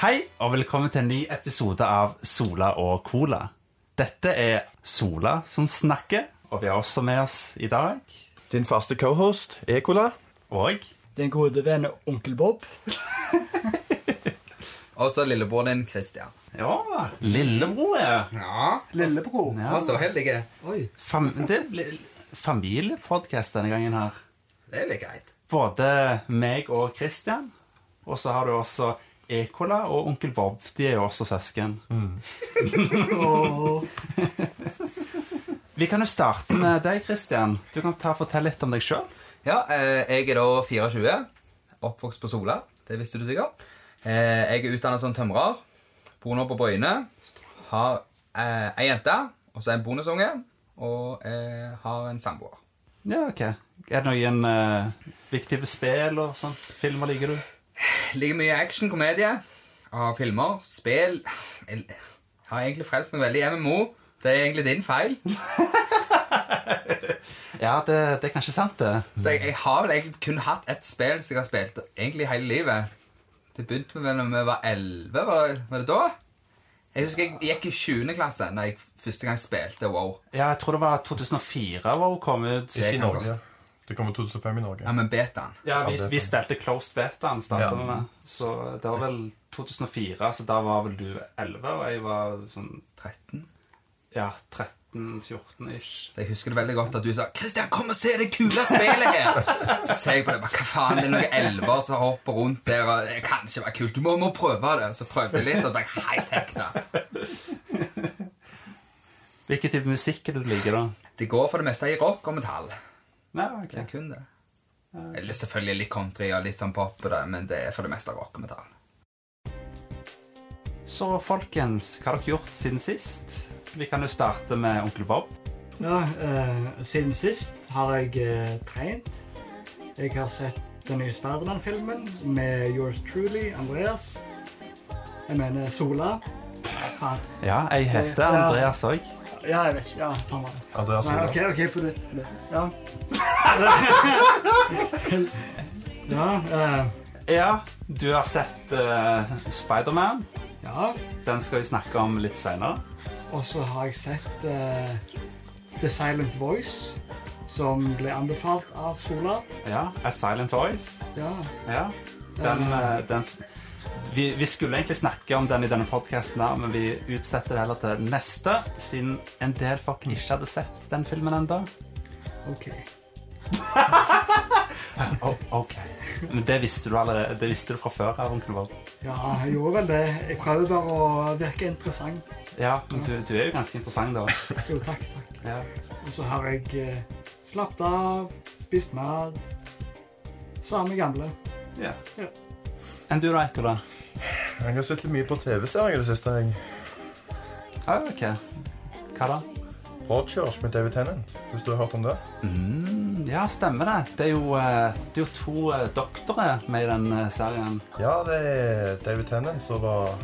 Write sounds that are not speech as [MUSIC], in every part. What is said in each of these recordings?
Hei, og velkommen til en ny episode av Sola og Cola. Dette er Sola som snakker, og vi har også med oss i dag. Din faste cohost, Ekola. Og Din gode venn onkel Bob. Og så lillebroren din, Christian. ja, lillebror er Ja, Lillebror. ja. så heldige. Oi. fam Det blir familiepodkast denne gangen her. Det er vel greit. Både meg og Christian, og så har du også Ekola og onkel Bob. De er jo også søsken. [LAUGHS] Vi kan jo starte med deg, Christian. Du kan ta og fortelle litt om deg sjøl. Ja, eh, jeg er da 24, oppvokst på Sola. Det visste du sikkert. Eh, jeg er utdannet som tømrer, bor nå på Bryne, har eh, ei jente, og så en bonusunge, og eh, har en samboer. Ja, ok. Er det noen eh, viktige spill og sånt? Filmer liker du? Ligger mye action, komedie, har filmer, spill Jeg har egentlig frelst meg veldig i MMO. Det er egentlig din feil. Ja, det, det er kanskje sant, det. Så jeg, jeg har vel egentlig kun hatt ett spill som jeg har spilt egentlig hele livet. Det begynte med da vi var 11, var det, var det da? Jeg husker jeg gikk i 20. klasse da jeg første gang spilte WoW. Ja, jeg tror det var 2004 hvor hun kom ut. Det- I Norge. Det kommer 2005 i Norge. Ja, men betaen. Ja, vi, vi spilte Closed Beta, startet vi med. Så det var vel 2004, så da var vel du 11, og jeg var sånn 13. ja, 13-14-ish. Så jeg husker det veldig godt at du sa 'Christian, kom og se det kule spillet her!' Så ser jeg på det, bare, hva faen, det er noen elver som hopper rundt der, og det kan ikke være kult. Du må, må prøve det. Så prøvde jeg litt, og ble jeg helt hekta. Hvilken type musikk er det du liker, da? Det går for det meste i rock og metall. Nei, Det er ok. kun det. Eller selvfølgelig litt country og litt sånn pop, og det, men det er for det meste rock og metall. Så folkens, hva har dere gjort siden sist? Vi kan jo starte med onkel Bob. Ja, eh, siden sist har jeg eh, trent. Jeg har sett den nye Spiderman-filmen med yours truly, Andreas. Jeg mener Sola. Faen. Ja, jeg heter Ja. Andreas òg. Ja, jeg vet ikke. Ja, samme det. altså Andreas Nei, Olav. OK, ok, på nytt. på nytt. Ja. ja, [LAUGHS] eh, Ja, du har sett eh, Spider-Man. ja. Den skal vi snakke om litt senere. Og så har jeg sett eh, The Silent Voice, som ble anbefalt av Sola. Ja, A Silent Voice. Ja, Ja. Den, eh, den s- vi, vi skulle egentlig snakke om den i denne podkasten, men vi utsetter det heller til neste, siden en del folk ikke hadde sett den filmen ennå. OK. ok. Men det visste du allerede. Det visste du fra før av, onkel Våg. Ja, jeg gjorde vel det. Jeg prøver bare å virke interessant. Ja, men du, du er jo ganske interessant, da. Jo, takk, takk. Ja. Og så har jeg eh, slappet av, spist mer. Samme gamle. ja. Ja. Enn du da, Ekola? Jeg har sett litt mye på TV-serier i det siste. jeg. Ja, Ah, ok. Hva da? Broadchurch med David Tennant, hvis du har hørt om det. Mm, ja, stemmer det. Det er jo, eh, det er jo to eh, doktorer med i den eh, serien. Ja, det er David Tennant som var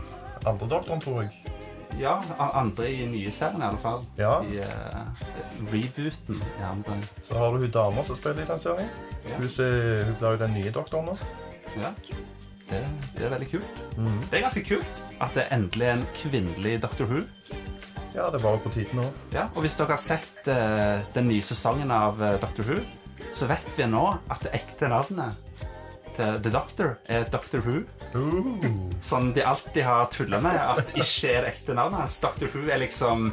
andredoktoren, tror jeg. Ja, a- andre i nye serien i alle fall. Ja. I eh, rebooten. i andre. Så har du hun dama som spiller i den serien. Ja. Hun, ser- hun blir jo den nye doktoren nå. Ja. Det, det er veldig kult. Det er ganske kult at det endelig er en kvinnelig Doctor Who. Ja, det var jo på tide nå. Ja, og hvis dere har sett eh, den nye sesongen av eh, Doctor Who, så vet vi nå at det ekte navnet til The Doctor er Doctor Who. Uh. som de alltid har tullet med, at det ikke er det ekte navnet hans. Dr. Who er liksom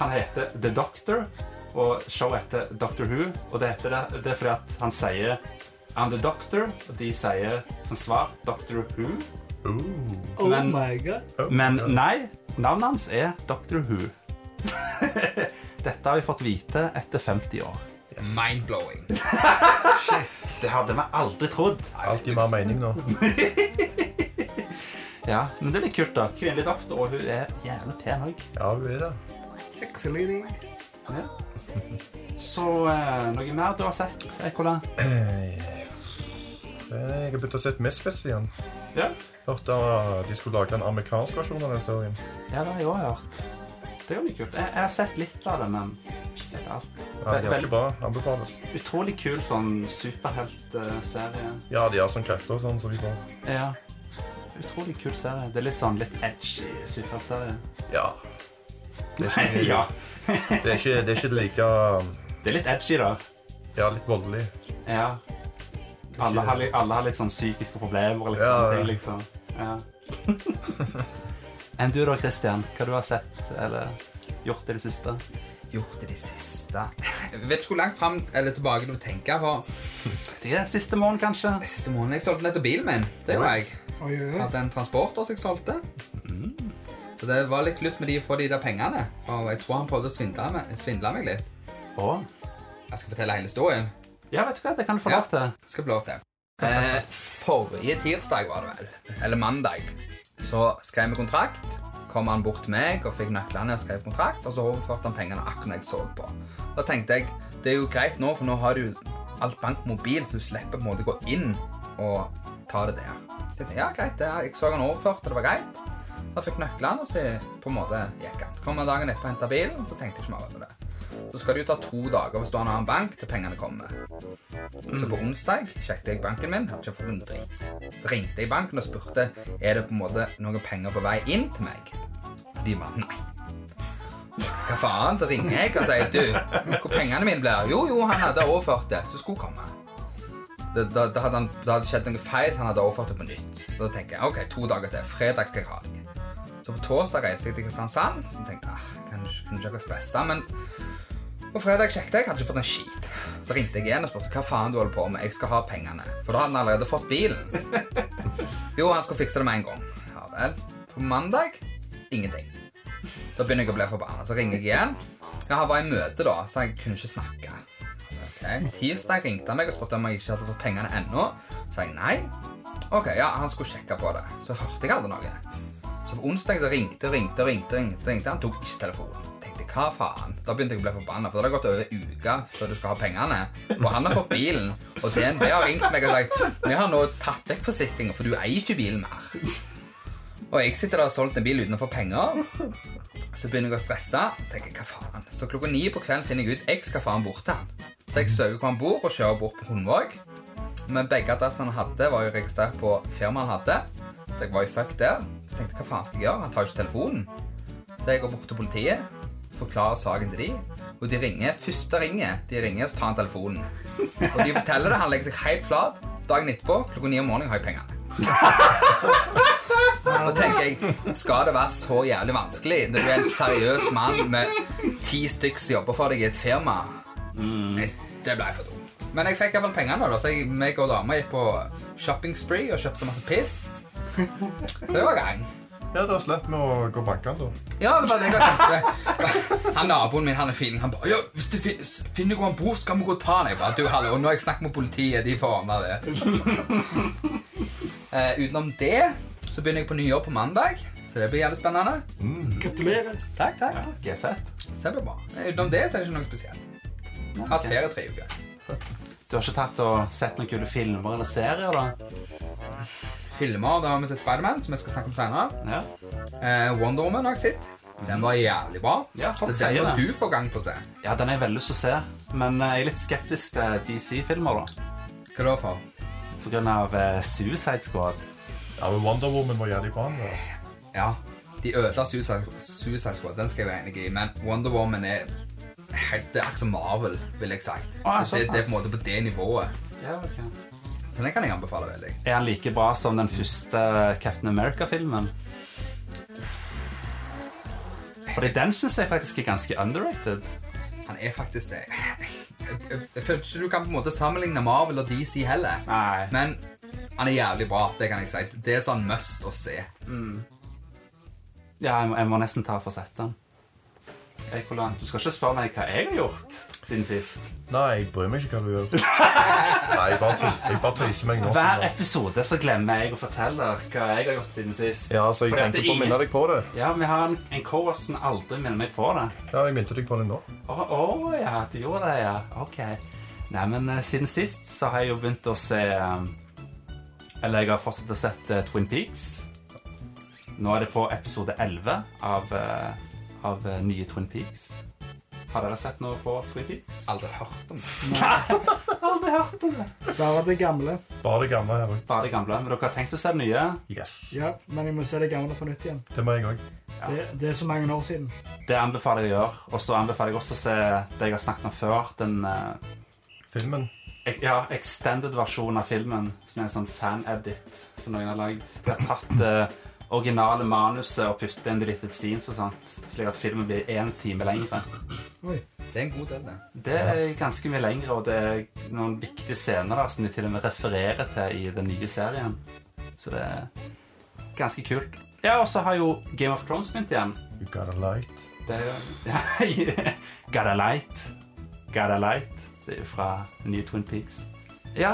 Han heter The Doctor, og showet heter Dr. Who. Og det heter det, det er fordi at han sier I'm the Doctor, og de sier som svar Dr. Who. Uh. Oh Men- my god. Oh. Men nei, navnet hans er Dr. Who. [LAUGHS] Dette har vi fått vite etter 50 år. Mind-blowing. Shit. Det hadde vi aldri trodd. Alt gir mer mening nå. Ja, Men det blir kult, da. Kvinnelig doktor, og hun er jævlig pen òg. Ja, hun er det. Sexy lady. Ja. Så eh, noe mer du har sett, Ekola? Eh, Jeg har begynt å se Misfits igjen. Ja. Hørte at de skulle lage en amerikansk versjon av den serien. Ja, det har jeg òg hørt. Det er jo mye kult. Jeg, jeg har sett litt av det, men ikke sett alt. Ja, ganske bra. Anbefales. Utrolig kul sånn superheltserie. Ja, de har sånn krefter og sånn som vi får. Ja. utrolig kul serie. Det er litt sånn litt edgy superheltserie. [LAUGHS] Ja. Det er ikke, ja. det er ikke, det er ikke like Det er litt edgy, da. Ja, litt voldelig. Ja. Alle har, li- alle har litt sånn psykiske problemer og litt Ja, sånne ja. ting, liksom. Ja. [LAUGHS] Enn du da, Christian? Hva du har sett eller gjort i det siste? Gjort det de siste Jeg vet ikke hvor langt frem eller tilbake du tenker. For Det er siste måned, kanskje. siste måneden jeg solgte nettopp bilen min. Det gjorde jeg. Oi, oi, Jeg oi. hadde en transporter som jeg solgte. Mm. Så det var litt lyst med de for de der pengene. Og jeg tror han prøvde å svindle meg, svindle meg litt. Å. Jeg skal fortelle hele historien. Ja, vet du hva? Det kan du få Ja. lov til. skal få lov til. Eh, forrige tirsdag var det vel, eller mandag, så skrev vi kontrakt. Kom han bort til meg og fikk nøklene og skrev kontrakt, og så overførte han pengene akkurat når jeg så på. Da tenkte jeg det er jo greit nå, for nå har du alt bankmobil, så du slipper på en måte gå inn og ta det der. Så jeg tenkte, ja, greit, det er, Jeg så han overført, og det var greit. Da fikk nøklene, og så på en måte gikk han. Kom han dagen etterpå og henta bilen, så tenkte jeg ikke mer over det. Så skal det jo ta to dager hvis du har en annen bank til pengene kommer. Så på onsdag sjekket jeg banken min, hadde ikke fått en dritt. Så ringte jeg banken og spurte er det på en måte noen penger på vei inn til meg. Og de bare nei. Hva faen? Så ringer jeg og sier du, hvor pengene mine blir. Jo, jo, han hadde overført det. Så skulle komme. Da, da, da, hadde han, da hadde det skjedd noe feil, så han hadde overført det på nytt. Så da tenker jeg ok, to dager til. Fredag skal jeg ha dem. Så på torsdag reiste jeg til Kristiansand. Så tenkte jeg ah, kan ikke- kunne ikke dere stresse, men på fredag sjekket jeg, hadde ikke fått en skit. Så ringte jeg igjen og spurte hva faen du holder på med. Jeg skal ha pengene. For da hadde han allerede fått bilen. Jo, han skulle fikse det med en gang. Ja vel. På mandag ingenting. Da begynner jeg å bli forbanna. Så ringer jeg igjen. Ja, Han var i møte, da, så jeg kunne ikke snakke. Så, ok. Tirsdag ringte han meg og spurte om jeg ikke hadde fått pengene ennå. Så sa jeg nei. Ok, ja, Han skulle sjekke på det. Så hørte jeg aldri noe. Så på onsdag så ringte og ringte og ringte, og ringte, ringte. Han tok ikke telefonen. Tenkte, hva faen? Da begynte jeg å bli forbanna, for da hadde det gått over en uke før du skal ha pengene. Og han har fått bilen, og DNB har ringt meg og sagt vi har nå tatt vekk forsikringen, for du eier ikke bilen mer. Og jeg sitter der og har solgt en bil uten å få penger. Så begynner jeg å stresse. Så tenker jeg, hva faen? Så klokka ni på kvelden finner jeg ut jeg skal faen bort til han. Så jeg søker hvor han bor, og kjører bort på Hundvåg. Men begge adressene han hadde, var jo registrert på firmaet han hadde. Så jeg var jo fuck der. Jeg tenkte, hva faen skal jeg gjøre? Han tar jo ikke telefonen. Så jeg går bort til politiet, forklarer saken til de, og de ringer. Første ringer, de ringer, så tar han telefonen. Og de forteller det, han legger seg helt flat. Dagen etterpå, klokka ni om morgenen, har jeg pengene. Da tenker jeg, skal det være så jævlig vanskelig når du er en seriøs mann med ti stykk som jobber for deg i et firma? Nei, Det ble for dumt. Men jeg fikk iallfall pengene, da, så jeg meg og dama gikk på shopping spree og kjøpte masse piss. Så det var gang. Ja, da slipper vi å gå bankene, da. Ja, det var det jeg tenkte. Han naboen min han er feeling. Han bare ja, 'Hvis du fin finner hvor han bor, skal vi gå og ta han.' Jeg bare, du, hallo, nå har jeg snakket med politiet. De får ordne det. Eh, utenom det så begynner jeg på nyår på mandag, så det blir jævlig spennende. Gratulerer. Takk, takk. Ja, GZ. Så det blir bra. Eh, Utenom det så er det ikke noe spesielt. Har hatt ferie tre uker. Du har ikke tatt og sett noen kule filmer eller serier, da? Filmer, da har vi sett Spiderman, som jeg skal snakke om senere. Ja. Eh, Wonder Woman har jeg sett. Den var jævlig bra. Ja, så folk den sier må det. du få gang på å se. ja, den har jeg veldig lyst til å se. Men eh, jeg er litt skeptisk til DC-filmer, da. Hva da for? På grunn av eh, Suicide Squad. Ja, men Wonder Woman var jævlig bra. men, Altså. Ja, de ødela Suicide, Suicide Squad, den skal jeg være enig i, men Wonder Woman er helt det er akkurat som Marvel, vil jeg sagt. Ah, det, det er på en såpass. måte på det nivået. Ja, ok. Så den kan jeg anbefale veldig. Er han like bra som den første Captain America-filmen? Fordi den syns jeg faktisk er ganske underrated. Han er faktisk det. Jeg, jeg, jeg føler ikke du kan på en måte sammenligne Marvel og DC heller. Nei. Men han er jævlig bra, det kan jeg si. Det er sånn must å se. Ja, jeg må, jeg må nesten ta for sett den. Ekolan, du skal ikke spørre meg hva jeg har gjort siden sist. Nei, jeg bryr meg ikke hva du [LAUGHS] gjør. Nei, jeg bare, tøy- jeg bare tøyser meg nå. Hver episode så glemmer jeg å fortelle hva jeg har gjort siden sist. Ja, så jeg Fordi at tenkte det er på å minne ingen- deg på det. Ja, vi har en, en course som aldri minner meg på det. Ja, jeg minte deg på det nå. Å å, ja, du gjorde det, ja. Ok. Nei, men eh, siden sist så har jeg jo begynt å se um, Eller jeg har fortsatt å sett eh, Twin Peaks. Nå er det på episode 11 av, eh, av eh, nye Twin Peaks. Har dere sett noe på Twin Peaks? Aldri hørt om det. Aldri hørt om det. Bare det gamle. Bare det gamle her òg. Bare det gamle. Men dere har tenkt å se det nye? Yes. Ja, men jeg må se det gamle på nytt igjen. Det må jeg òg. Det, det er så mange år siden. Det anbefaler jeg å gjøre. Og så anbefaler jeg også å se det jeg har snakket om før. Den eh, Filmen. ek- ja, extended versjonen av filmen, som er en sånn fan-edit som noen har lagd. De har tatt det originale manuset og puttet inn deleted scenes og sånt, slik at filmen blir én time lengre. Oi. Det er en god del, det. Det er ganske mye lengre, og det er noen viktige scener der som de til og med refererer til i den nye serien. Så det er ganske kult. Ja, og så har jo Game of Thrones begynt igjen. You got a light. Det er [LAUGHS] jo ja, Gotta Light. Gotta Light. Det er jo fra den nye Twin Peaks. Ja,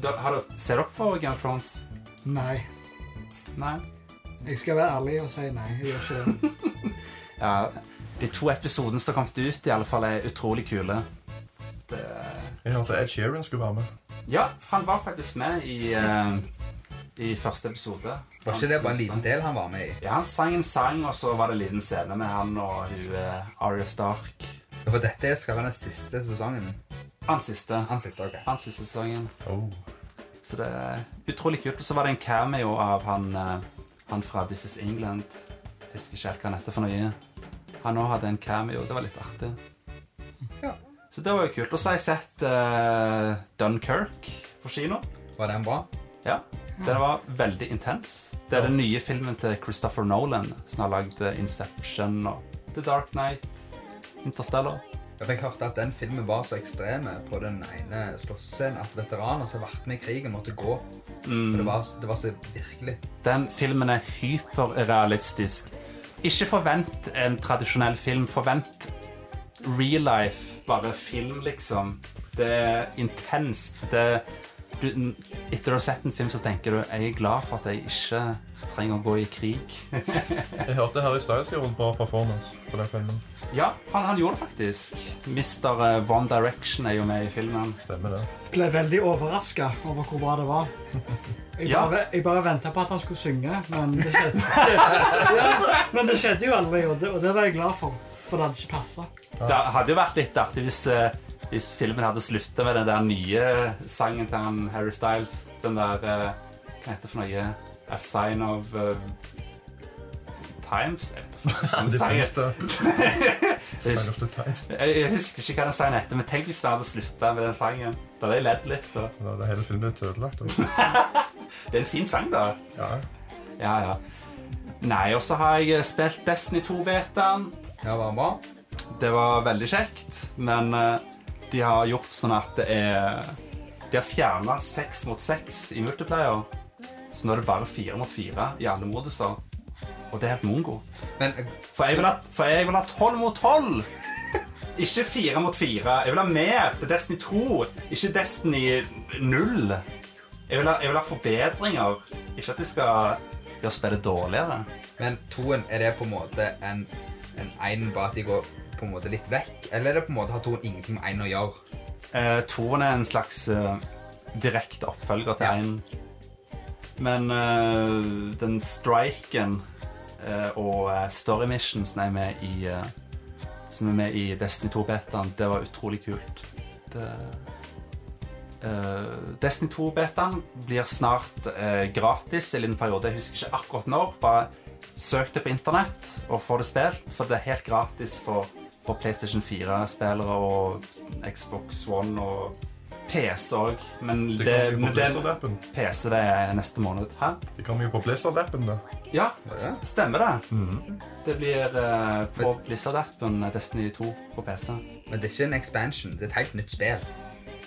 da, har du, ser dere på Game of Thrones? Nei. Nei? Jeg skal være ærlig og si nei. Jeg gjør ikke det. Ja, de to episodene som har kommet ut, i alle fall er utrolig kule. Det Jeg hørte Ed Sheeran skulle være med. Ja, han var faktisk med i, eh, i første episode. Var ikke det bare en liten del han var med i? Ja, han sang en sang, og så var det en liten scene med han og hun eh, Arya Stark. Ja, For dette skal være den siste sesongen. Han siste. Han siste, ok. Han siste sesongen. Oh. Så det er utrolig kult. Og så var det en cameo av han, eh, han fra This Is England. Jeg husker ikke helt hva han heter for noe. Han òg hadde en cameo. Det var litt artig. Ja. Så det var jo kult. Og så har jeg sett eh, Dunkerque på kino. Var den bra? Ja. Den var veldig intens. Det er den nye filmen til Christopher Nolan, som har lagd eh, Inception og The Dark Knight, Interstellar. Ja, for Jeg hørte at den filmen var så ekstreme på den ene slåssscenen at veteraner som har vært med i krigen, måtte gå. For det var, det var så virkelig. Den filmen er hyperrealistisk. Ikke forvent en tradisjonell film. Forvent real life, bare film, liksom. Det er intenst. Det du, etter å ha sett en film, så tenker du jeg er glad for at jeg ikke trenger å gå i krig. Jeg hørte Harry Styles gjorde en bra performance på den filmen. Ja, han, han gjorde det faktisk. Mr. One Direction er jo med i filmen. Stemmer det. Ble veldig overraska over hvor bra det var. Jeg Ja. bare, jeg bare venta på at han skulle synge, men det skjedde, [LAUGHS] ja, men det skjedde jo aldri. Og det, og det var jeg glad for, for det hadde ikke passa. Det hadde jo vært litt artig hvis, eh, hvis filmen hadde slutta med den der nye sangen til han Harry Styles. Den der eh, Hva heter det for noe? A Sign of eh, Times? Jeg vet ikke. hva den Det sangen- finnes det. [LAUGHS] Sign of the Times. Jeg, jeg husker ikke hva den sangen heter, men tenk hvis den hadde slutta med den sangen. Da hadde jeg ledd litt. Og. Da hadde hele filmen blitt ødelagt. altså. [LAUGHS] Det er en fin sang, da. Ja. Ja, ja. Nei, og så har jeg eh, spilt Destiny 2-betaen. Ja, var den bra? Det var veldig kjekt, men eh, de har gjort sånn at det er De har fjerna seks mot seks i multiplayer. Så nå er det bare fire mot fire i alle moduser. Og det er helt mongo. Men eh, For jeg vil ha, for jeg vil ha 12 mot tolv! [LAUGHS] Ikke fire mot fire. Jeg vil ha mer. Det er Destiny 2, ikke Destiny 0. Jeg vil ha, jeg vil ha forbedringer. Ikke at de skal gjøre spillet dårligere. Men toen, er det på en måte en, en einen bare at de går på en måte litt vekk? Eller er det på en måte har toen ingenting med einen å gjøre? Eh, Toren er en slags eh, direkte oppfølger til Ja. én. Men eh, den striken eh, og eh, story missions som er med i, eh, som er med i Destiny 2-betaen, det var utrolig kult. Det, eh, Destiny 2-betaen blir snart eh, gratis i en liten periode. Jeg husker ikke akkurat når. Bare søk det på internett og få det spilt, for det er helt gratis for, for PlayStation 4-spillere og Xbox One og PC òg. Men De det, kommer jo men på det- Blizzard-appen. PC det er neste måned. Hæ? De kommer jo på Blizzard-appen, da. Ja, Ja. s- stemmer det. Det blir eh, på Blizzard-appen Destiny 2 på PC. Men det er ikke en expansion, det er et helt nytt spill.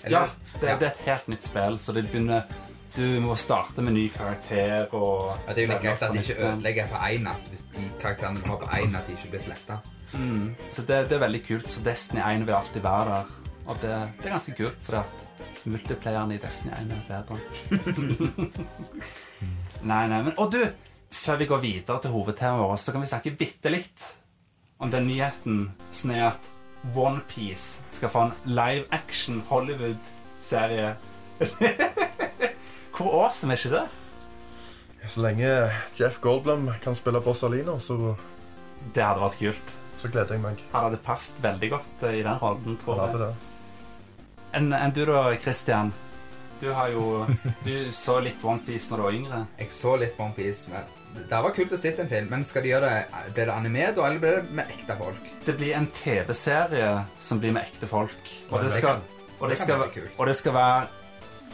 Ja, Eller? det, det er et helt nytt spill, så det begynner Du må starte med ny karakter og Ja, det er jo like greit at de ikke ødelegger for én at hvis de karakterene du har på én, at de ikke blir sletta. Mm, så det, det er veldig kult. Så Destiny 1 vil alltid være der. Og det, det er ganske kult, fordi at multiplayeren i Destiny 1 er bedre. [LAUGHS] nei, nei, men Og du! Før vi går videre til hovedtemaet vårt, så kan vi snakke bitte litt om den nyheten som er at OnePiece skal få en live action [LAUGHS] Hollywood-serie. Hvor awesome er ikke det? Så lenge Jeff Goldblum kan spille Borsalino, så Det hadde vært kult. så gleder jeg meg. Han hadde passet veldig godt eh, i den rollen, tror Han jeg. hadde det. Enn enn du da, Christian? Du har jo Du så litt OnePiece når du var yngre. Jeg så litt One Piece. Men det der var kult å se en film, men skal de gjøre det, blir det animert, eller blir det med ekte folk? Det blir en TV-serie som blir med ekte folk. Og det skal, og det Det skal, kan være kult. og det skal være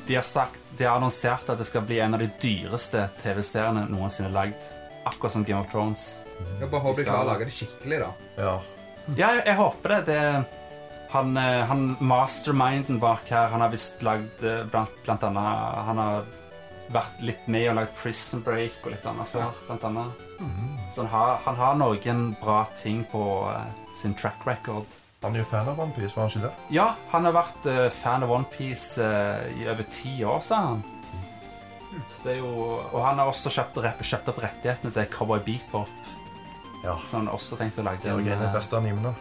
de har, sagt, de har annonsert at det skal bli en av de dyreste TV-seriene noensinne lagd. Akkurat som Game of Thrones. Jeg bare håper de klarer å lage det skikkelig, da. Ja. Ja, jeg, jeg håper det. det han, eh, han masterminden bak her, han har visst lagd eh, blant, blant annet Han har vært litt med og lagd Prison Break og litt annet før, blant annet. Mm. Så han har, han har noen bra ting på eh, sin track record. Han er jo fan av OnePiece, var han ikke det? Ja, han har vært eh, fan av OnePiece i over ti år, sa han. Så det er jo, og han har også kjøpt, rep- kjøpt opp rettighetene til Cowboy Bebop, Ja. så han har også tenkt å lage Det er jo en av de eh, beste animene.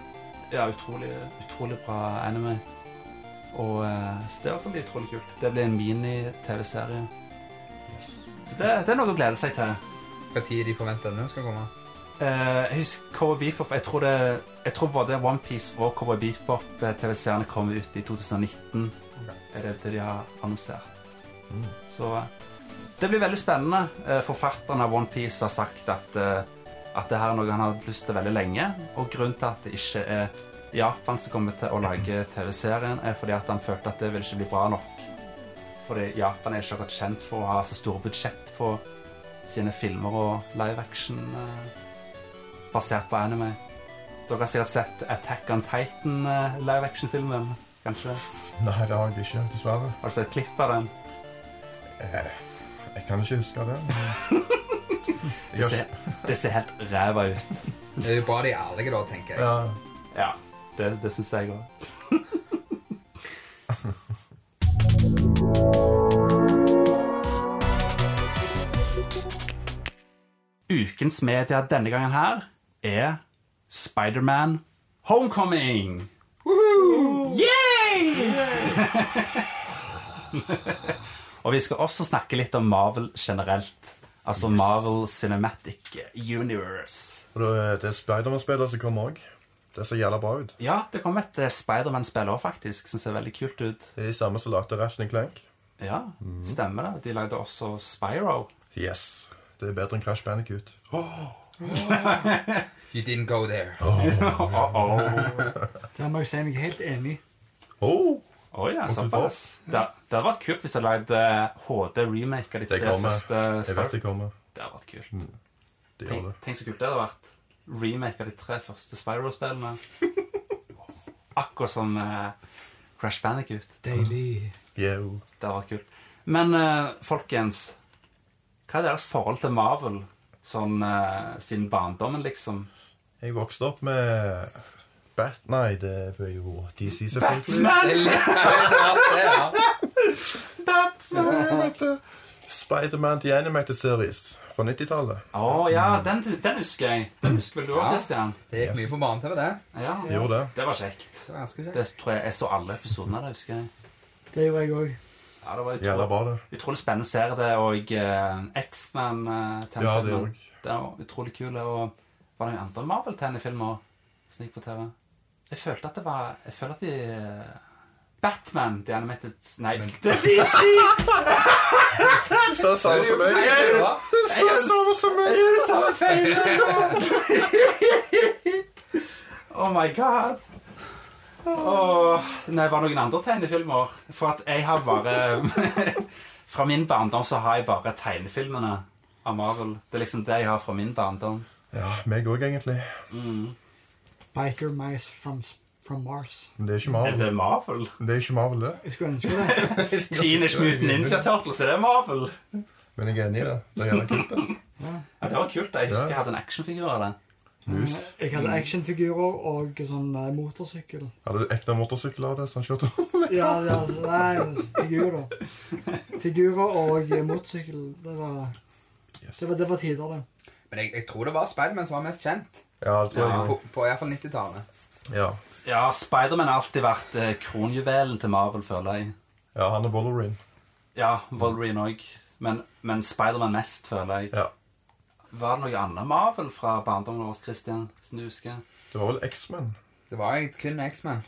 ja, utrolig, utrolig bra anime. Og eh, så det også blir utrolig kult. Det blir en mini-TV-serie. Så det, det er noe å glede seg til. Når de forventer at den skal komme. Eh, jeg husker Cowboy Bebop Jeg tror, det, jeg tror både OnePiece og Cowboy Bebop-TV-seriene kommer ut i 2019. Er det det de har annonsert. Så eh, det blir veldig spennende. Eh, Forfatteren av OnePiece har sagt at, eh, at det her er noe han har hatt lyst til veldig lenge. Og grunnen til at det ikke er Japan som kommer til å lage TV-serien, er fordi at han følte at det ville ikke bli bra nok. Fordi Japan er ikke akkurat kjent for å ha så store budsjett på sine filmer og live action. Eh basert på anime. Dere har sikkert sett Attack on Titan eh, live action-filmen, kanskje? Nei, det har jeg ikke, dessverre. Har du sett klipp av den? Eh, Jeg kan ikke huske det. [LAUGHS] Men... Jeg Det har ser, ikke- det ser helt ræva ut. Det er jo bra de er ærlige, da, tenker jeg. Ja. Ja, det, det syns jeg òg. [LAUGHS] Ukens media denne gangen her er Spiderman Homecoming. Yay! Og vi skal også snakke litt om Marvel generelt. Altså Marvel Cinematic Universe. Og da er det Spiderman-spiller som kommer òg. Det ser jævla bra ut. Ja, det kom et eh, Spiderman-spill òg, faktisk, som ser veldig kult ut. Det er de samme som lagde Ratchet Clank. Ja, Stemmer det. De lagde også Spyro. Yes. Det er bedre enn Crash Bandicoot. You didn't go there. Der må jeg si meg helt enig. Oh, Å ja, såpass. Det det hadde vært kult hvis jeg lagde eh, HD-remake av de det tre kommer. første Jeg vet Spyro. det kommer. Det hadde vært kult. Det gjør Tenk, det. tenk så kult det hadde vært. Remake av de tre første Spyro-spillene. [LAUGHS] Akkurat som eh, Crash Bandicoot. Deilig. Yo. Det hadde vært kult. Men eh, folkens, hva er deres forhold til Marvel sånn eh, siden barndommen, liksom? Jeg vokste opp med Bat... Nei, det ble jo DC, selvfølgelig. Batman! Det er litt [LAUGHS] rart, det, ja. Batman! Spiderman The Animated Series fra 90-tallet. Å ja, den, den husker jeg. Den husker vel du òg, Ja. Christian? Det gikk mye på barne-TV, det. Ja. Gjorde det. Det var kjekt. Det var ganske Det kjekt. tror jeg jeg så alle episodene av det, husker jeg. Det gjorde jeg òg. Ja, det var Jævla utrolig, bra, det. utrolig spennende serie, det, og eh, X-Man eh, Ja, det tegnefilmen. òg. Den var utrolig kul. Og var det noen andre Marvel-tegnefilmer som gikk på TV? Jeg følte at det var Jeg føler at de eh, Batman, The Animated Nei, [LAUGHS] det er DC! Så det Det samme er jo som meg. feil, det, da. Så det samme som meg. Det er det samme feilen! oh my god. Åh, nei, var det noen andre tegnefilmer? For at jeg har bare [LAUGHS] Fra min barndom så har jeg bare tegnefilmene av Marvel. Det er liksom det jeg har fra min barndom. Ja, meg òg, egentlig. Biker Mice from, from Mars. Men det er ikke Er det Marvel. Marvel? Det er ikke Marvel, det. Jeg skulle ønske det. [LAUGHS] Teenage Mutant Ninja Turtles, er det Marvel? Men jeg er enig i det. Det er jævla kult, det. Ja, det var kult. da. Jeg husker jeg hadde en actionfigur av det. Mus. Jeg hadde actionfigurer og sånn eh, motorsykkel. Hadde du ekte motorsykkel av det? Sånn kjørte du? Ja, ja, nei, figurer. Figurer og eh, motorsykkel. Det var, Yes. det var, det var tider, det. Men jeg, jeg tror det var Spiderman som var mest kjent. Ja, det tror jeg. På, på iallfall 90-tallet. Ja. Ja, Spiderman har alltid vært eh, kronjuvelen til Marvel, føler jeg. ja, han er Wolverine. Ja, Wolverine òg. Men, men Spiderman mest, føler jeg. Ja. Var det noe annet Marvel fra barndommen vår, Christian, som du husker? Det var vel X-Men. [LAUGHS] Det var jeg kun X-Man.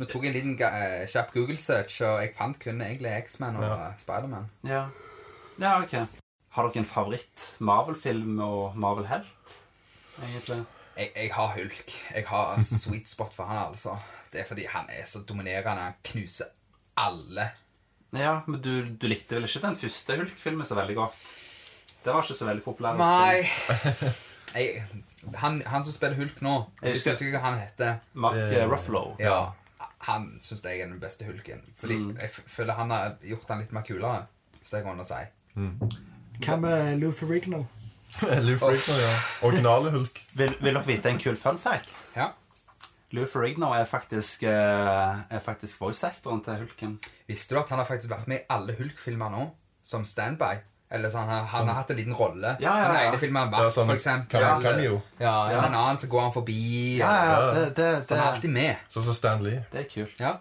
Nå tok jeg en liten ga- eh, kjapp Google-search, og jeg fant kun egentlig X-Man og Ja. eh, Spider-Man. Ja. ja, ok. Har dere en favoritt Marvel-film og Marvel-helt, egentlig? Jeg, jeg har Hulk. Jeg har sweet spot for han, altså. Det er fordi han er så dominerende. Han knuser alle. Ja, men du, du likte vel ikke den første Hulk-filmen så veldig godt? Det var ikke så veldig populær. Nei [LAUGHS] jeg, han, han som spiller Hulk nå Jeg Jeg husker- husker ikke hva han heter. Mark eh, Ruffalo. Ja, Han syns jeg er den beste Hulken. Fordi Mm. jeg f- føler han har gjort han litt mer kulere. Så jeg kan si. Hva med Lou Ferrigno? Lou Ferrigno, ja. Originale Hulk. Vil, vil dere vite en kul fun fact? Ja, Lou Ferrigno er faktisk, eh, er faktisk voice-actoren til Hulken. Visste du at han har faktisk vært med i alle Hulk-filmer nå? Som standby? Eller så han, har- han har hatt en liten rolle. Ja, ja, ja. Den ene filmen han har Ja, vært, sånn for eksempel. cam- cameo. Ja, i Ja. den annen så går han forbi. Ja, ja, det, det, Så han er det, alltid med. Sånn som Stan Lee. det er kult. Ja,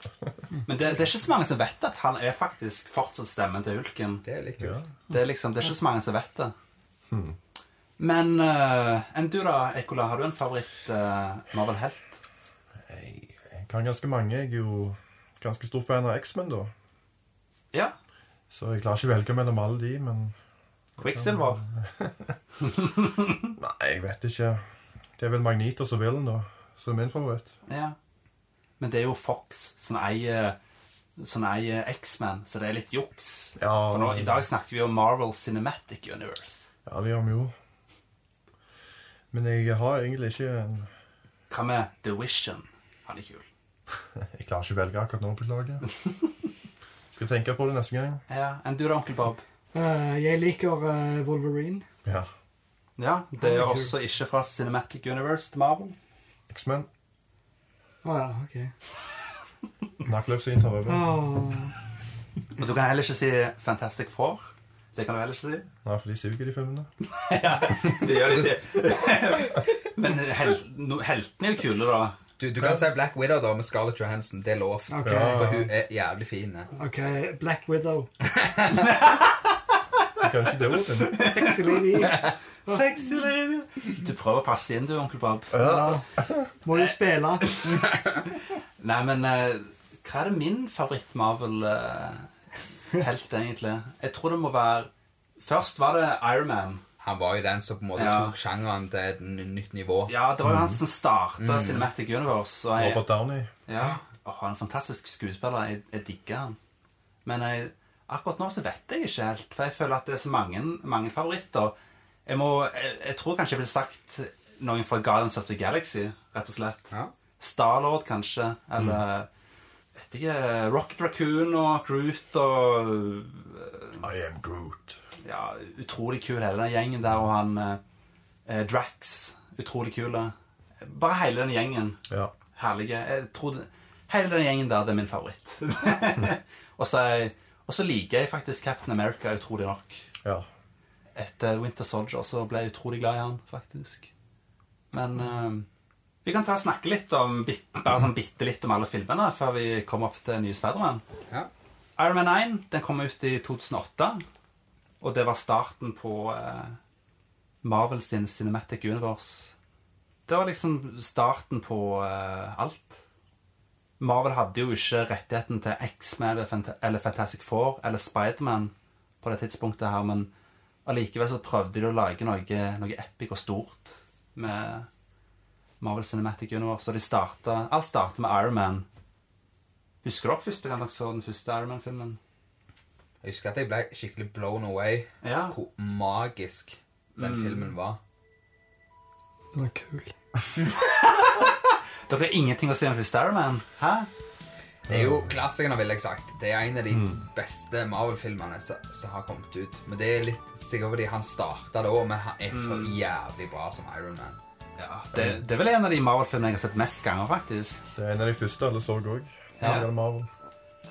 Men det, det er ikke så mange som vet at han er faktisk fortsatt stemmen til Hulken. det er litt Ja. kult. Det er liksom, det er ikke så mange som vet det. Men eh, enn du da, Ekola, har du en favoritt eh, Marvel-helt? Jeg jeg kan ganske mange. Jeg er jo ganske stor fan av X-Men, da. Ja, Så jeg klarer ikke å velge mellom alle de, men Quicksilver. Nei, jeg vet ikke. Det er vel Magneto som vil den, da. Som er min favoritt. Ja. Men det er jo Fox som eier som eier X-Man, så det er litt juks. Ja. For nå, I dag snakker vi om Marvel Cinematic Universe. Ja, det gjør vi jo. Men jeg har egentlig ikke en Hva med The Vision? Han er kul. Jeg klarer ikke å velge akkurat nå, beklager. Skal tenke på det neste gang. Ja, Enn du da, onkel Bob? Eh, jeg liker eh, Wolverine. Ja. Ja, Det er også ikke fra Cinematic Universe til Marvel. X-Men. Å ja, OK. Nakkeløpsvin tar over. Åh. Men du kan heller ikke si Fantastic Four. Det kan du heller ikke si. Nei, for de suger, de filmene. Det gjør de ikke. Men hel, no, heltene er jo kule, da. Du, du kan si Black Widow da med Scarlett Johansson. Det er lovt. Ok. For hun er jævlig fin. ja. OK, Black Widow. De kan ikke det ordet. Sexy lady. Sexy lady. Du prøver å passe inn, du, onkel Bob. Ja. Må jo spille. Nei, men eh, hva er det min favoritt Marvel-helt, egentlig? Jeg tror det må være Først var det Iron Man. Han var jo den som på en måte Ja. tok sjangeren til et n- nytt nivå. Ja, det var jo han som starta Cinematic Universe. Og jeg, Robert Downey. ja, Åh, han er en fantastisk skuespiller. Jeg, jeg digger han. Men jeg, akkurat nå så vet jeg ikke helt, for jeg føler at det er så mange, mange favoritter. Jeg, må, jeg, jeg tror kanskje jeg ville sagt noen fra Guardians of the Galaxy, rett og slett. Ja. Starlord, kanskje. Eller vet ikke Rocket Raccoon og Groot og I am Groot. Ja, utrolig kul hele den gjengen der, og han eh, Drax. Utrolig kule. Bare hele den gjengen. Ja. Herlige. Jeg tror det- Hele den gjengen der, det er min favoritt. [LAUGHS] og så er- og så liker jeg faktisk Captain America utrolig nok. Ja. Etter Winter Soldier så ble jeg utrolig glad i han, faktisk. Men eh, vi kan ta og snakke litt om, bit- bare sånn bitte litt om alle filmene før vi kommer opp til nye Spiderman. Ja. Iron Man 1 den kom ut i 2008, og det var starten på eh, Marvel sin Cinematic Universe. Det var liksom starten på eh, alt. Marvel hadde jo ikke rettigheten til X-Man eller Fant- eller Fantastic Four eller Spiderman på det tidspunktet her, men allikevel så prøvde de å lage noe, noe epic og stort med Marvel Cinematic Universe, og de starta Alt starta med Iron Man. Husker dere første gang dere så den første Iron Man-filmen? Jeg husker at jeg ble skikkelig blown away Ja. hvor magisk den Mm. filmen var. Den var kul. Dere har ingenting å si om første Iron Man? Hæ? Det er jo klassikerne, vil jeg sagt. Det er en av de Mm. beste Marvel-filmene som som har kommet ut. Men det er litt sikkert fordi han starta da, men han er Mm. så jævlig bra som Iron Man. Ja, det, det er vel en av de Marvel-filmene jeg har sett mest ganger, faktisk. Det er en av de første alle så òg. Ja. Ja.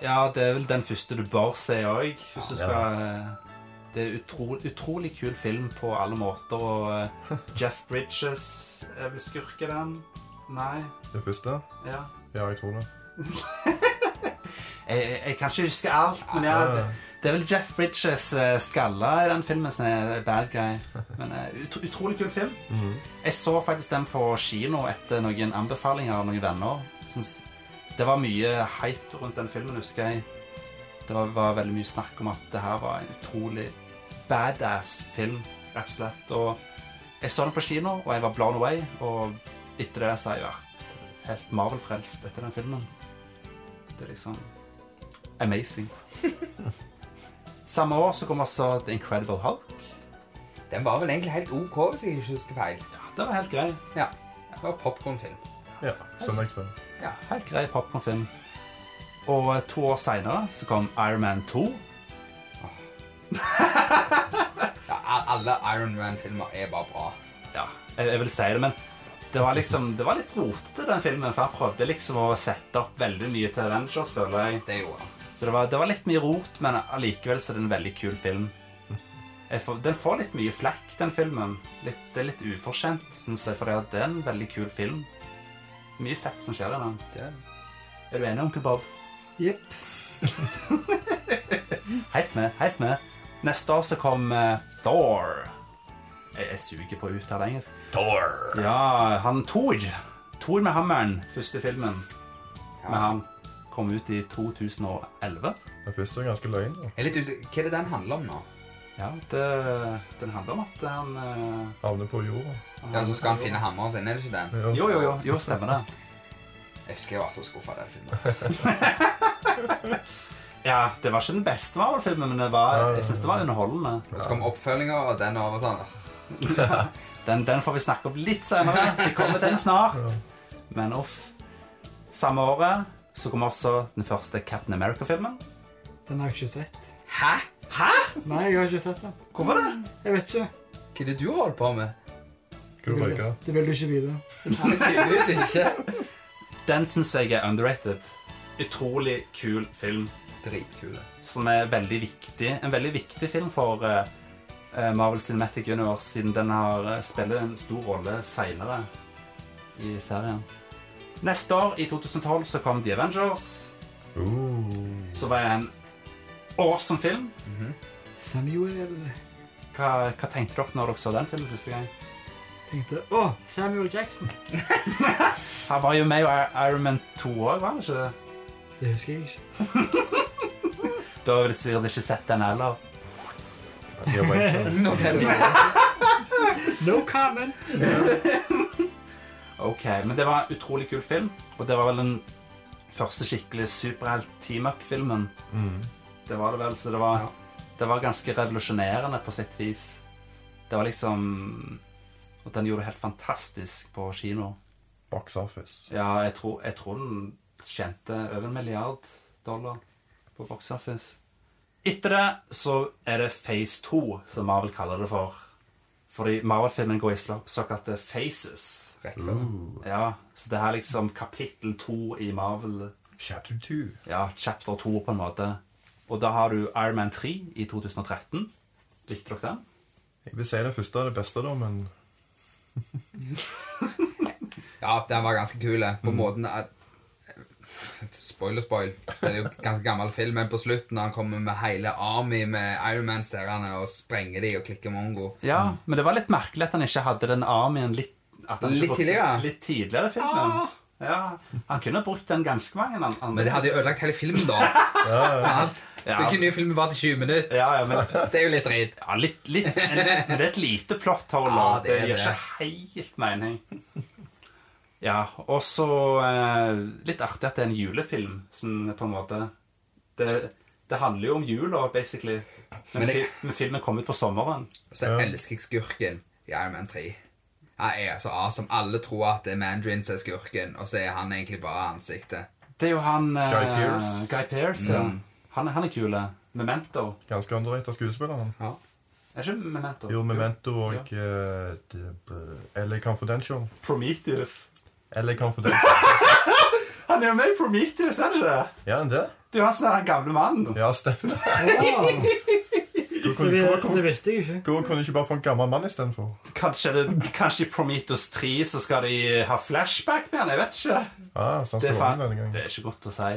Ja, det er vel den første du bør se òg, hvis du Ja. skal eh, Det er utrolig, utrolig kul film på alle måter, og eh, Jeff Bridges er vel skurk i den? Nei? Det første? Ja. Ja, jeg tror det. Ah. Jeg, jeg kan ikke huske alt, men ja, det, Det er vel Jeff Bridges eh, skalle i den filmen som er bad guy. Men eh, ut Utrolig kul film. Jeg så faktisk den på kino etter noen anbefalinger av noen venner. Syns det var mye hype rundt den filmen, husker jeg. Det var, var veldig mye snakk om at det her var en utrolig badass film, rett og slett. Og jeg så den på kino, og jeg var blown away. Og etter det så har jeg vært helt Marvel-frelst etter den filmen. Det er liksom amazing. Samme år så kom også The Incredible Hulk. Den var vel egentlig helt OK, hvis jeg ikke husker feil. Ja, det var helt grei. Ja, Det var popkornfilm. Ja, sånn søndagsbønn. Helt grei popkornfilm. Og eh, to år seinere så kom Iron Man 2. Ja, a- alle Iron Man-filmer er bare bra. Ja, jeg, jeg vil si det, men det var liksom Det var litt rotete, den filmen. For han prøvde liksom å sette opp veldig mye til Avengers, føler jeg. Det gjorde han. Så det var, det var litt mye rot, men allikevel så er det en veldig kul film. Jeg får, den får litt mye flekk, den filmen. Litt, det er litt ufortjent, syns jeg, for det er en veldig kul film. Mye fett som skjer i den. Er du enig, onkel Bob? Jepp. Helt med, helt med. Neste år så kom eh, Thor. Jeg, jeg suger på å uttale engelsk. Thor! Ja, han Thor. Thor med hammeren, første filmen med Ja. han, kom ut i 2011. Den første er ganske løgn. da. Jeg er litt usikker. Hva er det den handler om nå? Ja, det, den handler om at han eh, Havner på jorda. han- Ja, Så skal han finne hammeren sin, er det ikke den? Ja. Jo, jo, jo, jo stemmer det. Jeg husker jeg var så skuffa den [LAUGHS] filmen. Ja, Det var ikke den beste Marvel-filmen, men det var, jeg syns det var underholdende. Og så kom oppfølginger, og den var sånn «Åh, Den, den får vi snakke om litt senere. Vi kommer til den snart. Men uff. Samme året så kom også den første Captain America-filmen. Den har jeg ikke sett. Hæ? Nei, jeg har ikke sett den. Hvorfor det? Jeg vet ikke. Hva er det du holder på med? Skal du røyke? Det vil du ikke vite. Nei, Tydeligvis [LAUGHS] ikke. Den syns jeg er underrated. Utrolig kul film Dritkule. som er veldig viktig. En veldig viktig film for eh, eh, Marvel Cinematic Universe, siden den har eh, spiller en stor rolle seinere i serien. Neste år, i 2012, så kom The Avengers. Uh. Som var en awesome film. Samuel Hva, hva tenkte dere når dere så den filmen første gang? tenkte Å, Samuel Jackson. Han var jo med i Iron Man 2 òg, var han ikke? det? Det husker jeg ikke. Da har jeg sikkert ikke sett den heller. Jeg gjør meg ikke. [LAUGHS] Nå ble det noe. No comment. Ok, Men det var en utrolig kul film, og det var vel den første skikkelig superhelt-team-up-filmen. Mm. Det var det vel, så det var, det var ganske revolusjonerende på sitt vis. Det var liksom Og den gjorde det helt fantastisk på kino. Box office. Ja, jeg tror, jeg tror den tjente over en milliard dollar på box office. Etter det så er det Phase 2, som Marvel kaller det for. Fordi Marvel-filmen går i sla- såkalte phases. Rekkefølge. Ja, Så det her er liksom kapittel 2 i Marvel. Chapter 2. Ja, chapter 2 på en måte. Og da har du Iron Man 3 i 2013. Likte dere den? Jeg vil si det første er det beste, da, men Ja, den var ganske kul. eh, På måten at Spoiler, spoil. Det er jo ganske gammel film, men på slutten når han kommer med hele Army med Iron Man-stjernene og sprenger de og klikker mongo Ja, Men det var litt merkelig at han ikke hadde den armyen litt at han ikke Litt brukte- tidligere? Litt tidligere i filmen. Ja, Han kunne brukt den ganske mange an- andre Men det hadde jo ødelagt hele filmen, da. ja, Ja. det kunne jo filmen bare til 20 minutter. Ja, ja, men Det er jo litt dritt. ja, litt, litt, [LAUGHS] men det er et lite plott hold. Ja, det, det er gir det. ikke helt mening. [LAUGHS] Ja, og så eh, litt artig at det er en julefilm, sånn på en måte. Det, det handler jo om jula, basically. Men, Men jeg- fi, men filmen kom ut på sommeren. Så elsker jeg skurken i Iron Man 3. Han er så awesome. Alle tror at det er Mandarin som er skurken, og så er han egentlig bare ansiktet. Det er jo han eh, Guy Pearce. Guy Pearce, ja. Mm. han, han er kul. Memento. ganske underrated skuespiller, han. Ja. Er ikke Memento? Jo, Memento og eh, det, eh, LA Confidential. Prometheus. LA Confidential. Han er jo med i Prometheus, er det ikke det? Ja, enn det? Det er jo han som er den gamle mannen. Ja, [LAUGHS] stemmer. Å, Hvor det, kunne, hvor, det hvor, visste jeg ikke. hvor kunne du ikke bare få en gammel mann istedenfor? Kanskje, det, kanskje i Prometheus 3 så skal de ha flashback med han, jeg vet ikke. Ah, så han Det er, skal være med faen, denne gangen. det er ikke godt å si.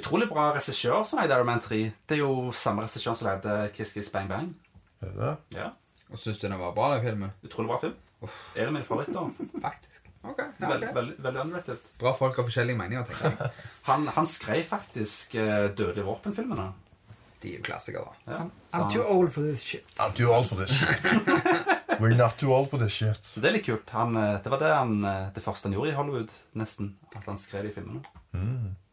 Utrolig bra regissør som lagde Iron Man 3. Det er jo samme regissør som lagde Kiss Kiss Bang Bang. Er det det? Ja, Og syns du den var bra, den filmen? Utrolig bra film. Er det min favoritt, da? Faktisk. Ok, [LAUGHS] ja, Veldig ok. veldig- veldig underrated. Bra folk har forskjellige meninger, tenker jeg. Han, han skrev faktisk eh, Dødelige våpen-filmene. De er jo klassikere, da. Ja. Så I'm too han- old for this shit. Not too old for this shit. We're not too old for this shit. så det er litt kult. Han, eh, det var det, han, eh, det første han gjorde i Hollywood, nesten. At han skrev de filmene.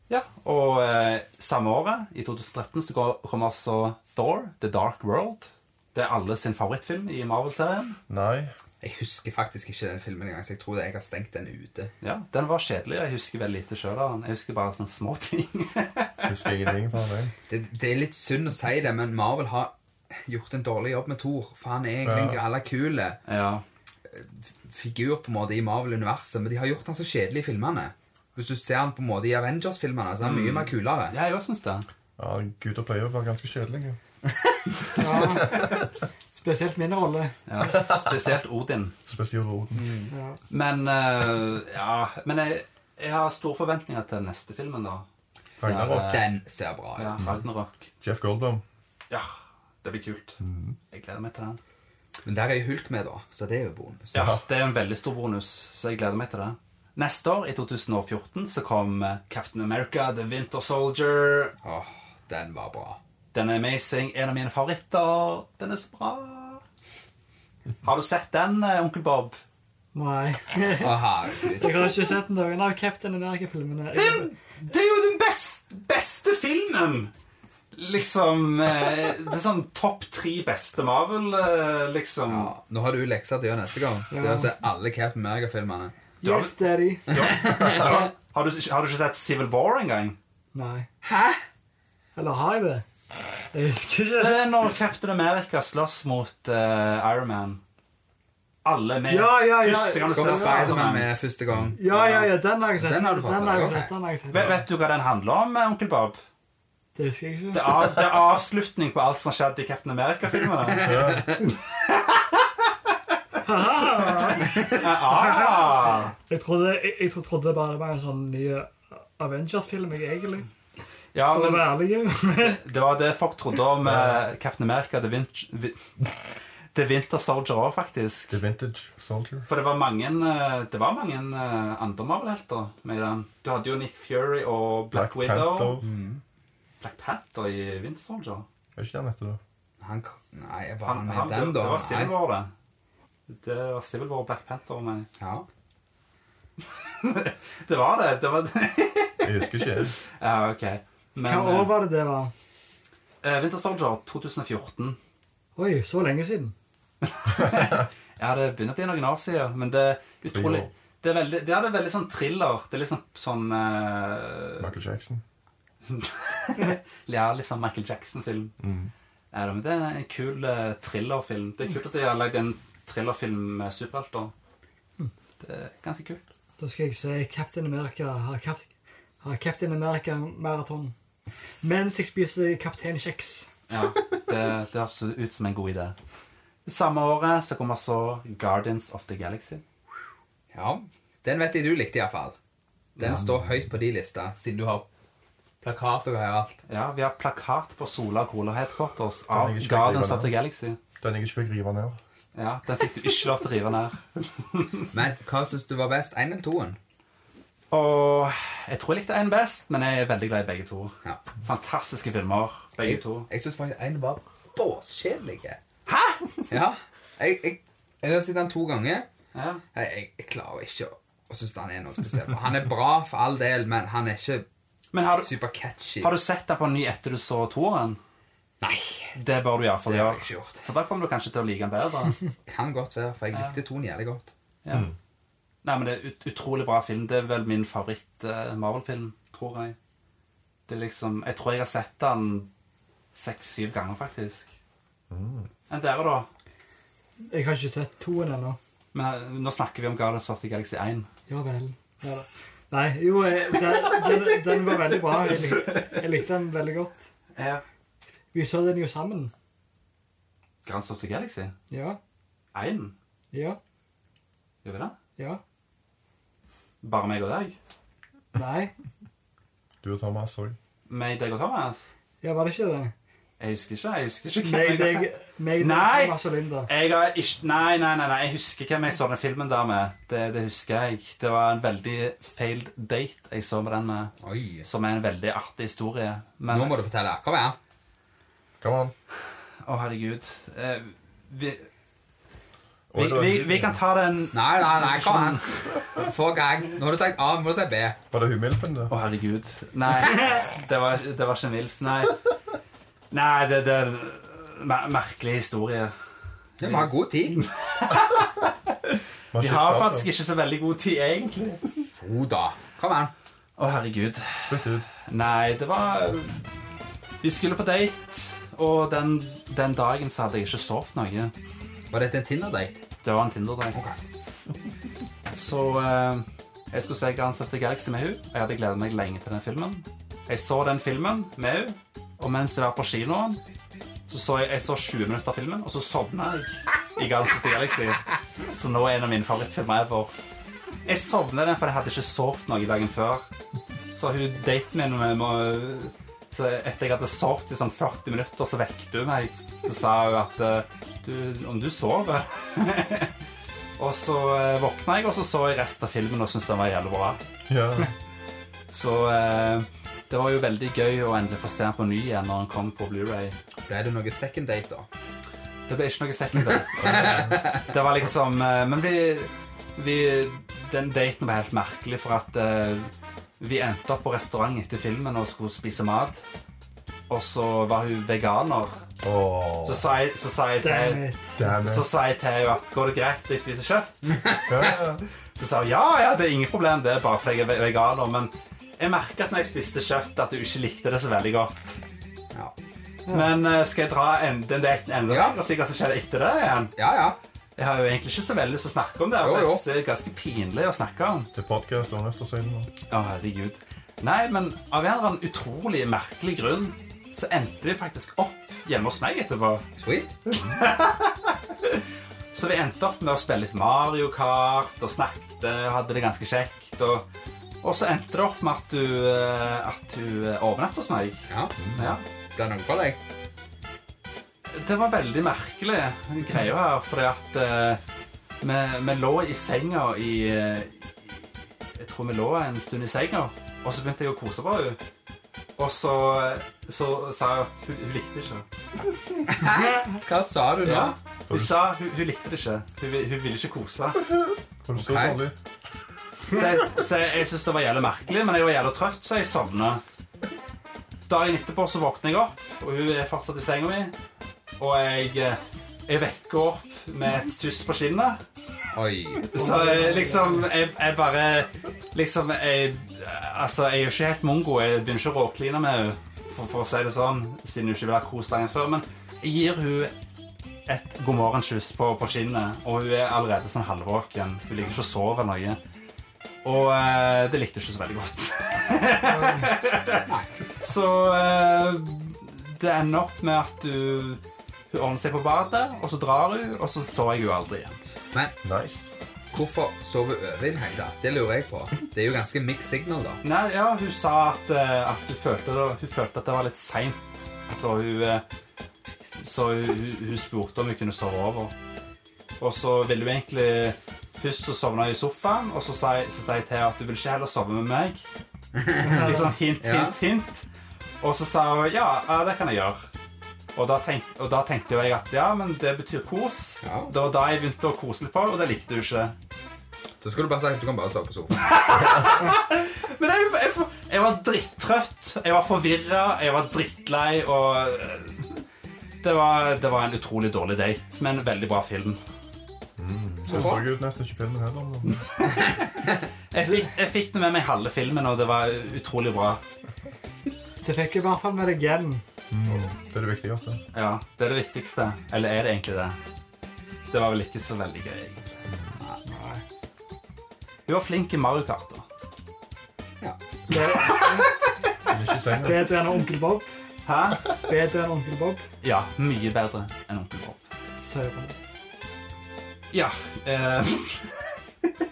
Ja, Og eh, samme året, i 2013, så går- kommer altså Thor, The Dark World. Det er alle sin favorittfilm i Marvel-serien. Nei. Jeg husker faktisk ikke den filmen engang, så jeg tror det jeg har stengt den ute. Ja, Den var kjedelig. og Jeg husker veldig lite sjøl av den. Jeg husker bare sånne små ting. [LAUGHS] Husker ingenting fra den. Det, det er litt synd å si det, men Marvel har gjort en dårlig jobb med Thor. For han er egentlig en gralla kul ja, figur på en måte i Marvel-universet, men de har gjort han så kjedelig i filmene. Hvis du ser han på en måte i Avengers-filmene, så er Mm. han mye mer kulere. jeg òg syns det. Ja, gutter pleier å være ganske kjedelige. Ja. Spesielt min rolle. Ja, spesielt Odin. Spesielt Oden. Mm. Ja. Men eh, ja, men jeg, jeg har store forventninger til neste filmen, da. Ragnarok. Den ser bra ut. Ja, Ragnarok. Jeff Goldblum. Ja, det blir kult. Jeg gleder meg til den. Men der er jo Hulk med, da, så det er jo bonus. Ja, Det er en veldig stor bonus, så jeg gleder meg til det. Neste år, i 2014, så kom eh, Captain America, The Winter Soldier. Åh, den var bra. Den er amazing. En av mine favoritter. Den er så bra. Har du sett den, eh, onkel Bob? Nei. Å, herregud. Jeg har ikke sett noen av Captain America-filmene. Jeg- Det er jo den best, beste filmen! Liksom eh, Det er sånn topp tre beste Marvel, eh, liksom. Ja, nå har du lekser til å gjøre neste gang. Det er å se alle Captain America-filmene. Yes, daddy. Yes. Har, har, du, har du ikke sett Civil War engang? Nei. Hæ? Eller har jeg det? Jeg husker Det ikke. er når Captain America slåss mot eh, Iron Man. Alle er med. Ja, ja, ja. Første gang du Kommer ser Spiderman Spider-Man. med første gang. Ja, ja, ja, den har jeg sett. Den har du fått jeg med deg, sett, den har jeg sett. Vet, vet du hva den handler om, eh, onkel Bob? Det husker jeg Det er, ikke. av, det er avslutning på alt som skjedde i Captain America-filmene. ah, Jeg trodde, jeg, jeg tro- trodde det bare var en sånn ny Avengers-film, jeg egentlig. ja, For å men være ærlig. [LAUGHS] det var det folk trodde om eh, Captain America The, Vin Vi- The Winter Soldier òg, faktisk. The Vintage Soldier. For det var mange, eh, det var mange eh, andre Marvel-helter med i den. Du hadde jo Nick Fury og Black, Widow. Mm. Panther. Black Panther i Winter Soldier. Er ikke den etter det? Han, k- nei, var Han, han med han, i den, det, da? det var Civil Nei. War, det. Det var Civil War og Black Panther. Nei. Ja. [LAUGHS] Det var det. det [LAUGHS] var, Jeg husker ikke. jeg. ja, ok. Hva Men år eh, var det det var? eh, Winter Soldier 2014 Oi, så lenge siden. [LAUGHS] Ja, det begynner å bli noen år siden, men det er utrolig Thriller. det er, veldig, det er det veldig sånn thriller. Det er litt sånn, sånn eh, Michael Jackson. [LAUGHS] Ja, litt sånn Michael Jackson-film. Ja, da, men det er en kul eh, thrillerfilm. Det er kult at de har lagd en thrillerfilm med superhelter. Det er ganske kult. Da skal jeg se Captain America har, Cap har Captain America maraton. Mens jeg spiser Kaptein Kjeks. Ja, det, det høres ut som en god idé. Samme året så kommer så Guardians of the Galaxy. ja. Den vet jeg du likte, iallfall. Den står høyt på de lista, siden du har plakater og her alt. Ja, Vi har plakat på Sola Cola headquarters av Den ligger ikke Guardians skriven of the Galaxy. Den jeg ikke fikk rive ned. Ja, Den fikk du ikke lov til å rive ned. Men hva syns du var best? Én eller toen? Og jeg tror jeg likte én best, men jeg er veldig glad i begge to. Ja. Fantastiske filmer, begge Jeg, to. jeg syns faktisk én var båskjedelig. Hæ?! Ja. Jeg, jeg, jeg har sett den to ganger. Ja. Jeg, jeg, jeg klarer ikke å, å synes han er noe spesielt. Han er bra for all del, men han er ikke Men har du, supercatchy. har du sett den på ny etter du så toeren? Nei, Det bør du iallfall det har jeg gjøre. ikke gjort. For da kommer du kanskje til å like den [LAUGHS] bedre. Kan godt være, for jeg likte toen jævlig godt. Ja. Mm. Nei, men det er ut utrolig bra film. Det er vel min favoritt-Marvel-film, tror jeg. Det er liksom Jeg tror jeg har sett den seks-syv ganger, faktisk. Mm. Enn dere, da? Jeg har ikke sett toen ennå. Men eh, nå snakker vi om Guardians of the Galaxy 1. Ja vel. Ja, da. Nei, jo, eh, den, den, den var veldig bra. Jeg, lik, jeg likte den veldig godt. Ja. Vi så den jo sammen. Guardians of the Galaxy Ja, 1? ja, Gjør vi det? ja. Bare meg og deg? Nei. Du og Thomas òg. med deg og Thomas? Ja, var det ikke det? Jeg husker ikke. jeg husker ikke hvem jeg Meg, har deg, sett. meg, deg, Nei! Thomas og Linda. Jeg har ikke, nei, nei, nei, nei, jeg husker hvem jeg så den filmen der med. Det, det husker jeg. Det var en veldig failed date jeg så med den med, Oi. som er en veldig artig historie. Men, Nå må du fortelle. Kom igjen. Come on. Å, herregud. Eh, vi, vi, Oi, det var vi, hyggelig. vi kan ta den Å, Nei, nei, nei, kom igjen. Få gang. Nå har du sagt A, nå må du si B. Var det hun Milfen, da? herregud. Nei, det var, det var ikke en MILF. Nei, nei det, det er en mer- merkelig historie. Vi må ha god tid. Vi har faktisk ikke så veldig god tid, egentlig. Jo da. Kom igjen. Å, herregud. Spytt ut. Nei, det var Vi skulle på date, og den, den dagen så hadde jeg ikke sovet noe. Var dette en Tinder-date? Det var en Tinder-date. Så eh, jeg skulle se Guardians of the Galaxy med hun, og jeg hadde gledet meg lenge til den filmen. Jeg så den filmen med hun, og mens jeg var på kinoen, så så jeg, jeg så 20 minutter av filmen, og så sovna jeg i Guardians of the Galaxy. Så nå er en av mine favorittfilmer ever. Jeg sovna den, for jeg hadde ikke sovet noe dagen før. Så hun daten min med, med, så Etter jeg hadde sovet i sånn 40 minutter, så vekte hun meg. Så sa hun at eh, du, om du sover Og så eh, våkna jeg, og så så jeg resten av filmen og syntes den var jævlig bra. Ja. Så eh, det var jo veldig gøy å endelig få se den på ny igjen når den kom på Blu-ray. Ble det noe second date, da? Det ble ikke noe second date. Det var liksom eh, Men vi, vi Den daten var helt merkelig, for at eh, vi endte opp på restaurant etter filmen og skulle spise mat. Og så var hun veganer. Åh, Så sa jeg, så sa jeg Damn til it. damn så it. sa jeg til henne at går det greit, jeg spiser kjøtt. Ja, ja. Så sa hun ja, ja, det er ingen problem, det er bare fordi jeg er ve- veganer. Men jeg merket at når jeg spiste kjøtt, at hun ikke likte det så veldig godt. Ja. Men eh, skal jeg dra en, den daten enda Ja. lenger og se hva som skjedde etter det igjen? Ja, ja. Jeg har jo egentlig ikke så veldig lyst til å snakke om det. Jo, for jo. jeg synes Det er ganske pinlig å snakke om. Til podcast og nødt til å si det nå. Å, herregud. Nei, men av en eller annen utrolig merkelig grunn så endte de faktisk opp hjemme hos meg etterpå. Sweet. Så vi endte opp med å spille litt Mario Kart og snakket og hadde det ganske kjekt. Og, og så endte det opp med at du, eh, at du eh, overnattet hos meg. Ja. Ja. Ble det noe på deg? Det var veldig merkelig, den greia her, fordi at eh, vi, vi lå i senga i eh, Jeg tror vi lå en stund i senga, og så begynte jeg å kose på henne. Og så, så sa hun at hun, hun likte det ikke. Hva sa du nå? Ja, hun sa hun, hun likte det ikke. Hun, vil- hun ville ikke kose. Var du så Ok. dårlig? Så jeg, så jeg syntes det var jævlig merkelig, men jeg var jævlig trøtt, så jeg sovna. Dagen etterpå så våkner jeg opp, og hun er fortsatt i senga mi. Og jeg, eh, jeg vekker opp med et suss på kinnet. Oi. Så jeg, liksom jeg, jeg bare Liksom jeg Altså, jeg er jo ikke helt mongo. Jeg begynner ikke å råkline med henne, for, for å si det sånn, siden hun ikke vil ha kos lenger før. Men jeg gir hun et god morgen-kyss på, på kinnet, og hun er allerede sånn halvvåken. Hun ligger ikke og sover noe. Og eh, det likte hun ikke så veldig godt. [LAUGHS] så eh, det ender opp med at du hun ordner seg på badet, og så drar hun, og så så jeg henne aldri igjen. Men Nice. hvorfor sove over i det hele tatt? Det lurer jeg på. Det er jo ganske mixed signal, da. Nei, ja, hun sa at, eh, at hun, følte det, hun følte at det var litt seint, så hun eh, Så hun, hun- hun spurte om hun kunne sove over. Og så ville hun egentlig Først så sovna hun i sofaen, og så sa jeg, så sa jeg til henne at du vil ikke heller sove med [LAUGHS] meg. Liksom hint, Ja. hint, hint. Og så sa hun ja, ja, det kan jeg gjøre. Og da, tenk, og da tenkte jo jeg at ja, men det betyr kos. Ja. Det var da jeg begynte å kose litt på, og det likte hun ikke. Så skulle du bare sagt at du kan bare sove på sofaen. Men jeg, jeg, jeg var drittrøtt, jeg var forvirra, jeg var drittlei, og eh, det var, det var en utrolig dårlig date, men veldig bra film. Så så jeg ut nesten ikke filmen heller. men- Jeg fikk, jeg fikk den med meg halve filmen, og det var utrolig bra. Det fikk jeg i hvert fall med deg igjen. Mm. Det er det viktigste. Ja, Det er det viktigste. Eller er det egentlig det? Det var vel ikke så veldig gøy, egentlig. Nei. Hun var flink i Mario Kart. da. Ja. Det, Men ikke i senga. bedre enn onkel Bob. Hæ? Bedre enn onkel Bob. Ja, mye bedre enn Onkel Bob. Søren. Ja eh,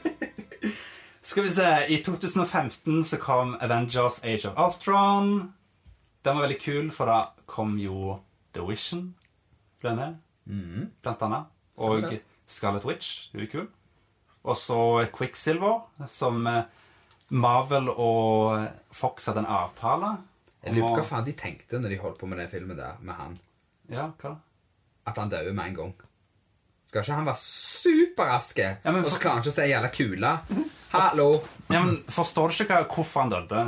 [LAUGHS] Skal vi se. I 2015 så kom Avengers Age of Ultron. Den var veldig kul, for da kom jo The Vision ble med, blant annet. Og Mm. Stemmer det. Scarlet Witch, hun er kul. Og så Quicksilver, som eh, Marvel og Fox hadde en avtale. Jeg lurer på hva faen de tenkte når de holdt på med den filmen der med han. Ja, hva da? At han døde med en gang. Skal ikke han være superraske? Ja, men og så for- klarer han ikke å se jævla kula. Hallo! Ja, men forstår du ikke hva, hvorfor han døde?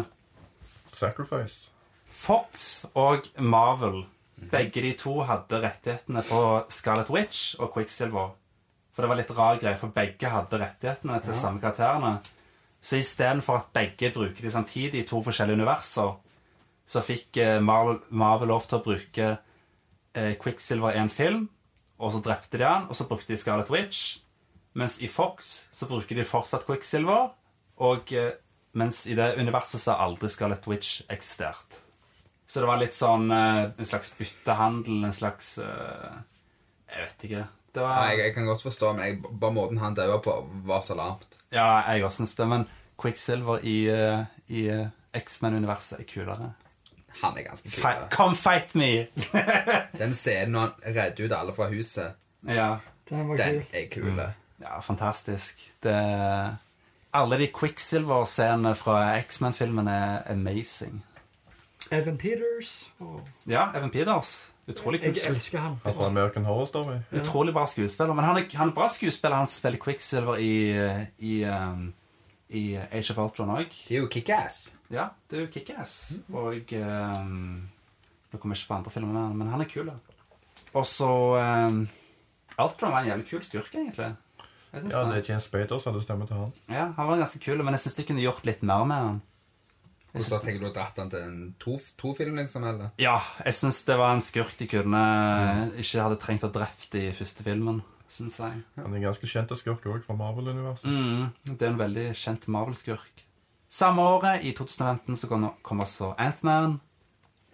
Sacrifice. Fox og Marvel, begge de to hadde rettighetene på Scarlet Witch og Quicksilver. For det var litt rar greie, for begge hadde rettighetene til samme karakterene. Så istedenfor at begge bruker de samtidig i to forskjellige universer, så fikk eh, Marvel, Marvel lov til å bruke eh, Quicksilver i en film, og så drepte de han, og så brukte de Scarlet Witch. Mens i Fox så bruker de fortsatt Quicksilver, og eh, mens i det universet så har aldri Scarlet Witch eksistert. Så det var litt sånn eh, en slags byttehandel, en slags eh, Jeg vet ikke. Det var, Ja, jeg, jeg kan godt forstå, men jeg, bare måten han døde på, var så larmt. Ja, jeg også syns det. Men Quicksilver i, eh, i eh, X-Men-universet er kulere. Han er ganske Fi- kul. da. Come fight me! Den scenen når han redder ut alle fra huset, ja. Den var den kul. er kul. ja, fantastisk. Det, alle de Quicksilver-scenene fra X-Men-filmen er amazing. Evan Peters. og- Ja, Evan Peters. Utrolig kul Jeg skuespiller. elsker han. Han fra American Horror Story. Utrolig bra skuespiller. Men han er, han er bra skuespiller. Han spiller Quicksilver i, i, um, i Age of Ultron òg. Det er jo kickass. Ja, det er jo Kickass. Og um, Nå kommer jeg ikke på andre filmer, med han, men han er kul. da. Og så um, Ultron var en jævlig kul skurk, egentlig. Jeg synes Ja, det. det er James Bader som hadde stemme til han. Ja, Han var ganske kul, men jeg syns de kunne gjort litt mer med han. Og så tenker du å dratt han til en to, to film, liksom, eller? Ja, jeg syns det var en skurk de kunne eh, ikke hadde trengt å drept i første filmen, syns jeg. Han er en ganske kjent skurk òg fra Marvel-universet. Mm, det er en veldig kjent Marvel-skurk. Samme året, i 2015, så kom, kom også Ant-Man.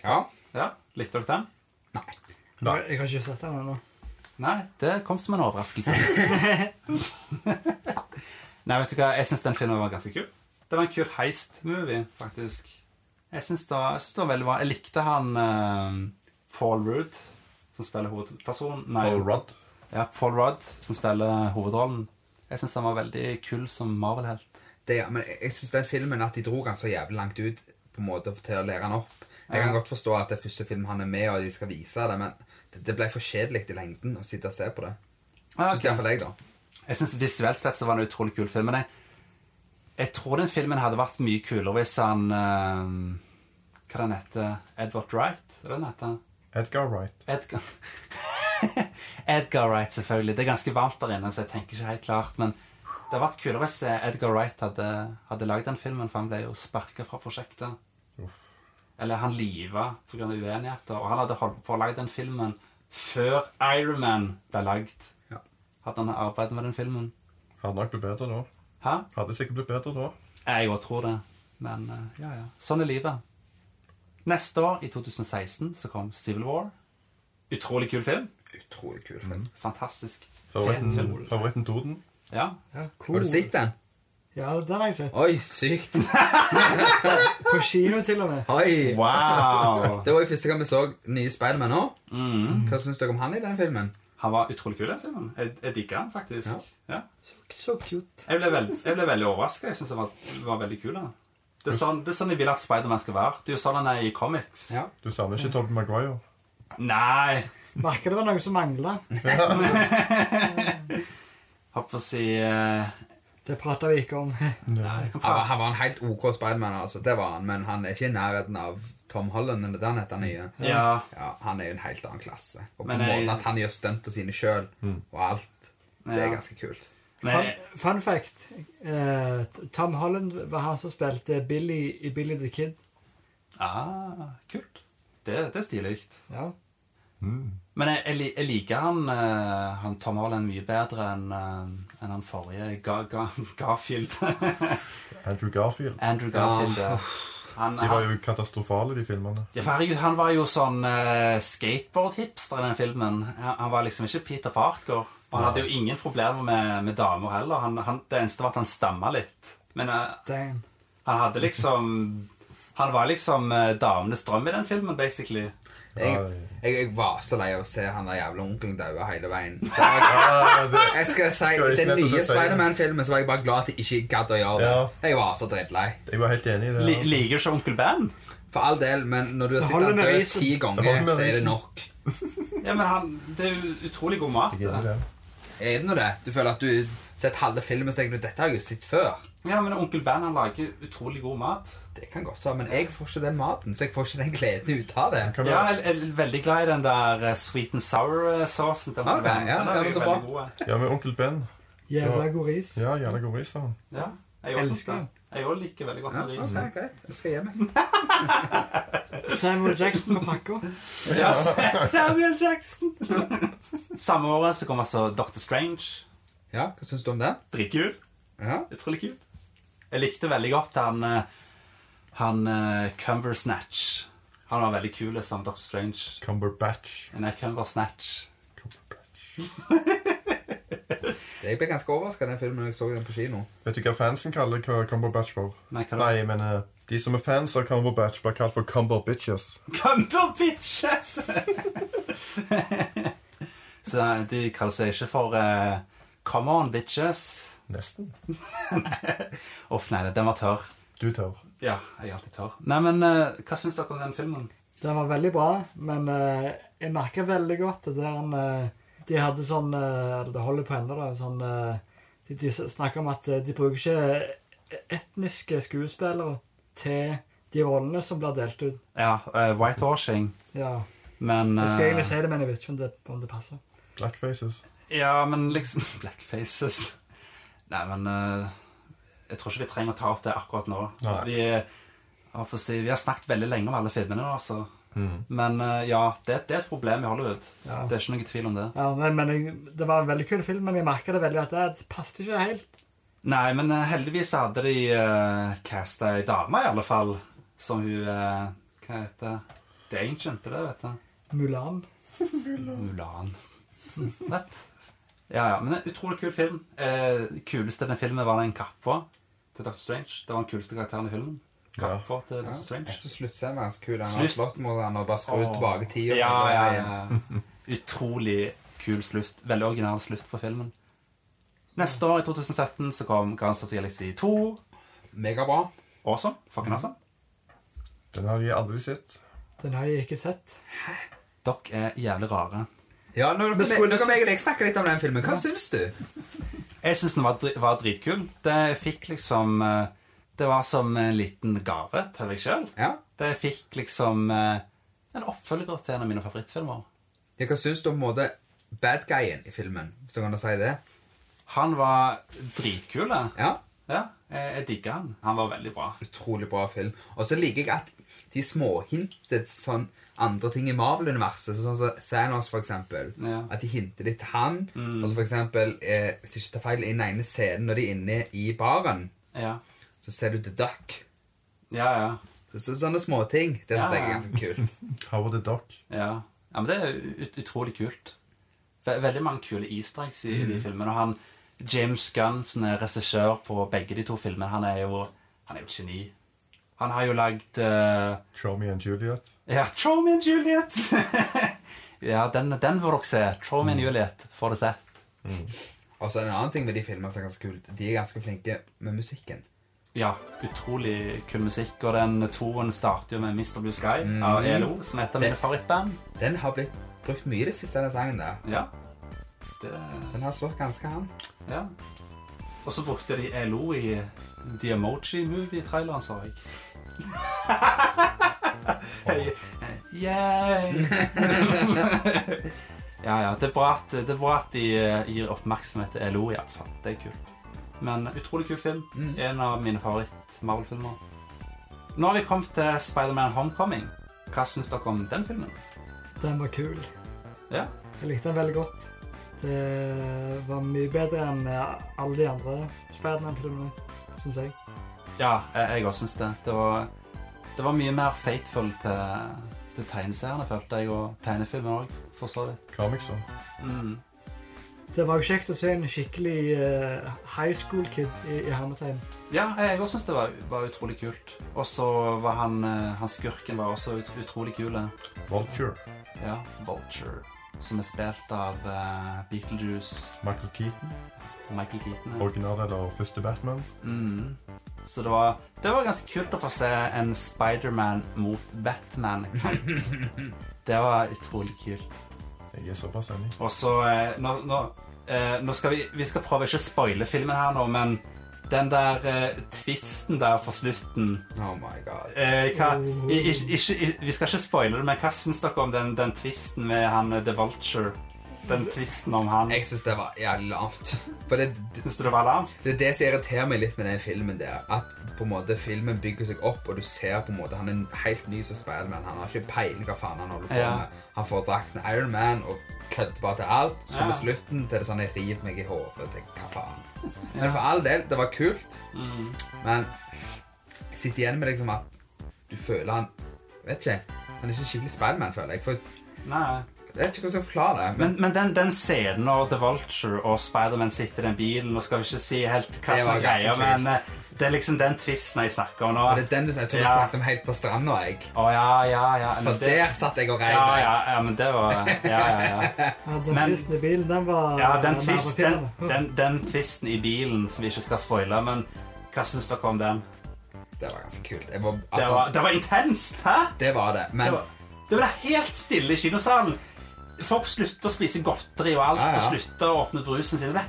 Ja. Ja, likte dere den? Nei. Jeg har ikke sett den ennå. Nei, det kom som en overraskelse. Nei, vet du hva, jeg syns den filmen var ganske kul. Det var en kul heist-movie, faktisk. Jeg syns det, var- jeg syns det var veldig bra. Jeg likte han eh, Paul Rudd, som spiller hovedpersonen. Nei, Og Rudd. Ja, Paul Rudd, som spiller hovedrollen. Jeg syns han var veldig kul som Marvel-helt. Det, ja, men jeg- jeg synes den filmen at de dro han så jævlig langt ut på en måte til å lære han opp. Jeg kan godt forstå at det er første film han er med og de skal vise det, men det, det ble for kjedelig i lengden å sitte og se på det. Synes i hvert fall jeg da. Jeg synes Visuelt sett så var det en utrolig kul film. Men jeg, jeg tror den filmen hadde vært mye kulere hvis han eh, Hva den heter Edward Wright? Er det den heter? Edgar Wright. Edgar [LAUGHS] Edgar Wright, selvfølgelig. Det er ganske varmt der inne, så jeg tenker ikke helt klart. Men det hadde vært kulere hvis eh, Edgar Wright hadde, hadde lagd den filmen, for han ble jo sparka fra prosjektet. Eller han liva pga. uenigheter. Og han hadde holdt på å lage den filmen før Iron Man ble lagd. Ja. Hadde han arbeidet med den filmen? Hadde nok blitt bedre da. Hæ? Hadde sikkert blitt bedre da. Jeg òg tror det. Men eh, ja, ja. Sånn er livet. Neste år, i 2016, så kom Civil War. Utrolig kul film. Utrolig kul film. Fantastisk. fet film. Favoritten, favoritten Toten. Ja. Ja, cool. Har du sett den? Ja, den har jeg sett. Oi, sykt. På kino til og med. Oi. Wow! Det var jo første gang vi så nye Spiderman nå. Hva synes dere om han i den filmen? [LAUGHS] Han var utrolig kul, den filmen. Jeg, jeg digga han faktisk. Ja. Så, så cute. Jeg, ble veld, jeg ble veldig overraska. Jeg syns han var, var veldig kul. han. Det er, sånn, det er sånn jeg vil at Spiderman skal være. Det er jo sånn han er i comics. Ja. Du savner ikke Tobey Maguire. Nei! Merker det var noe som mangla. Holdt på å si eh, Det prata vi ikke om. Nei, jeg kan Han, var- prate. han var en helt ok Spiderman, altså. Det var han, men han er ikke i nærheten av Tom Holland eller den heter han nye. Ja. Ja, han er jo en helt annen klasse. Og på Men jeg- måten at han gjør stuntene sine sjøl Mm. og alt, det er Ja. ganske kult. Men, Fun, fun fact. eh, Tom Holland var han som spilte Billy i Billy the Kid. ah, kult. Det, det er stilig. Ja. Men jeg, jeg, li- jeg liker han, eh, han Tom Holland mye bedre enn eh, enn han forrige Ga, Ga, [LAUGHS] Garfield. Andrew Garfield. Andrew Garfield. ja. Han, De var jo katastrofale, de filmene. Ja, for herregud, han var jo sånn eh, skateboard-hipster i den filmen. Han, han var liksom ikke Peter Parker. Og han hadde jo ingen problemer med, med damer heller. Han, han, det eneste var at han stamma litt. Men eh, Damn. han hadde liksom [LAUGHS] Han var liksom eh, damenes drøm i den filmen, basically. Jeg, jeg, jeg var så lei av å se han der jævla onkelen daue hele veien. Så [LAUGHS] jeg, Ja, Ah, det, jeg skal si, Skal ikke Den nettopp nye si det. Spiderman-filmen så var jeg bare glad at jeg ikke gadd å gjøre det. Ja. Jeg var så drittlei. jeg var helt enig i det. Li altså. liker ikke onkel Ben? For all del, men når du har Det sett holder han med dø risen. ti Det ganger, holder så med er det risen. nok. Ja, men han, Det er jo utrolig god mat. Jeg er enig i det. det. Er det nå det? Du føler at du har sett halve filmen, så tenker du dette har jeg jo sett før. Ja, men onkel Ben han lager utrolig god mat. Det kan godt være, men jeg får ikke den maten, så jeg får ikke den gleden ut av det. Kan du- Ja, jeg jeg er veldig glad i den der eh, sweet and sour-sausen. til onkel Ok, Ben. ja, Den ja, er men jo så veldig bra. god, eh. Ja, med onkel Ben. Jævla Ja. god ris. Ja, gjerne god ris, sa han. Ja, jeg også Elsker den. synes det. Jeg også liker veldig godt Ja, med ok, ris. greit. Jeg skal gi meg. Samuel Jackson på [LAUGHS] pakka. Ja, Samuel Jackson! [LAUGHS] Samme året så kom altså Doctor Strange. Ja, hva syns du om det? Dritkul. Ja. Utrolig kul. Jeg likte veldig godt han eh, Han eh, Cumbersnatch. Han var veldig kul som Doctor Strange. Cumberbatch. Nei, Cumbersnatch. Cumberbatch. Jeg ble ganske overraska den filmen når jeg så den på kino. Vet du hva fansen kaller hva Cumberbatch for? Nei, hva da? Nei, men eh, de som er fans av Cumberbatch, blir kalt for Cumberbitches. Cumberbitches! [LAUGHS] Så de kaller seg ikke for eh, Come on, bitches. Nesten. Uff, nei, den var tørr. Du tør. Ja, jeg er alltid tørr. Nei, men eh, hva syns dere om den filmen? Den var veldig bra, men eh, jeg merka veldig godt det der eh, De hadde sånn eh, eller Det holder på ennå, da. Sånn, eh, de, de snakker om at eh, de bruker ikke eh, etniske skuespillere til de rollene som blir delt ut. Ja, eh, whitewashing, Ja, men Jeg skal eh, egentlig si det, men jeg vet ikke om det, om det passer. Blackfaces. Ja, men liksom [LAUGHS] Blackfaces Nei, men eh, Jeg tror ikke vi trenger å ta opp det akkurat nå. Nei. Vi, eh, hva får jeg si, vi har snakket veldig lenge om alle filmene nå, altså. Men eh, ja, det, det er et problem i Hollywood. Ja. Det er ikke noe tvil om det. Ja, men, men jeg, Det var en veldig kul film, men jeg merka det veldig at det, det passet ikke helt. Nei, men eh, heldigvis hadde de uh, casta ei dame, i alle fall. Som hun eh, Hva heter det? The Ancient, det vet jeg. Mulan. Mulan. Vet. Ja, ja, men en utrolig kul film. Eh, kuleste i den filmen var den kappa til Dr. Strange. Det var den kuleste karakteren i filmen. Kappa til Ja. Dr. Strange. Jeg synes sluttscenen var ganske kul. Han har Slutt- slått mot han og bare skrudd Åh. tilbake tida. Ja, ja, ja. Utrolig kul slutt. Veldig original slutt på filmen. Neste år, i 2017, så kom Guardians of the Galaxy 2. Megabra. Awesome. Fucking awesome. Den har jeg aldri sett. Den har jeg ikke sett. Dere er jævlig rare. Ja, nå nå Men skulle- kan jeg og deg snakke litt om den filmen. Hva syns du? Jeg syns den var, dri var dritkul. Det fikk liksom eh, Det var som en liten gave til meg sjøl. Ja. Det fikk liksom eh, en oppfølger til en av mine favorittfilmer. Ja, Hva syns du om på en måte bad guyen i filmen? Hvis du kan si det. Han var dritkul. da. Ja. Ja, jeg, jeg digga han. Han var veldig bra. Utrolig bra film. Og så liker jeg at de småhintet sånn andre ting i Marvel-universet, sånn som Thanos, for eksempel. Ja. Mm. At de hinter litt til han. Og så for eksempel, eh, hvis jeg ikke tar feil, i den ene scenen når de er inne i baren, Ja, så ser du The Duck. ja. ja, Så, sånne småting. Det Ja. synes jeg er ganske kult. Howard the Duck. ja. ja men det er ut utrolig kult. Ve veldig mange kule easter eggs i de filmene. Og han, James Gunn, som er regissør på begge de to filmene, han er jo, han er jo et geni. Han har jo lagd eh, Tromeo and Juliet. Ja, Trome and Juliet! [LAUGHS] ja, den, den får dere se. Trome and Juliet får det sett. Og så en annen ting med de filmene som er ganske kult. De er ganske flinke med musikken. Ja, utrolig kul musikk. Og den toen starter jo med Mr. Blue Sky av ELO, som er et av mine Det- favorittband. Den har blitt brukt mye i det siste, den sangen der. Ja. Det, Den har slått ganske han. ja. Og så brukte de ELO i The Emoji Movie-traileren, så jeg. Yeah! [LAUGHS] ja, ja. Det er bra at, det er bra at de eh, gir oppmerksomhet til ELO, iallfall. Det er kult. Men utrolig kul film. Mm. En av mine favoritt-Marvel-filmer. Nå har vi kommet til Spider-Man Homecoming. Hva syns dere om den filmen? Den var kul. Ja. Jeg likte den veldig godt. Det var mye bedre enn eh, alle de andre Spiderman-filmene, syns jeg. Ja, eh, jeg, jeg også syns det. Det var, det var mye mer fateful til, til tegneseriene, følte jeg, og tegnefilmen òg, for så vidt. Comicson. Mm. Det var jo kjekt å se en skikkelig eh, high school kid i, i hermetegn. Ja, jeg også syns det var, var utrolig kult. Og så var han, eh, han skurken var også ut, utrolig kul. eh. Vulture. Ja, Vulture. Som er spilt av eh, Beetlejuice Michael Keaton. og Michael Keaton. ja. Original eller første Batman. Mm. Så det var, det var ganske kult å få se en Spiderman mot Batman. [LAUGHS] Det var utrolig kult. Jeg er såpass enig. Og så eh, nå, nå, eh, nå skal vi, vi skal prøve ikke å spoile filmen her nå, men den der eh, tvisten der for slutten Oh my god. eh, hva, i, i, ikke, i, Vi skal ikke spoile det, men hva syns dere om den, den tvisten med han eh, The Vulture? Den tvisten om han Jeg syns det var jævlig lamt. For det, det, Syns du det var larm? det er det som irriterer meg litt med den filmen der. At på en måte filmen bygger seg opp, og du ser på en måte han er en helt ny som Spiderman. Han har ikke peiling hva faen han holder på Ja. med. Han får drakten Iron Man og kødder bare til alt. Så kommer Ja. slutten til det sånn jeg river meg i hodet. til Hva faen? Men for all del, det var kult. Mm. Men jeg sitter igjen med liksom at du føler han Vet ikke. Han er ikke skikkelig Spiderman, føler jeg. For Nei. jeg vet ikke hvordan jeg skal forklare det. Men, men den, den scenen når The Vulture og Spiderman sitter i den bilen Nå skal vi ikke si helt hva Det var som er ganske greia, men kult. eh, det er liksom den tvisten jeg snakker om nå. Og det er den du jeg tror vi Ja. snakket om helt på stranda. jeg. Å ja, ja, ja. men For der satt jeg og ja, regnet. ja, ja, men det var Ja, ja, ja. Ja, den Men- tvisten i bilen, den var ja den, var twist, den, nervepirrende. den, den tvisten i bilen som vi ikke skal spoile, men hva syns dere om den? Det var ganske kult. Jeg var, Det var, det var intenst, hæ? det var det. Men Det, var, det ble helt stille i kinosalen. Folk slutta å spise godteri og alt, Ja, ja. og slutta å åpne brusen sin. Det ble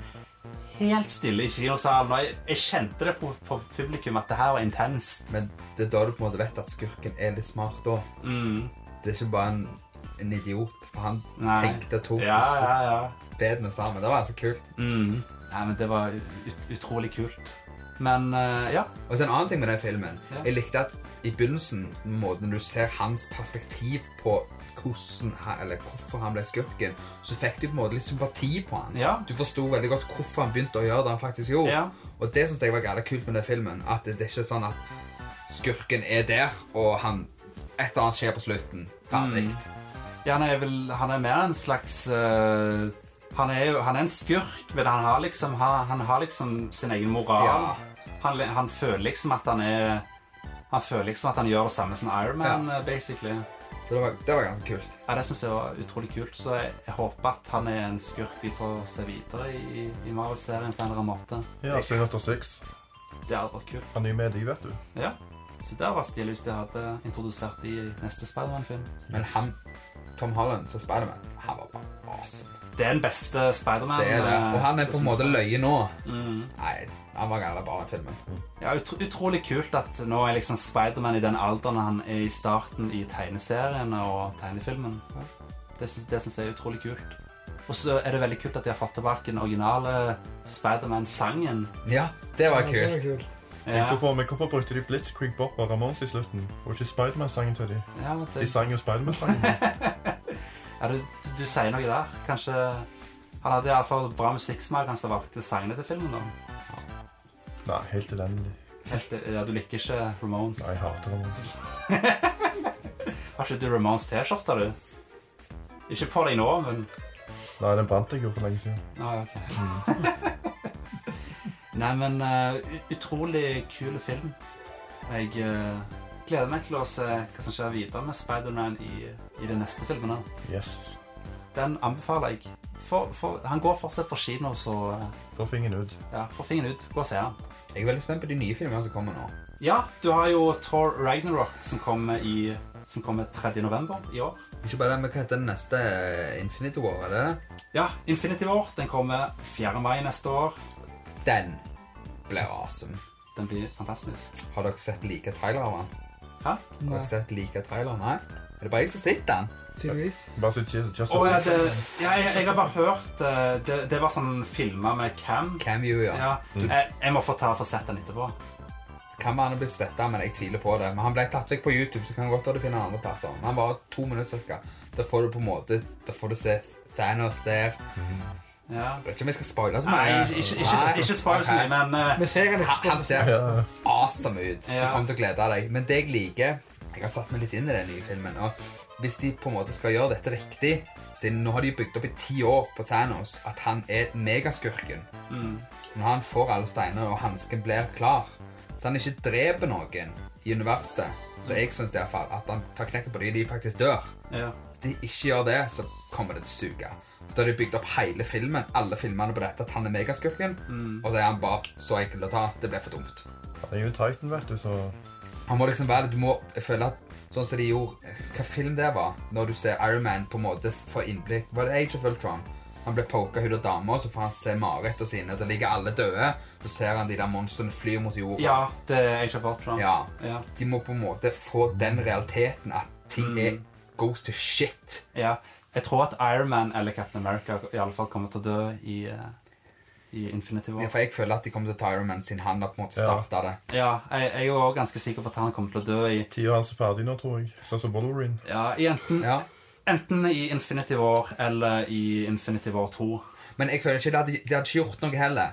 helt stille i kinosalen. Og jeg, jeg kjente det på, på publikum at det her var intenst. Men det er da du på en måte vet at skurken er litt smart òg. Mm. Det er ikke bare en, en idiot. For han Nei. tenkte to Ja, liksom. ja, ja. bedene sammen. Det var ganske kult. Mm. Nei, men det var ut, utrolig kult. Men eh, ja. Og så en annen ting med den filmen. Ja. Jeg likte at i begynnelsen, måten du ser hans perspektiv på hvordan han, eller hvorfor han ble skurken, så fikk du på en måte litt sympati på han. Ja. Du forsto veldig godt hvorfor han begynte å gjøre det han faktisk gjorde. Ja. Og det syns jeg var jævlig kult med den filmen. At det, det er ikke sånn at skurken er der, og han et eller annet skjer på slutten. Ferdig. Ja, han er vel Han er mer en slags eh, han er jo han er en skurk, men han har liksom, han, han har liksom sin egen moral. Ja. Han, han føler liksom at han er Han føler liksom at han gjør det samme som Iron Man, eh, basically. Så det var, det var ganske kult. Ja, Det syns jeg var utrolig kult, så jeg, jeg håper at han er en skurk vi får se videre i, i Marvel-serien på en eller annen måte. Ja, Sinister Six. Det hadde vært kult. Han er jo med deg, vet du. Ja. Så det hadde vært stilig hvis de hadde introdusert de i neste Spiderman-film. Men han, Tom Holland som Spiderman, han var bare awesome. Det er den beste Spiderman. Det er det. eh, Og han er på en synes måte jeg. løye nå. Mm. Nei, han var jævla bra i filmen. Ja, utro utrolig kult at nå er liksom Spider-Man i den alderen han er i starten i tegneseriene og tegnefilmen. Det syns, det syns jeg er utrolig kult. Og så er det veldig kult at de har fått tilbake den originale Spider-Man-sangen. Ja, det var Ja, det kult. var kult. Men Ja, hvorfor, men hvorfor brukte de Blitzkrieg Bop og Ramones i slutten? Og ikke Spiderman-sangen til de? ja, men De det, sang jo [LAUGHS] Spiderman-sangen. ja du, du sier noe der. Kanskje Han hadde iallfall bra musikksmak, han som valgte sangene til filmen. da. Nei, helt elendig. Helt, eh, ja, Du liker ikke Ramones. Nei, jeg hater Ramones. Har ikke du Ramones-T-skjorte, du? Ikke på deg nå, men Nei, den brant jeg jo for lenge siden. Ah, ok. [LAUGHS] Nei, men eh, ut- utrolig kul film. Jeg eh, gleder meg til å se hva som skjer videre med Spider-Man i, i de neste filmene. Yes. Den anbefaler jeg. For, for, han går fortsatt på kino, så eh, Få fingeren ut. ja, få fingeren ut. Gå og se han. Jeg er veldig spent på de nye filmene som kommer nå. Ja, du har jo Thor Ragnarok som kommer i som kommer 3. november i år. Ikke bare det, men hva heter den neste eh, Infinity War? Er det det? Ja, Infinity War den kommer 4. mai neste år. Den blir awesome. Den blir fantastisk. Har dere sett like trailer av den? Hæ? Har Nei, dere sett like trailer? Nei? Er det bare jeg som sitter den? tydeligvis. Bare si just, just Å, ja, eh, det, ja, jeg, jeg har bare hørt eh, Det, det var sånn filmer med cam. Cameo, ja. Ja, jeg, jeg må få ta og få sett den etterpå. Kan være han er blitt sletta, men jeg tviler på det. Men han ble tatt vekk på YouTube, så kan godt hende du finner andre plasser. Men han var to minutter cirka. Da får du på en måte Da får du se Thanos der. Ja. Jeg vet ikke om jeg skal spoile så Nei, mye. ikke, ikke, ikke, ikke spoil så Ok. mye, men eh, Vi ser han Han, han etterpå. ser Ja. awesome ut. Du Ja. kommer til å glede deg. Men det jeg liker Jeg har satt meg litt inn i den nye filmen. Og hvis de på en måte skal gjøre dette riktig Siden nå har de bygd opp i ti år på Thanos at han er megaskurken. Når han får alle steiner og hansken blir klar, så han ikke dreper noen i universet Så jeg syns iallfall at han tar knekken på dem de faktisk dør. Ja. Hvis de ikke gjør det, så kommer det til å suge. Da har de bygd opp hele filmen, alle filmene på dette, at han er megaskurken. Mm. Og så er han bare så enkel å ta. Det blir for dumt. Han er jo en Titan, vet du, så Han må liksom være Du må føle at Sånn som de gjorde Hva film det var? Når du ser Iron Man på en måte få innblikk Var det Age of Ultron? Han blir poka hun og dama, så får han se marerittene sine. Der ligger alle døde. Så ser han de der monstrene fly mot jorda. ja, det er Age of Ultron. Ja. Ja. De må på en måte få den realiteten at ting er goes to shit. ja. Jeg tror at Iron Man eller Captain America i alle fall kommer til å dø i, eh, i Infinity War. Ja, for jeg føler at de kommer til å ta Iron Man sin hand og på en måte Ja. starta det. Ja, jeg, jeg er jo også ganske sikker på at han kommer til å dø i tida hans er ferdig nå, tror jeg. Sånn som Wolverine. Ja, i enten, Ja. enten i Infinity War eller i Infinity War 2. Men jeg føler ikke det hadde, de hadde ikke gjort noe heller.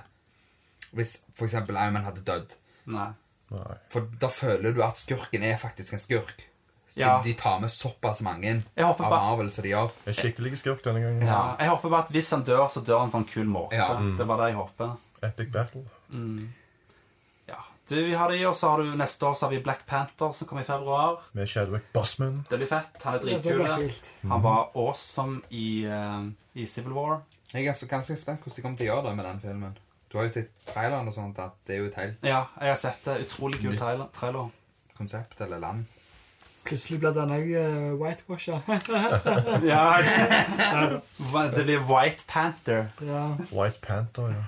Hvis for eksempel Iron Man hadde dødd. Nei. Nei. For da føler du at skurken er faktisk en skurk. Siden Ja. de tar med såpass mange Jeg av håper bare- Marvel som de gjør. En skikkelig skurk denne gangen. Ja. Eh, Jeg håper bare at hvis han dør, så dør han på en kul måte. Ja. Mm. Det var det jeg håper. Epic battle. Ja. Du, vi har de, og så har du neste år så har vi Black Panther som kommer i februar. Med Shadwick Bossman. Det blir fett. Han er Det blir dritkul. kult. Han var awesome i, eh, i Civil War. Jeg er ganske, ganske spent hvordan de kommer til å gjøre det med den filmen. Du har jo sett traileren og sånt, at det er jo et helt Ja, jeg har sett det. Utrolig kul Nytt. trailer. trailer. konsept eller land. Plutselig blir denne uh, whitewasha. Ja, Hva- det blir White Panther. ja. White Panther, ja.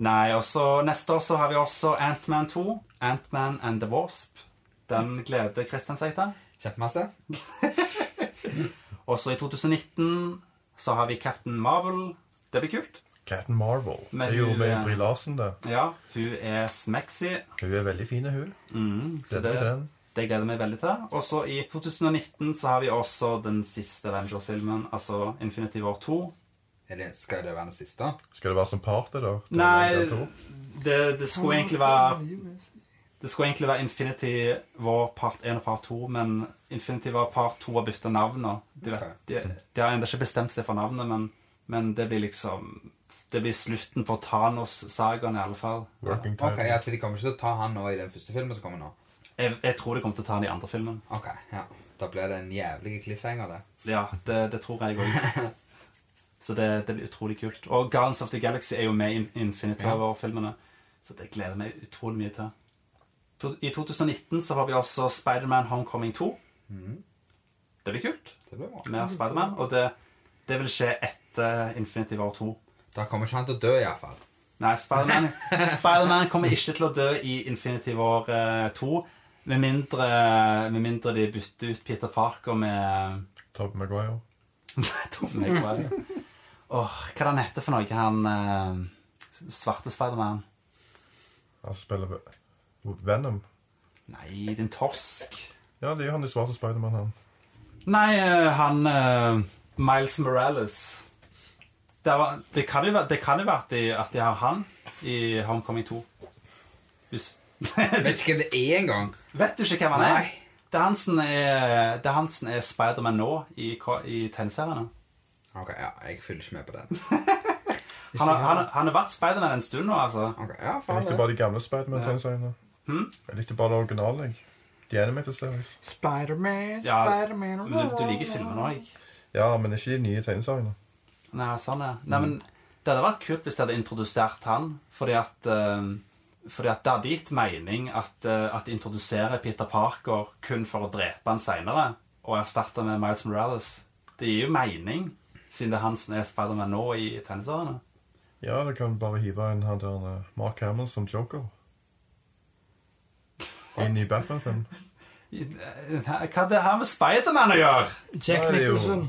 Nei, og så neste år så har vi også Ant-Man 2. Ant-Man and the Wasp. Den gleder Christian seg til. Kjempemasse. Og så i 2019 så har vi Captain Marvel. Det blir kult. Captain Marvel. Men det er jo hun, med eh, Brie Larsen, det. Ja, hun er smexy. Hun er veldig fin, hun. Mm, så Den er det, den. det gleder jeg meg veldig til. Og så i 2019 så har vi også den siste Avengers-filmen, altså Infinity War 2. Eller skal det være den siste? Skal det være som party, da? Det er Nei, den to. det, det skulle egentlig være Det skulle egentlig være Infinity War part 1 og part 2, men Infinity War part 2 har bytta navn. og De, vet, Ok. de, de har ennå ikke bestemt seg for navnet, men, men det blir liksom Det blir slutten på Thanos-sagaen, i alle fall. Working title. Ok, ja, Så de kommer ikke til å ta han nå i den første filmen som kommer nå? Jeg, jeg tror de kommer til å ta den i andre filmen. Ok, ja. Da blir det en jævlig cliffhanger, det. Ja, det, det tror jeg òg. Så det, det blir utrolig kult. Og Guardians of the Galaxy er jo med i Infinity Ja. War-filmene, så det gleder jeg meg utrolig mye til. To, I 2019 så har vi også Spiderman Homecoming 2. Det blir kult. Det blir bra. mer Spiderman. Og det, det vil skje etter Infinity War 2. Da kommer ikke han til å dø, iallfall. Nei, Spiderman Spider kommer ikke til å dø i Infinity War eh, 2. Med mindre, med mindre de bytter ut Peter Parker med Tobey Maguire. Tom Maguire. Åh, hva er det han heter for noe, han eh, svarte Spiderman? Han spiller ve- Venom. Nei, din torsk. Ja, det er jo han i svarte Spiderman, han. Nei, eh, han eh, Miles Morales. Det, var, det, kan jo være, det kan jo være at de, at de har han i Homecoming 2. Hvis [LAUGHS] Jeg vet ikke hvem det er engang. Vet du ikke hvem han er? Nei. Det er han som er, det er, han som er Spider-Man nå i, ko- i tegneseriene. Ok, ja, jeg følger ikke med på den. Han, har- han, har- han har vært Spider-Man en stund nå, altså. Ok, ja, Jeg faen likte det. bare de gamle Spiderman-tegneseriene. Hm? Jeg likte bare det originale. jeg. De animated series. Spiderman, Ja, Spiderman Men du, du liker filmen òg? Ja, men ikke de nye tegneseriene. Nei, sånn er Nei, men Det hadde vært kult hvis de hadde introdusert han, fordi at eh, fordi at det hadde gitt mening at, eh, at de introduserer Peter Parker kun for å drepe han seinere, og erstatte med Miles Morales. Det gir jo mening, siden det er han som er Spider-Man nå i tegneseriene. Ja, det kan bare hive en han der eh, Mark Hamill som Joker. I en ny Batman-film. eh, Hva har det her med Spider-Man å gjøre? Jack Nei, det er jo- Nicholson.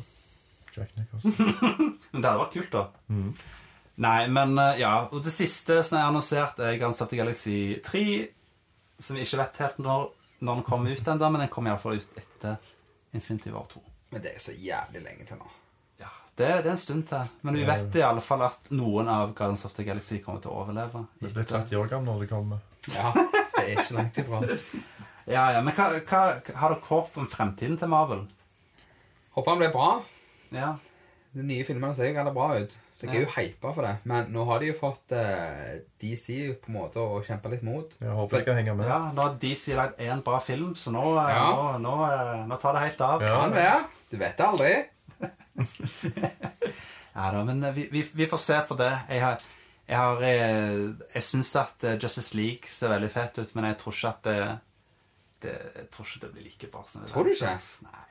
Jack Nicholson. Men det hadde vært kult, da. Nei, men eh, ja. Og det siste som er annonsert, er Grand Theft Galaxy 3. Som vi ikke vet helt når, når den kommer ut ennå, men den kommer iallfall ut etter Infinity War 2. Men det er så jævlig lenge til nå. Ja, det, det er en stund til. Men vi vet i alle fall at noen av Guardians of the Galaxy kommer til å overleve. Det blir 30 år gammel når det kommer. Ja, det er ikke langt ifra. Ja, ja, men hva, hva, Har dere håp om fremtiden til Marvel? Håper han blir bra. Ja. De nye filmene ser jo galt bra ut, så jeg er jo hypa for det. Men nå har de jo fått eh, DC på en måte å kjempe litt mot. Jeg håper jeg kan henge med. ja nå har DC lagd én bra film, så nå, eh, Ja. nå, nå, eh, nå tar det helt av. Ja. Kan være. Du vet det aldri. Ja da, men eh, vi, vi, vi får se på det. Jeg har jeg, har, eh, jeg syns at eh, Justice League ser veldig fett ut, men jeg tror ikke at det, det Jeg tror ikke det blir like bra som Tror du ikke? Avengers. Nei.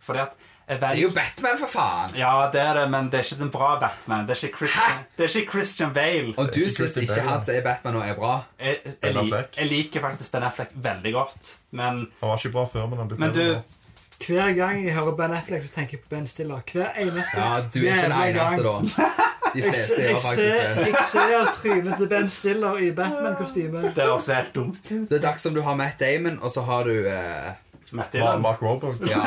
Fordi at Det er jo Batman, for faen! Ja, det er det, men det er ikke den bra Batman. Det er ikke Christian, Hæ? det er ikke Christian Bale. Og Det er du ikke syns Christian ikke Bale, han da. som er Batman nå, er bra? Jeg, jeg, jeg, Affleck. lik- jeg liker faktisk Ben Affleck veldig godt, men, Han var ikke bra før, men han ble men du bedre nå. Hver gang jeg hører Ben Affleck, så tenker jeg på Ben Stiller. Hver eneste Ja, du er ikke den jævla eneste, gang. da. De Jeg, fleste jeg, gjør faktisk ser, det. jeg ser trynet til Ben Stiller i Batman-kostyme. det er også helt dumt. Det er dags som du har Matt Damon, og så har du eh, Matt Mar- Dillon. Mark Wahlberg. [LAUGHS] ja.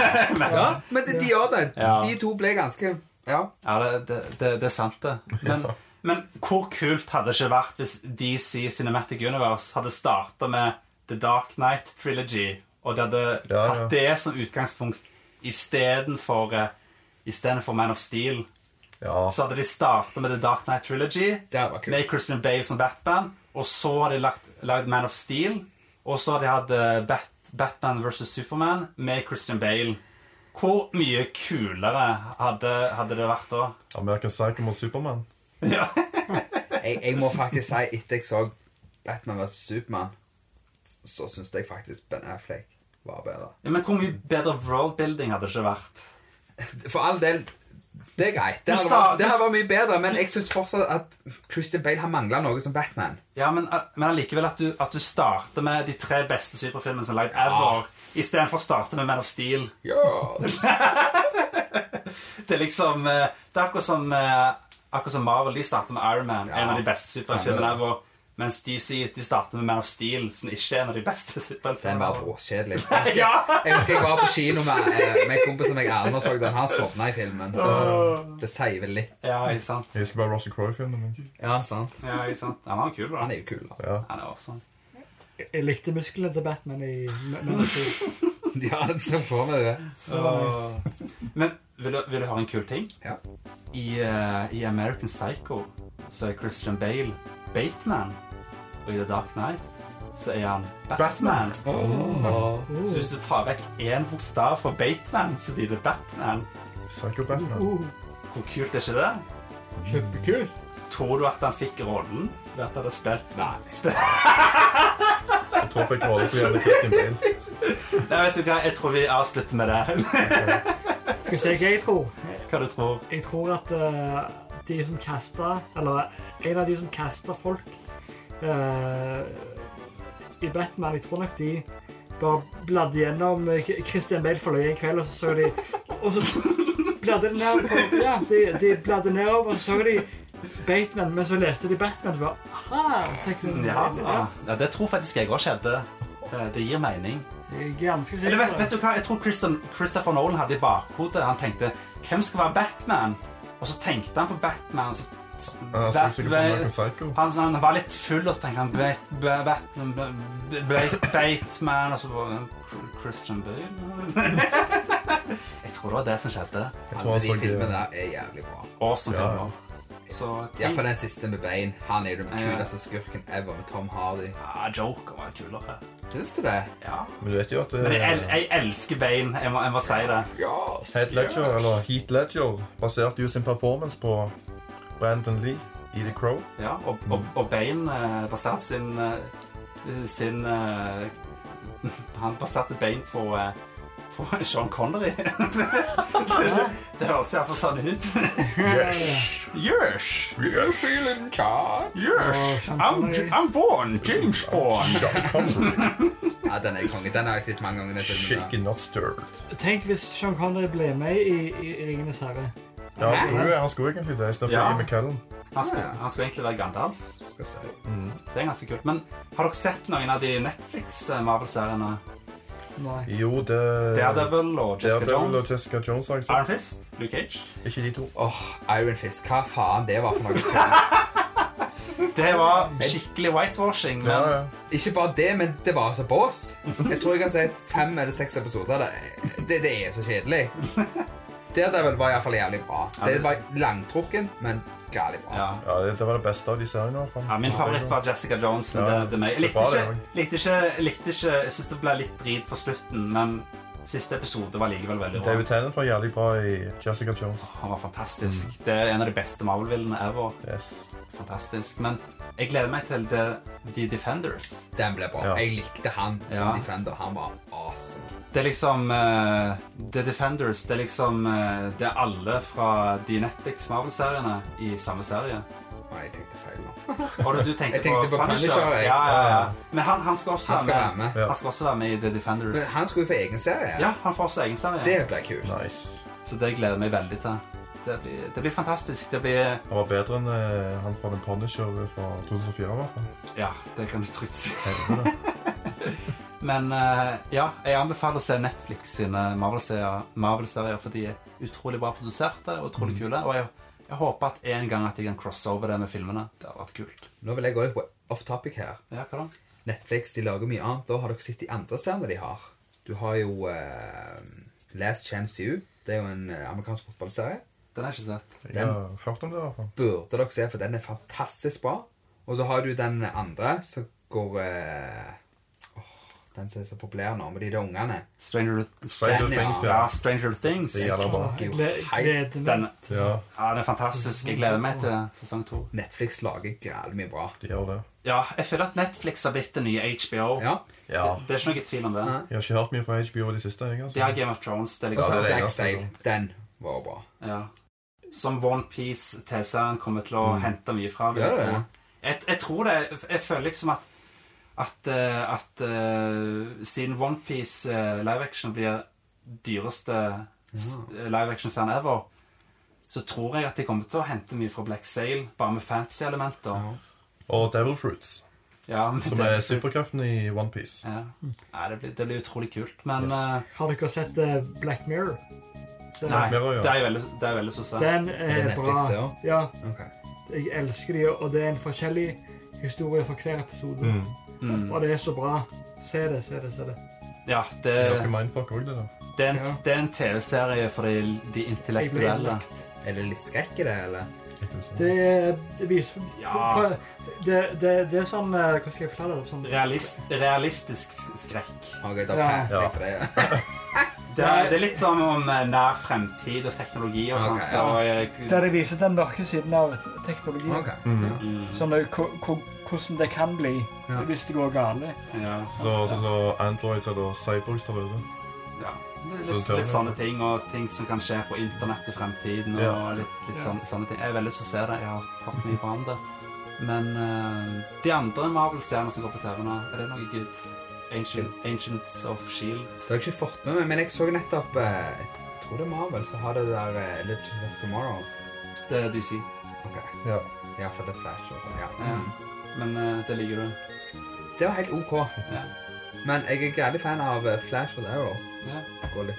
ja, men de, de gjør det. Ja. De to ble ganske Ja. Ja, det, det, det, det er sant, det. [LAUGHS] Men, men hvor kult hadde det ikke vært hvis DC Cinematic Universe hadde starta med The Dark Knight Trilogy, og de hadde Ja, ja. hatt det som utgangspunkt istedenfor eh, istedenfor Man of Steel? Ja. Så hadde de starta med The Dark Knight Trilogy, Det hadde vært kult. med Christian Bale som Batman, og så hadde de lagt, lagd Man of Steel, og så hadde de hatt eh, Bat, Batman versus Superman med Christian Bale. Hvor mye kulere hadde, hadde det vært da? American Psycho mot Supermann. Ja. Jeg, jeg må faktisk si, etter jeg så Batman vs. Supermann, så syns jeg faktisk Ben Affleck var bedre. Ja, Men hvor mye bedre worldbuilding hadde det ikke vært? For all del, det er greit. Det Du hadde sa- vært, det du- hadde vært mye bedre, men jeg syns fortsatt at Christian Bale har mangla noe som Batman. Ja, Men, eh, men allikevel at du, at du starter med de tre beste superfilmene som er lagd Ah. ever, istedenfor å starte med Man of Steel. Yes. Det er liksom eh, Det er akkurat som, eh, akkurat som Marvel. De starter med Iron Man, Ja. en av de beste superfilmene Stemmer. ever. Mens DC de starter med Man of Steel, som ikke er en av de beste Den superfilmene. var ever. bråkjedelig. [LAUGHS] Jeg, husker- jeg husker jeg var på kino med, eh, med kompisen meg Erlend og så den. Han sovna i filmen, Ah. så det sier vel litt. Ja, ikke sant? Jeg husker bare Rossy Crowe-filmen. jeg. Ja, sant? Ja, ikke sant? Ja, men han er kul, da. Han er jo kul, da. Ja. Han er awesome. Jeg likte musklene til Batman i Men [LAUGHS] Ja, så får vi det. Men vil du, vil du høre en kul ting? Ja. I, eh, I American Psycho så er Christian Bale Bateman. Og i The Dark Knight så er han Batman. Oh. Så hvis du tar vekk én bokstav fra Bateman, så blir det Batman. Psycho Batman. Hvor kult er ikke det? Kjempekult. Tror du at han fikk rollen ved at han hadde spilt Nei. Spilt. Jeg tror jeg fikk rolle fordi jeg hadde Christian Bale. Nei, vet du hva, jeg tror vi avslutter med det. [LAUGHS] Skal vi se hva jeg tror. Hva du tror? Jeg tror at eh, de som kaster Eller en av de som kaster folk eh, i Batman, jeg tror nok de bare bladde gjennom eh, K- Christian Bale for løye en kveld, og så så de Og så bladde de ned på, ja, de, de bladde nedover, og så så de Bateman, men så leste de Batman, og så bare aha, så tenkte de, Ja, ja, ja, det tror faktisk jeg òg skjedde. Det, det gir mening. jeg er ganske Eller vet, sikker. vet du hva, jeg tror Christian, Christopher Nolan hadde i bakhodet Han tenkte, hvem skal være Batman? Og så tenkte han på Batman så, Jeg så sikkert på Batman- American Psycho. han, så han var litt full Og så tenkte han Bat- Ba- Batman Ba- Ba- Batman Og så var han Cr- Christian Bale [LAUGHS] Jeg tror det var det som skjedde Jeg Alle tror han de så filmene eh, der er jævlig bra. Awesome Ja. filmer Så Iallfall den siste med Bane. Han er jo den Ja. kuleste skurken ever med Tom Hardy. ja, Joker var kulere Syns du det? ja. Men du vet jo at eh, det Men jeg, el er jeg elsker Bane Jeg må, jeg må si det Yes. Heath Ledger, eller Heat Ledger, baserte jo sin performance på Brandon Lee i The Crow. Ja, og, og, og Bane eh, baserte sin eh, sin eh, [LAUGHS] Han baserte Bane på eh, på Sean Connery. [LAUGHS] det, det, det høres iallfall sånn ut. Yes! Yes, You feeling charged? Åh, Sean Connery. born James Bond. Sean Connery, Ja, den er konge. Den har jeg sett mange ganger. den filmen der. shaken not stirred. Tenk hvis Sean Connery ble med i, i, i Ringenes herre. Ja, han skulle, jo- han skulle egentlig det, i stedet for Ja. Ian McKellen. Han skulle, han skulle egentlig være Gandalf. Skal se. Det er ganske kult. Men har dere sett noen av de Netflix-Marvel-seriene? Nei. Jo, det... Daredevil og Jessica Daredevil og Jones? Jessica Jones, har jeg sagt. Iron Fist? Luke Cage? Ikke de to. Åh, Iron Fist. Hva faen det var for noe tull? Det var skikkelig whitewashing. Ja, Men ja. Ikke bare det, men det var altså bås. Jeg tror jeg har sett fem eller seks episoder. Det, det, det er så kjedelig. Daredevil var iallfall jævlig bra. Det var langtrukken, men jævlig bra. ja. ja det, det var det beste av de seriene. i hvert fall. Ja, min favoritt var Jessica Jones. Men Ja, det, det er meg. Jeg det likte var det ikke, likte ikke, likte ikke Jeg syns det ble litt drit på slutten, men siste episode var likevel veldig bra. David Tennant var jævlig bra i Jessica Jones. Han var fantastisk. Mm. Det er en av de beste Marvel-villene ever. Yes. Fantastisk. Men jeg gleder meg til The, The Defenders. Den ble bra. Ja. Jeg likte han som Ja. defender. Han var awesome. Det er liksom eh, The Defenders. Det er liksom eh, Det er alle fra de Netflix Marvel-seriene i samme serie. Nei, jeg tenkte feil nå. Og du tenkte, [LAUGHS] Jeg tenkte på Punisher, jeg. Ja, ja, ja. Men han, han skal også Han skal være være med. med. Ja. Han skal også være med i The Men Defenders. han skulle jo få egen serie. Ja, han får også egen serie. Det ble kult. Nice. Så det gleder jeg meg veldig til. Det blir, det blir fantastisk. Det blir Han var bedre enn eh, han fra The Punisher fra 2004, i hvert fall. Ja, det kan du trygt si. Helvete. [LAUGHS] Men eh, ja, jeg anbefaler å se Netflix sine Marvel-serier, Marvel-serier, for de er utrolig bra produserte og Mm. utrolig kule. Og jeg, jeg håper at en gang at jeg kan crosse over det med filmene. Det har vært kult. Nå vil jeg gå litt på off topic her. Ja, hva da? Netflix de lager mye annet. Da har dere sett de andre seriene de har. Du har jo eh, Last Chance You. Det er jo en eh, amerikansk fotballserie. Den har jeg ikke sett. Jeg har hørt om det, i hvert fall. Burde dere se, for den er fantastisk bra. Og så har du den andre som går eh, åh, Den som er så populær nå, med de der ungene. Stranger, Stranger Den, ja. Things, ja. ja, Stranger Things. Det gjelder bare. Jeg gle- Hei. gleder Den, meg. Ja, ja, den er fantastisk. Jeg gleder meg til sesong to. Netflix lager jævlig mye bra. de gjør det. Ja, jeg føler at Netflix har blitt det nye HBO. Ja. Ja. Det, det er ikke noe tvil om det. Nei. Jeg har ikke hørt mye fra HBO i det siste. jeg, altså. De har Game of Thrones. Det er Og liksom så Ja, det er det Black eneste. Sail. Den var bra. Ja. Som One Piece TV-serien kommer til å Mm. hente mye fra. vil Gjør jeg, det? tro. jeg, jeg tror det. Jeg føler liksom at at, eh, at eh, siden One Piece eh, live action blir dyreste s- eh, live action-serien ever, så tror jeg at de kommer til å hente mye fra Black Sail, bare med fantasy-elementer. Og Devil Fruits, Ja, men som det- er superkraften i OnePiece. ja. Nei, det, blir, det blir utrolig kult. Men eh, Yes. Har dere sett eh, Black Mirror? Den- nei, Mirror, ja. det er jeg veldig, det er jeg veldig så sær. Den Er er det Eh, bra. Netflix det også? Ja, Ok. jeg elsker de, og det er en forskjellig historie for hver episode. Mm. Mm. Og det er så bra. Se det, se det, se det. Ja, det, Det er Ganske mindfuck òg, det der. det er en, Ja. det er en TV-serie for de, de Jeg ble intellektuelle. innlagt. Er det litt skrekk i det, eller? Ikke sant? Det, det viser Ja. det, det, det er sånn eh, Hva skal jeg fortelle deg? Sånn, Realist, realistisk skrekk. Ok, da Ja. passer Ja. jeg for det. Det er, det er litt som om eh, nær fremtid og teknologi og sånt. Ok, ja. og, eh, Der det viser den mørke siden av teknologi. Ok. Ja. mm, Sånn, eh, ko- ko- hvordan det kan bli Ja. hvis det går galt. ja, Så, så, så Androids eller Cyborgs tar over. ja. Litt, litt, Så- litt sånne ting, og ting som kan skje på internett i fremtiden. og Ja. litt, litt sånn, Ja. sånne, sånne ting. Jeg er veldig lyst til å se det. Jeg har hørt mye bra om det. Men eh, de andre Marvel-seriene som går på TV nå, er det noe good? Ancient, Ancients of Shield. Det har jeg ikke fått med meg, men jeg så nettopp eh, Jeg tror det er Marvel som har det der eh, Legend of Tomorrow. Det er DC. Ok, Ja. ja, for det er Flash og sånn, ja. Ja. Mm. Men eh, det liker du. Det var helt ok. Ja. Men jeg er gærlig fan av eh, Flash og Arrow. Ja. Går litt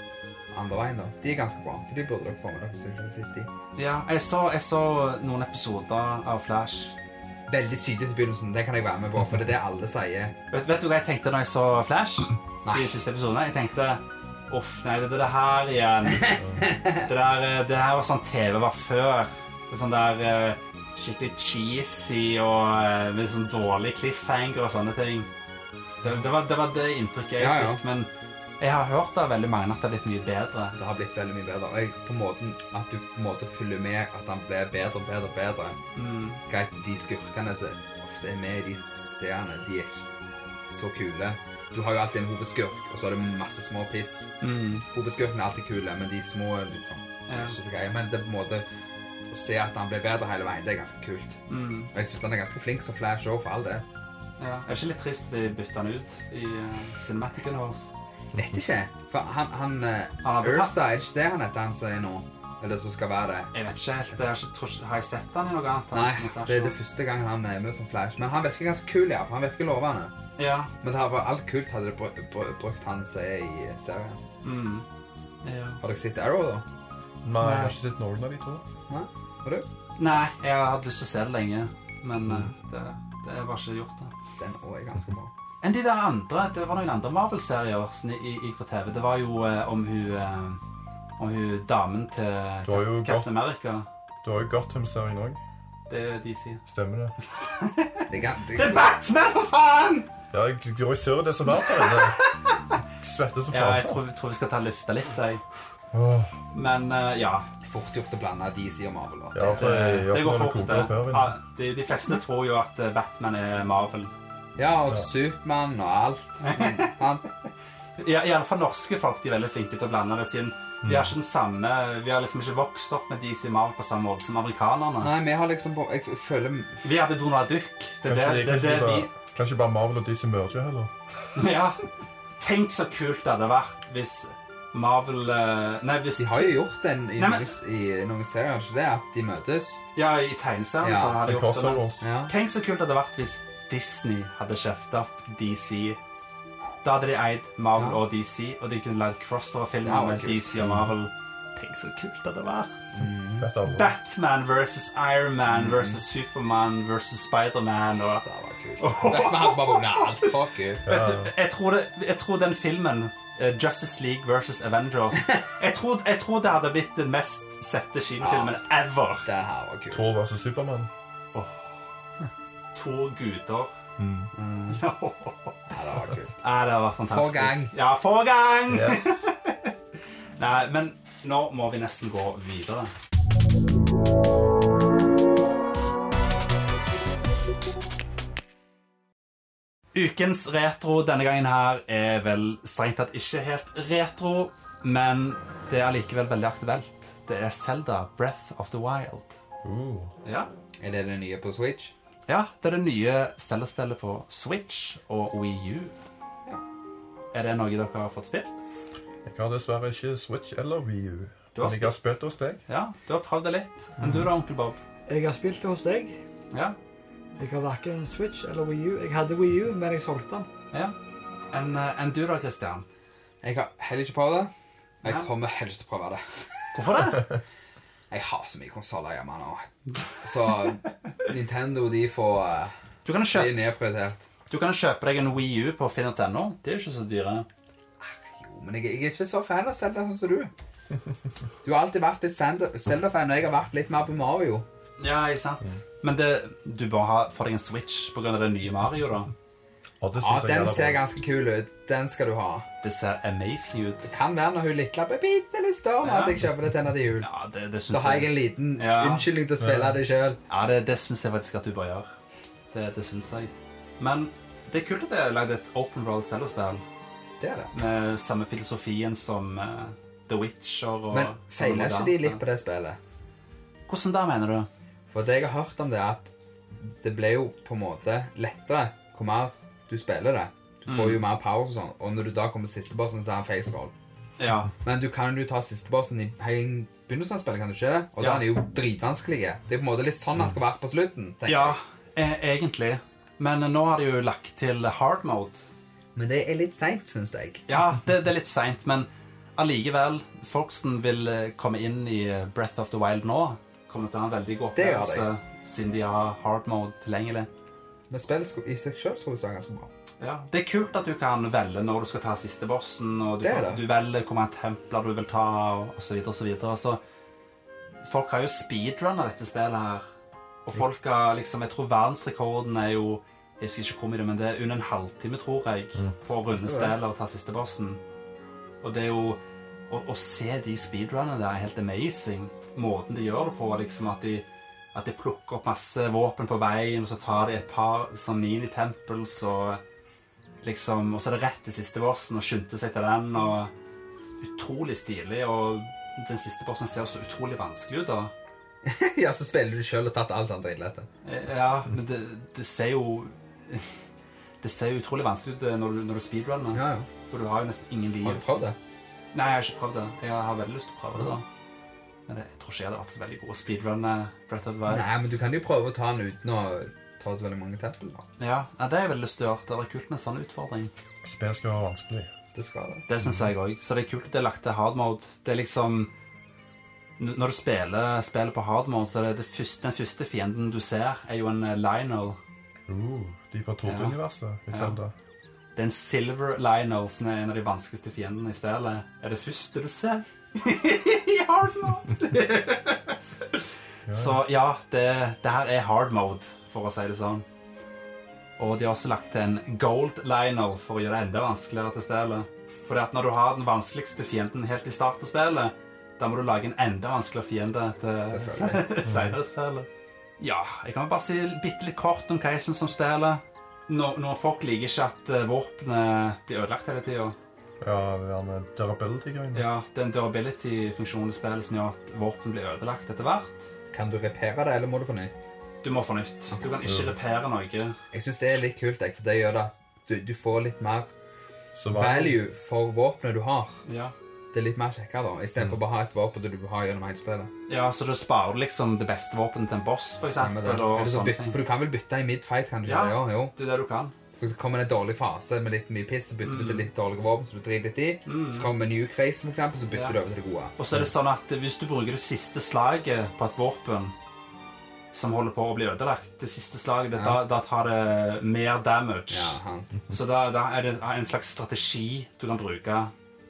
andre veien, da. De er ganske bra, så de burde dere få med dere. hvis dere ikke har sett de. ja jeg, så, jeg så noen episoder av Flash. Veldig sydlig til begynnelsen, det kan jeg være med på, for det er det alle sier. Vet, vet du hva jeg tenkte da jeg så Flash? Nei. I de første episodene? Jeg tenkte Uff, nei, det er det her [LAUGHS] igjen. Det, der, eh, det her var sånn TV var før. Det er sånn der eh, skikkelig cheesy og eh, med sånn dårlig cliffhanger og sånne ting. Det, det, var, det var det inntrykket jeg Ja, ja. fikk. Men jeg har hørt av veldig mange at det er blitt mye bedre. Det har blitt veldig mye bedre. Og jeg, på måten at du på en måte følger med at han blir bedre og bedre og bedre. Mm. Greit, de skurkene som ofte er med i de seerne, de er ikke så kule. Du har jo alltid en hovedskurk, og så er det masse små piss. Mm. Hovedskurken er alltid kule, men de små er litt sånn det er Ja. ikke så greie. Men det er på en måte å se at han blir bedre hele veien, det er ganske kult. Mm. Og jeg syns han er ganske flink som Flash òg, for all det. Ja. Er det ikke litt trist de bytta han ut i uh, Cinematic Universe? Vet ikke. For han, han, Han han hadde Ursa, er det ikke det han heter, han som er nå? Eller som skal være det? Jeg vet ikke helt. Jeg har, ikke, tror ikke- har jeg sett han i noe annet? Nei, han som Flash det er nå? det første gang han er med som Flash. Men han virker ganske kul, ja. for Han virker lovende. Ja. Men det her var alt kult hadde de br br brukt han som er i serien. Mm. Ja. Har dere sett Arrow, da? Nei, jeg har ikke sett noen av de to. Har du? Nei, jeg har hatt lyst til å se det lenge. men eh, det, det var ikke gjort. da. Den òg er ganske bra. Enn de der andre, det var noen andre Marvel-serier som i- gikk på TV. Det var jo eh, om hun eh, om hun damen til Du har jo Cap- Captain America. Du har jo Gotham-serien òg. Det er de sier. Stemmer det? Det, kan, det, Det er Batman, for faen! Ja, jeg går i surr det er så varmt her [LAUGHS] inne. Svetter så Ja, jeg fælt. tror, tror vi skal ta løfte litt, jeg. Åh, Men eh, ja. er fort gjort å blande DC og Marvel. da. Ja, for jeg Det, gjør det går når det fort, koker opp her det. Ja, inne. de, de fleste tror jo at eh, Batman er Marvel. Ja, og Supermann og alt. Han, I, i alle fall norske folk de er veldig flinke til å blande det siden. Vi har ikke den samme, vi har liksom ikke vokst opp med DC Marvel på samme måte som amerikanerne. nei, vi har liksom på- Jeg føler Vi hadde Donald Duck. Det er Kanskje det, det, de- er kanskje det de vi bare- Kanskje bare Marvel og DC merger heller. Ja. Tenk så kult det hadde vært hvis Marvel eh, Nei, hvis De har jo gjort den i, Nei, men- noen, i noen serier, ikke det? At de møtes. Ja, i tegneserien Ja, så hadde Det de gjort det. men- crossovers. Ja. Tenk så kult det hadde vært hvis Disney hadde kjøpt opp DC. Da hadde de eid Marvel Ja. og DC, og de kunne lagd Det hadde crossover-filmer med vært kult. DC og Marvel. Tenk så kult det hadde vært. Vet aldri. Batman versus Iron Man versus Superman versus Spiderman og Det var kult. Vi hadde bare vunnet alt. Fuck you. Vet du, jeg tror, det, jeg tror den filmen eh, Justice League versus Avengers jeg tror, jeg tror det hadde blitt den mest sette kinofilmen ever. Den her var kul. Thor versus Supermann. To guder. [LAUGHS] Ja, det var kult. Nei, det var fantastisk. Forgang. Ja, forgang! Yes. Nei, men nå må vi nesten gå videre. Ukens retro denne gangen her er vel strengt tatt ikke helt retro, men det er allikevel veldig aktuelt. Det er Zelda Breath of the Wild. Uh. Ja. Er det det nye på Switch? ja, det er det nye Zelda-spillet på Switch og Wii U. Ja. Er det noe dere har fått spilt? Jeg har dessverre ikke Switch eller Wii U. Du har Men jeg har spilt hos deg. Ja, du har prøvd det litt. Men du da, onkel Bob? Jeg har spilt det hos deg. Ja, Jeg har verken Switch eller Wii U. Jeg hadde Wii U, men jeg solgte den. ja. Enn eh, enn du da, Christian? Jeg har heller ikke prøvd det. og Jeg Nei. kommer heller ikke til å prøve det. Hvorfor det? Jeg har så mye konsoller hjemme nå. Så Nintendo, de får eh, [LAUGHS] Du kan, De er kjøpe, nedprioritert. du kan kjøpe deg en Wii U på finn.no. De er jo ikke så dyre. Ah, Jo, men jeg, jeg er ikke så fan av Zelda sånn som du. Du har alltid vært litt Zelda- Zelda-fan, og jeg har vært litt mer på Mario. Ja, ikke sant? Men det, du bør ha, få deg en Switch pga. det nye Mario, da. Og det Ja, synes jeg Den ser gjelder bra. ganske kul ut. Den skal du ha. Det ser amazing ut. Kan være når hun lille blir bitte litt større, Ja. at jeg kjøper det til henne til jul. Ja, det, det Da syns har jeg jeg, en liten Ja. unnskyldning til å spille det sjøl. ja, det, det syns jeg faktisk at du bør gjøre. Det, det syns jeg. Men det er kult at jeg har lagd et open world Zelda-spill Det er det. med samme filosofien som eh, The Witcher og Men sånne feiler ikke moderne de spill. litt på det spillet? Hvordan da, mener du? For det jeg har hørt om det, er at det ble jo på en måte lettere hvor mer du spiller det. Du får Mm. jo mer power og sånn, og når du da kommer til siste bossen, så er han face roll. Ja. Men du kan jo ta siste bossen i hele begynnelsen av spillet, kan du ikke? det? Og Ja. da er de jo dritvanskelige. Det er på en måte litt sånn han skal være på slutten. tenker ja, eh, egentlig. Men eh, nå har de jo lagt til hard mode. jeg. Men det er litt seint, syns jeg. Ja, det, det er litt seint, men allikevel Folk som vil eh, komme inn i eh, Breath of the Wild nå, kommer til å ha en veldig god Det gjør opplevelse siden de har hard mode tilgjengelig. Men spillet skulle- i seg sjøl skulle det være ganske bra. [LAUGHS] Ja. Det er kult at du kan velge når du skal ta siste bossen, og du, Det er kan, det. du velger hvor mange templer du vil ta, og osv., osv. Så Altså, folk har jo speedrunna dette spillet her. Og folk har liksom Jeg tror verdensrekorden er jo Jeg husker ikke hvor mye, det er, men det er under en halvtime, tror jeg, Mm. for å runde spillet og ta siste bossen. Og det er jo Å, å se de speedrunnene der er helt amazing. Måten de gjør det på, liksom at de at de plukker opp masse våpen på veien, og så tar de et par sånn mini-tempels og liksom Og så er det rett til siste bossen, og skyndte seg til den, og Utrolig stilig, og den siste bossen ser så utrolig vanskelig ut, da. ja, så spiller du sjøl og tatt alt sånn drittlette. Eh, Ja, men det, det ser jo [LAUGHS] Det ser jo utrolig vanskelig ut eh, når du, når du speedrunner, Ja, ja. for du har jo nesten ingen liv. Har du prøvd det? Nei, jeg har ikke prøvd det. Jeg har veldig lyst til å prøve det, da. Men jeg tror ikke jeg hadde vært så veldig god å speedrunne Breath of the Wild. Nei, men du kan jo prøve å ta den uten å ta så veldig mange tempel. da. Ja, nei, det har jeg veldig lyst til å gjøre. Det hadde vært kult med en sånn utfordring. Spill skal være vanskelig. Det skal det. Det syns jeg òg. Så det er kult at det er lagt til hard mode. Det er liksom n- når du spiller spillet på hard mode, så er det, det første, den første fienden du ser, er jo en eh, Lionel. Uh, de fra Tord-universet i Zelda. Det er en Silver Lionel som er en av de vanskeligste fiendene i spillet. Er det første du ser [LAUGHS] i hard mode? [LAUGHS] Så ja, det, det her er hard mode, for å si det sånn. Og de har også lagt til en gold lionel for å gjøre det enda vanskeligere til spillet. Fordi at når du har den vanskeligste fienden helt i starten av spillet, da må du lage en enda vanskeligere fiende til Selvfølgelig. [LAUGHS] senere spillet. Ja, jeg kan bare si bitte litt kort om hva jeg syns om spillet. Når, når folk liker ikke at eh, våpenet blir ødelagt hele tida. Ja, det er den durability-greiene. Ja, det er en durability-funksjon i spillet som gjør at våpen blir ødelagt etter hvert. Kan du repere det, eller må du få ny? Du må få nytt. Du kan ikke repere noe. Jeg syns det er litt kult, jeg, for det gjør det at du, du får litt mer Så var- value for våpenet du har. Ja. Det er litt mer kjekkere, da, istedenfor bare å ha et våpen du har gjennom hele spillet. Ja, så da sparer du liksom det beste våpenet til en boss, for Stemmer eksempel. det. Og Eller så sånne bytte, ting. for du kan vel bytte i mid-fight, kan du ikke Ja. det? Ja, jo. Det er det du kan. For så kommer det en dårlig fase med litt mye piss, så bytter Mm. du til litt dårlige våpen, så du driter litt i. Så kommer nuke face, for eksempel, så bytter Ja. du over til det gode. Og så er det sånn at hvis du bruker det siste slaget på et våpen som holder på å bli ødelagt, det siste slaget, det, da, da tar det mer damage. Ja, sant. Så da, da er det en slags strategi du kan bruke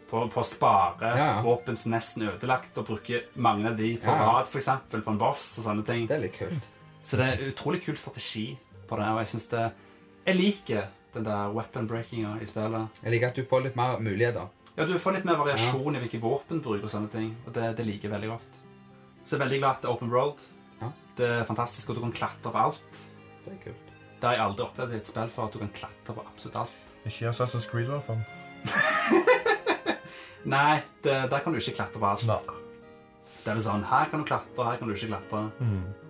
på, på å spare Ja, ja. våpen som nesten er ødelagt, og bruke mange av de på Ja, ja. rad, for eksempel, på en boss og sånne ting. Det er litt kult. Så det er en utrolig kul strategi på det, og jeg synes det Jeg liker den der weapon breakinga i spillet. Jeg liker at du får litt mer muligheter. Ja, du får litt mer variasjon i hvilke våpen du bruker og sånne ting. Og det, det liker jeg veldig godt. Så jeg er veldig glad at det er open road. Ja. Det er fantastisk, og du kan klatre på alt. Det er kult. Det har jeg aldri opplevd i et spill før, at du kan klatre på absolutt alt. Ikke Assassin's Creed, i hvert fall. Nei, det, der kan du ikke klatre på alt. Nei. Det er jo sånn, her kan du klatre, her kan du ikke klatre.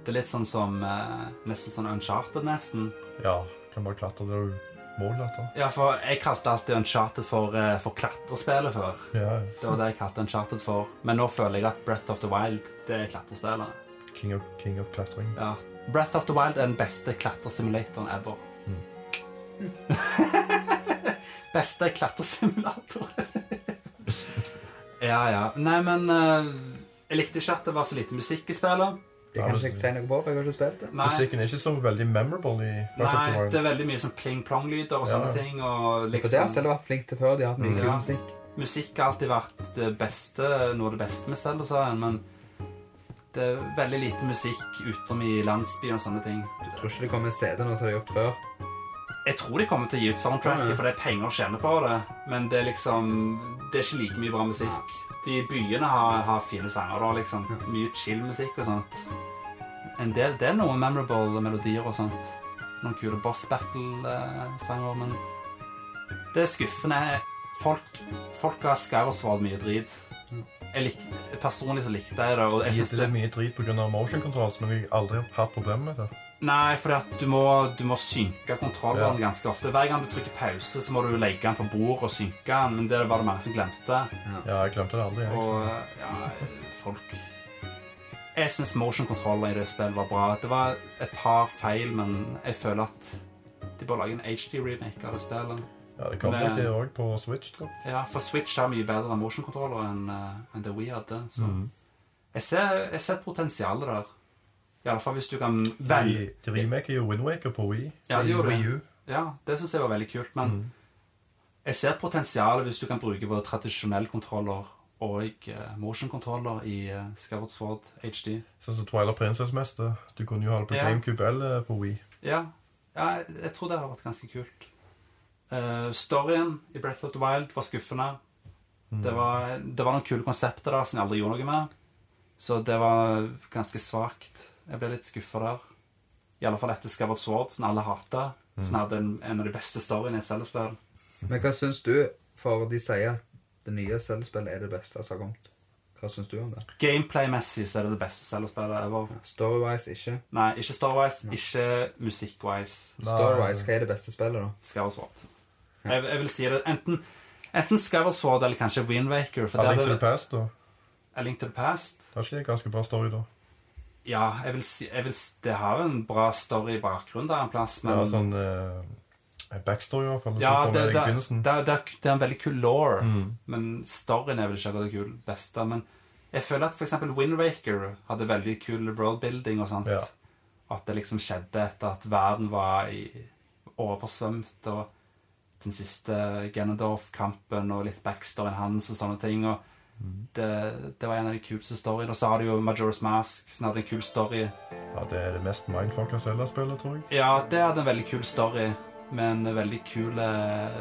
Det er litt sånn som eh, nesten sånn Uncharted, nesten. Ja, kan bare klatre der du må klatre. Ja, for jeg kalte alltid Uncharted for, eh, for klatrespillet før. Ja, ja. Det var det jeg kalte Uncharted for. Men nå føler jeg at Breath of the Wild, det er klatrespillet. King of, King of klatring. Ja. Breath of the Wild er den beste klatresimulatoren ever. [LAUGHS] beste klatresimulator. [LAUGHS] ja, ja. Nei, men eh, Jeg likte ikke at det var så lite musikk i spillet. Det kan ikke jeg si noe på, for jeg har ikke spilt det. Nei, Musikken er ikke så veldig memorable i Breath of the nei Wild. det er veldig mye sånn pling-plong-lyder og sånne Ja. ting. Og For det har liksom, Zelda vært flink til før. De har hatt mye Mm. kul Ja. musikk. musikk har alltid vært det beste, noe av det beste med Zelda, sa han, men det er veldig lite musikk utenom i landsbyen og sånne ting. Jeg tror ikke det kommer en CD nå som de har gjort før. Jeg tror de kommer til å gi ut Ja, soundtracket, ja. for det er penger å tjene på det. Men det er liksom Det er ikke like mye bra musikk. De byene har, har fine sanger, da, liksom. Mye chill musikk og sånt. En del, det er noen memorable melodier og sånt. Noen kule boss battle-sanger, men Det er skuffende. Folk, folk har Skyward mye drit. Jeg lik, personlig så likte jeg det, og jeg synes Gitt det det mye drit pga. motion controls, men jeg har aldri hatt problemer med det. Nei, for du må, du må synke kontrolleren ganske ofte. Hver gang du trykker pause, så må du legge den på bordet og synke den. Men det var det mange som glemte. Ja, jeg glemte det aldri. Jeg, Og så. ja, folk Jeg syns motion controller i det spillet var bra. Det var et par feil, men jeg føler at de bør lage en HD-remake av det spillet. Ja, det kommer Men- nok det òg på Switch. tror jeg. Ja, For Switch har mye bedre motion controller enn eh, enn det we hadde. Så jeg ser, jeg ser potensialet der. Iallfall hvis du kan velge De, de remaker jo Windwaker på Wii. Ja, de I gjorde det. Wii U. Ja, det syns jeg var veldig kult, men jeg ser potensialet hvis du kan bruke både tradisjonell kontroller og eh, motion-kontroller i uh, Skyward Sword HD. Sånn som Twilight Princess-meste. Du kunne jo ha det på Ja. GameCube eller på Wii. Ja, ja jeg, jeg tror det har vært ganske kult. Eh, storyen i Breath of the Wild var skuffende. Det, var, det var noen kule konsepter der som jeg aldri gjorde noe med. Så det var ganske svakt. Jeg ble litt skuffa der. I alle fall etter Skyward Sword, som alle hata. Som hadde en, en av de beste storyene i et cellespill. Men hva syns du? For de sier at det nye Zelda-spillet er det beste som har kommet. Hva syns du om det? Gameplay-messig så er det det beste cellespillet ever. Storywise ikke. Nei, ikke Starwise, ikke musikk-wise. Storywise, hva er det beste spillet, da? Skyward Sword. Jeg, jeg vil si det enten, enten Skyward Sword eller kanskje Windwaker. Ja, Link to the Past, da. A Link to the Past. Det er ikke en ganske bra story, da. Ja, jeg vil si, jeg vil, s- det har jo en bra story i bakgrunnen der en plass, Det men er sånn eh, backstory, i hvert fall. Ja, som får det, med deg det, i det, begynnelsen. Mm. det, er- det er en veldig kul law, men storyen er vel ikke akkurat det kul beste. Men Jeg føler at f.eks. Windwaker hadde veldig kul worldbuilding og sånt. Ja. At det liksom skjedde etter at verden var i, oversvømt, og den siste Ganondorf-kampen og litt backstoryen hans og sånne ting. og det, det var en av de kuleste storyene. Og så har du jo Majora's Mask, som hadde en kul story. Ja, det er det mest mindfucka Zelda-spillet, tror jeg. Ja, det hadde en veldig kul story, med en veldig kul eh,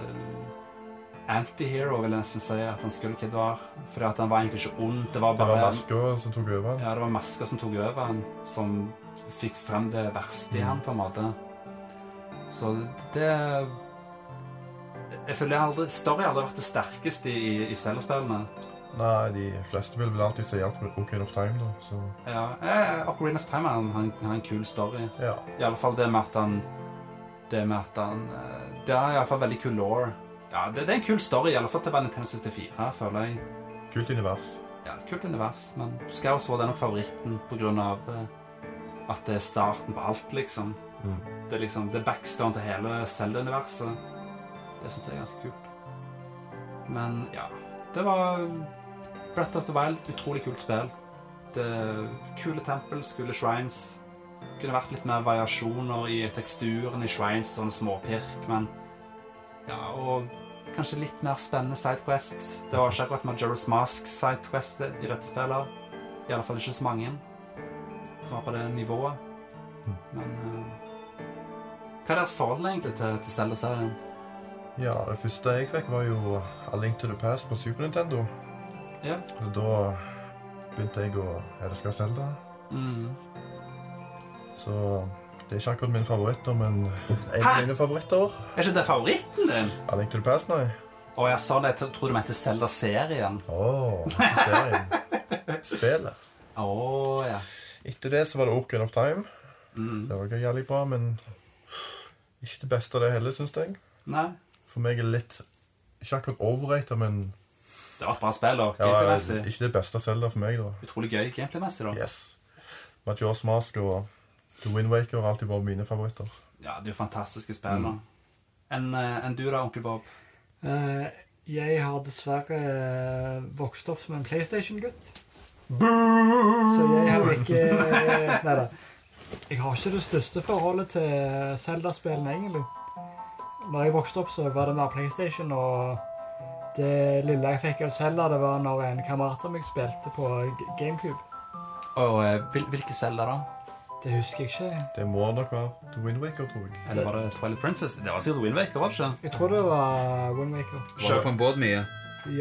antihero, vil jeg nesten si at han skulle ikke være. Fordi at han var egentlig ikke ond. Det var Det var bare maska som tok over den. ja, det var masker som tok over han, som fikk frem det verste i han, på en måte. Så det Jeg føler jeg aldri, story har aldri vært det sterkeste i, i Zelda-spillene. Nei, de fleste vil vel alltid si at Ocarina of Time, da, så Ja, eh, Ocarina of Time har en- har en, har en kul story. ja. I alle fall det med at han Det med at han eh, Det er i alle fall veldig kul law. Ja, det, det er en kul story, i alle fall til å være Nintendo 64, føler jeg. Kult univers. Ja, Kult univers, men Scouse var nok favoritten pga. Uh, at det er starten på alt, liksom. Mm. Det er liksom det er backstone til hele Zelda-universet. Det syns jeg er ganske kult. Men ja Det var eh, Breath of the Wild. Utrolig kult spill. Det Kule tempels, kule shrines. Det kunne vært litt mer variasjoner i teksturen i shrines, sånne småpirk, men Ja, og kanskje litt mer spennende sidequests. Det var ikke akkurat Majora's Mask-sidequest i dette spillet. I alle fall ikke så mange som var på det nivået. Men eh, Hva er deres forhold egentlig til, til Zelda-serien? Ja, det første jeg fikk, var jo A Link to the Past på Super Nintendo. Ja. Så da begynte jeg å elske Zelda. Mm. Så det er ikke akkurat min favoritt, da, men en av Hæ? mine favoritter. Er ikke det favoritten din? A Link to the Past, nei. Å, jeg sa det. Jeg tror du mente Zelda-serien. Åh, ikke serien. Spillet. Å ja. Etter det så var det Ocarina of Time. Mm. Det var ikke jævlig bra, men ikke det beste av det heller, syns jeg. Nei. For meg er det litt Ikke akkurat overrated, men Det var et bra spill, da. ja, Gameplay-messig. ikke det beste av Zelda for meg, da. Utrolig gøy gameplay-messig, da. Yes. Majora's Mask og The Wind Waker har alltid vært mine favoritter. Ja, det er jo fantastiske spill, da. Mm. Enn eh, enn du da, onkel Bob? Eh, jeg har dessverre eh, vokst opp som en PlayStation-gutt. Så jeg har ikke Nei da. Jeg har ikke det største forholdet til Zelda-spillene, egentlig. Når jeg vokste opp, så var det mer PlayStation, og det lille jeg fikk av Zelda, det var når en kamerat av meg spilte på G- GameCube. Og eh, hvil, hvilke Zelda, da? Det husker jeg ikke. Det må nok være The Wind Waker, tror jeg. Eller var det Twilight Princess? Det var sikkert Windwaker, var det ikke? Jeg tror det var Windmaker. Var du på en båt mye?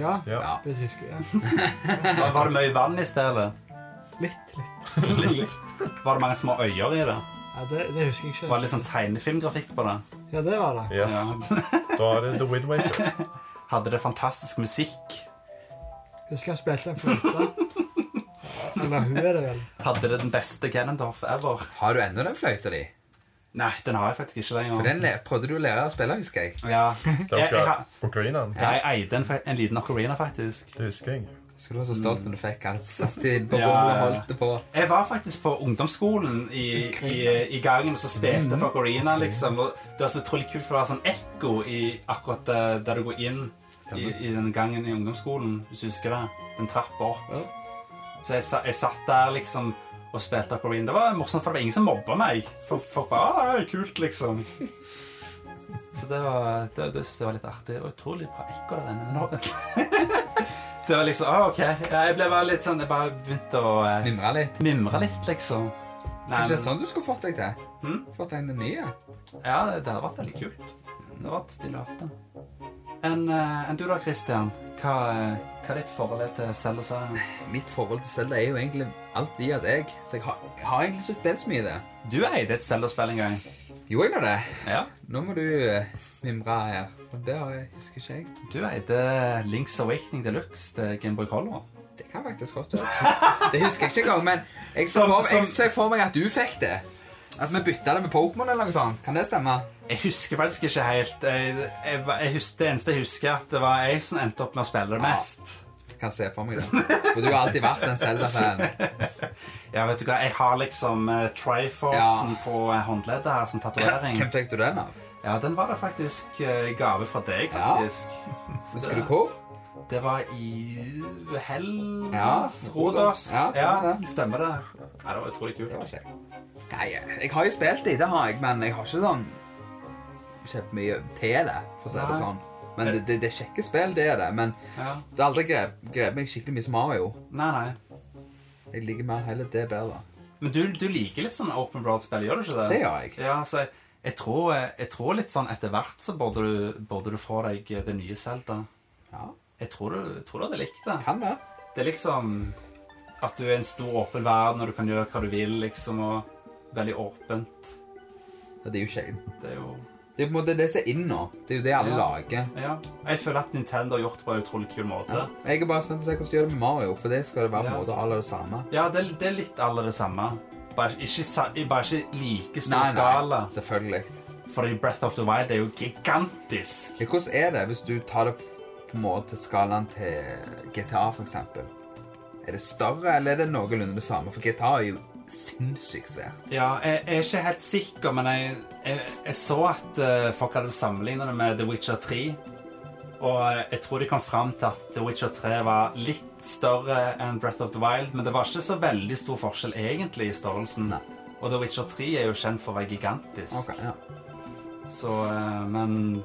Ja, Ja. det husker jeg. [LAUGHS] Var- Var det mye vann i spillet? Litt, litt. Litt. Var det mange små øyer i det? Ja, det, det husker jeg Var ikke. det litt sånn tegnefilmgrafikk på det? Ja, det var det. Yes. Ja. Da er det The Wind [LAUGHS] Waker. Hadde det fantastisk musikk? Husker han spilte en fløyte. Eller hun er det vel. Hadde det den beste Ganondorf ever? Har du ennå den fløyta di? Nei, den har jeg faktisk ikke lenger. For den le prøvde du å lære å spille, husker jeg. Ja. [LAUGHS] Jeg, Det jeg, er har- oka- Ocarinaen. ja, jeg eide en, en liten ocarina, faktisk. Det husker jeg. Husker du var så stolt når du fikk alt så satt [LAUGHS] i på Ja, rommet og ja, ja. holdt det på. Jeg var faktisk på ungdomsskolen i, i, i gangen og så spilte jeg på ocarina, liksom. Og det var så utrolig kult, for det var sånn ekko i akkurat eh, der du går inn i, Stemmer. i den gangen i ungdomsskolen, hvis du husker det. Den trappa opp. Så jeg, sa- jeg satt der, liksom. Og spilte Ocarina. Det var morsomt, for det var ingen som mobba meg. Folk, folk bare ah, det er 'Kult', liksom. [LAUGHS] Så det, var, det, det synes jeg var litt artig. Og utrolig bra ekko av denne nå. [LAUGHS] Det var liksom ah, OK. Ja, Jeg ble bare litt sånn Jeg bare begynte å eh, Mimra litt. mimre litt, liksom. Nei, Kanskje det er men, sånn du skulle fått deg til? Mm. Fått deg en ny, ja. ja, det hadde vært veldig kult. Det hadde vært stille hatt, da. Enn eh, enn du da, Christian? Hva, eh, hva er ditt forhold er til Zelda-serien? Mitt forhold til Zelda er jo egentlig alt via deg, så jeg har, jeg har egentlig ikke spilt så mye i det. Du eide et Zelda-spill en gang. Jo, jeg gjør det. Ja. Nå må du eh, mimre her. Og det har jeg, husker ikke jeg. Du eide Links Awakening Deluxe til Gameboy Color. Det kan faktisk godt være. [LAUGHS] Det husker jeg ikke engang, men jeg ser Som- for, jeg som- ser for meg at du fikk det. At vi bytta det med Pokémon eller noe sånt. Kan det stemme? Jeg husker faktisk ikke helt. Jeg, jeg, jeg husker, det eneste jeg husker, er at det var jeg som endte opp med å spille det Ja. mest. Kan se for meg det. For du har alltid vært en Zelda-fan. [LAUGHS] Ja, vet du hva, jeg har liksom uh, Triforcen Ja. på eh, håndleddet her som tatovering. Hvem fikk du den av? Ja, den var det faktisk eh, i gave fra deg, Ja. faktisk. Så Husker det- du hvor? Det var i Hellas? Ja, Rodos? Ja, stemmer Ja, det. stemmer det. Nei, det var utrolig kult. Det var kjekt. Nei, jeg har jo spilt i, det har jeg, men jeg har ikke sånn kjempemye til det, for å si det Nei. sånn. Men det, det, det er kjekke spill, det er det. Men Ja. det har aldri grep, grep meg skikkelig mye som Mario. Nei, nei. Jeg liker mer heller det bedre. Men du, du liker litt sånn open world-spill, gjør du ikke det? Det gjør jeg. Ja, så jeg, jeg, tror, jeg tror litt sånn etter hvert så burde du, burde du få deg eh, det nye Zelda. Ja, Jeg tror du, jeg tror du hadde likt det. kan være. Det er liksom at du er en stor åpen verden, og du kan gjøre hva du vil, liksom, og veldig åpent. Ja, Det er jo kjekt. Det er jo Det er jo på en måte det som er inn nå. Det er jo det alle Ja. lager. Ja. Jeg føler at Nintendo har gjort det på en utrolig kul måte. Ja. Jeg er bare spent på å se hvordan de gjør det med Mario, for det skal det være Ja. på en måte alle det samme. Ja, det, det er litt alle det samme. Bare ikke, sa- i bare ikke like stor Nei, nei, skala. selvfølgelig. For i Breath of the Wild er jo gigantisk. Ja, hvordan er det hvis du tar det på en måte til skalaen til GTA, for eksempel? Er det større, eller er det noenlunde det samme? For GTA er jo sinnssykt svært. Ja, jeg, jeg er ikke helt sikker, men jeg, jeg, jeg så at eh, folk hadde sammenlignet det med The Witcher 3. Og eh, jeg tror de kom fram til at The Witcher 3 var litt større enn Breath of the Wild, men det var ikke så veldig stor forskjell egentlig i størrelsen. Nei. Og The Witcher 3 er jo kjent for å være gigantisk. Ok, ja. Så, eh, men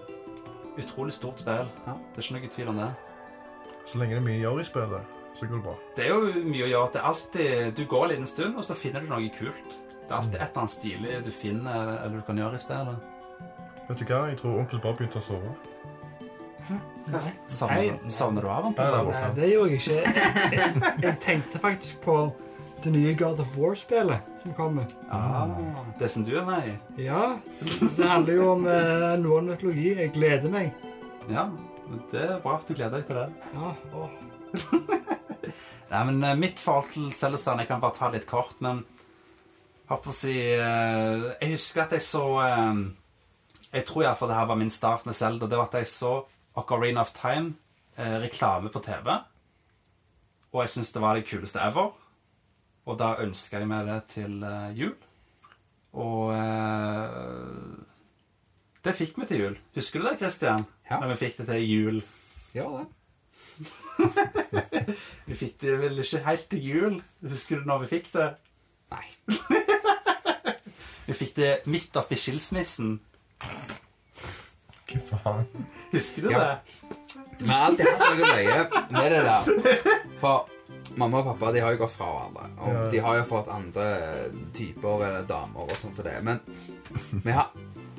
utrolig stort spill. Ja. Det er ikke noe tvil om det. Så lenge det er mye gjør i spillet, så går det bra. Det er jo mye å gjøre. Det er alltid, du går en liten stund, og så finner du noe kult. Det er alltid et eller annet stilig du finner eller du kan gjøre i spillet. Vet du hva, jeg tror onkel Bob begynte å sove. Hva Nei. savner, Nei. savner du av ham? Nei, det er Nei, borte. det gjorde jeg ikke. Jeg, jeg, jeg tenkte faktisk på det nye God of War-spillet som kommer. Ah, det som du er med i? Ja, det handler jo om eh, noen mytologi. Jeg gleder meg. Ja, det er bra at du gleder deg til det. Ja, åh. Nei, men eh, Mitt forhold til Cellesand Jeg kan bare ta litt kort, men holdt på å si eh, Jeg husker at jeg så eh, Jeg tror iallfall det her var min start med Zelda. Det var at jeg så Ocarina of Time eh, reklame på TV. Og jeg syns det var det kuleste ever. Og da ønska jeg meg det til eh, jul. Og eh, det fikk vi til jul. Husker du det, Christian? Ja. Når vi fikk det til jul. Gjør det. Vi fikk det vel ikke helt til jul. Husker du når vi fikk det? Nei. Vi fikk det midt oppi skilsmissen. Hva faen? Husker du Ja. det? Vi har alltid hatt noe løye med det der. For mamma og pappa de har jo gått fra hverandre. Og Ja. de har jo fått andre typer eller damer og sånn som det. er. Men vi har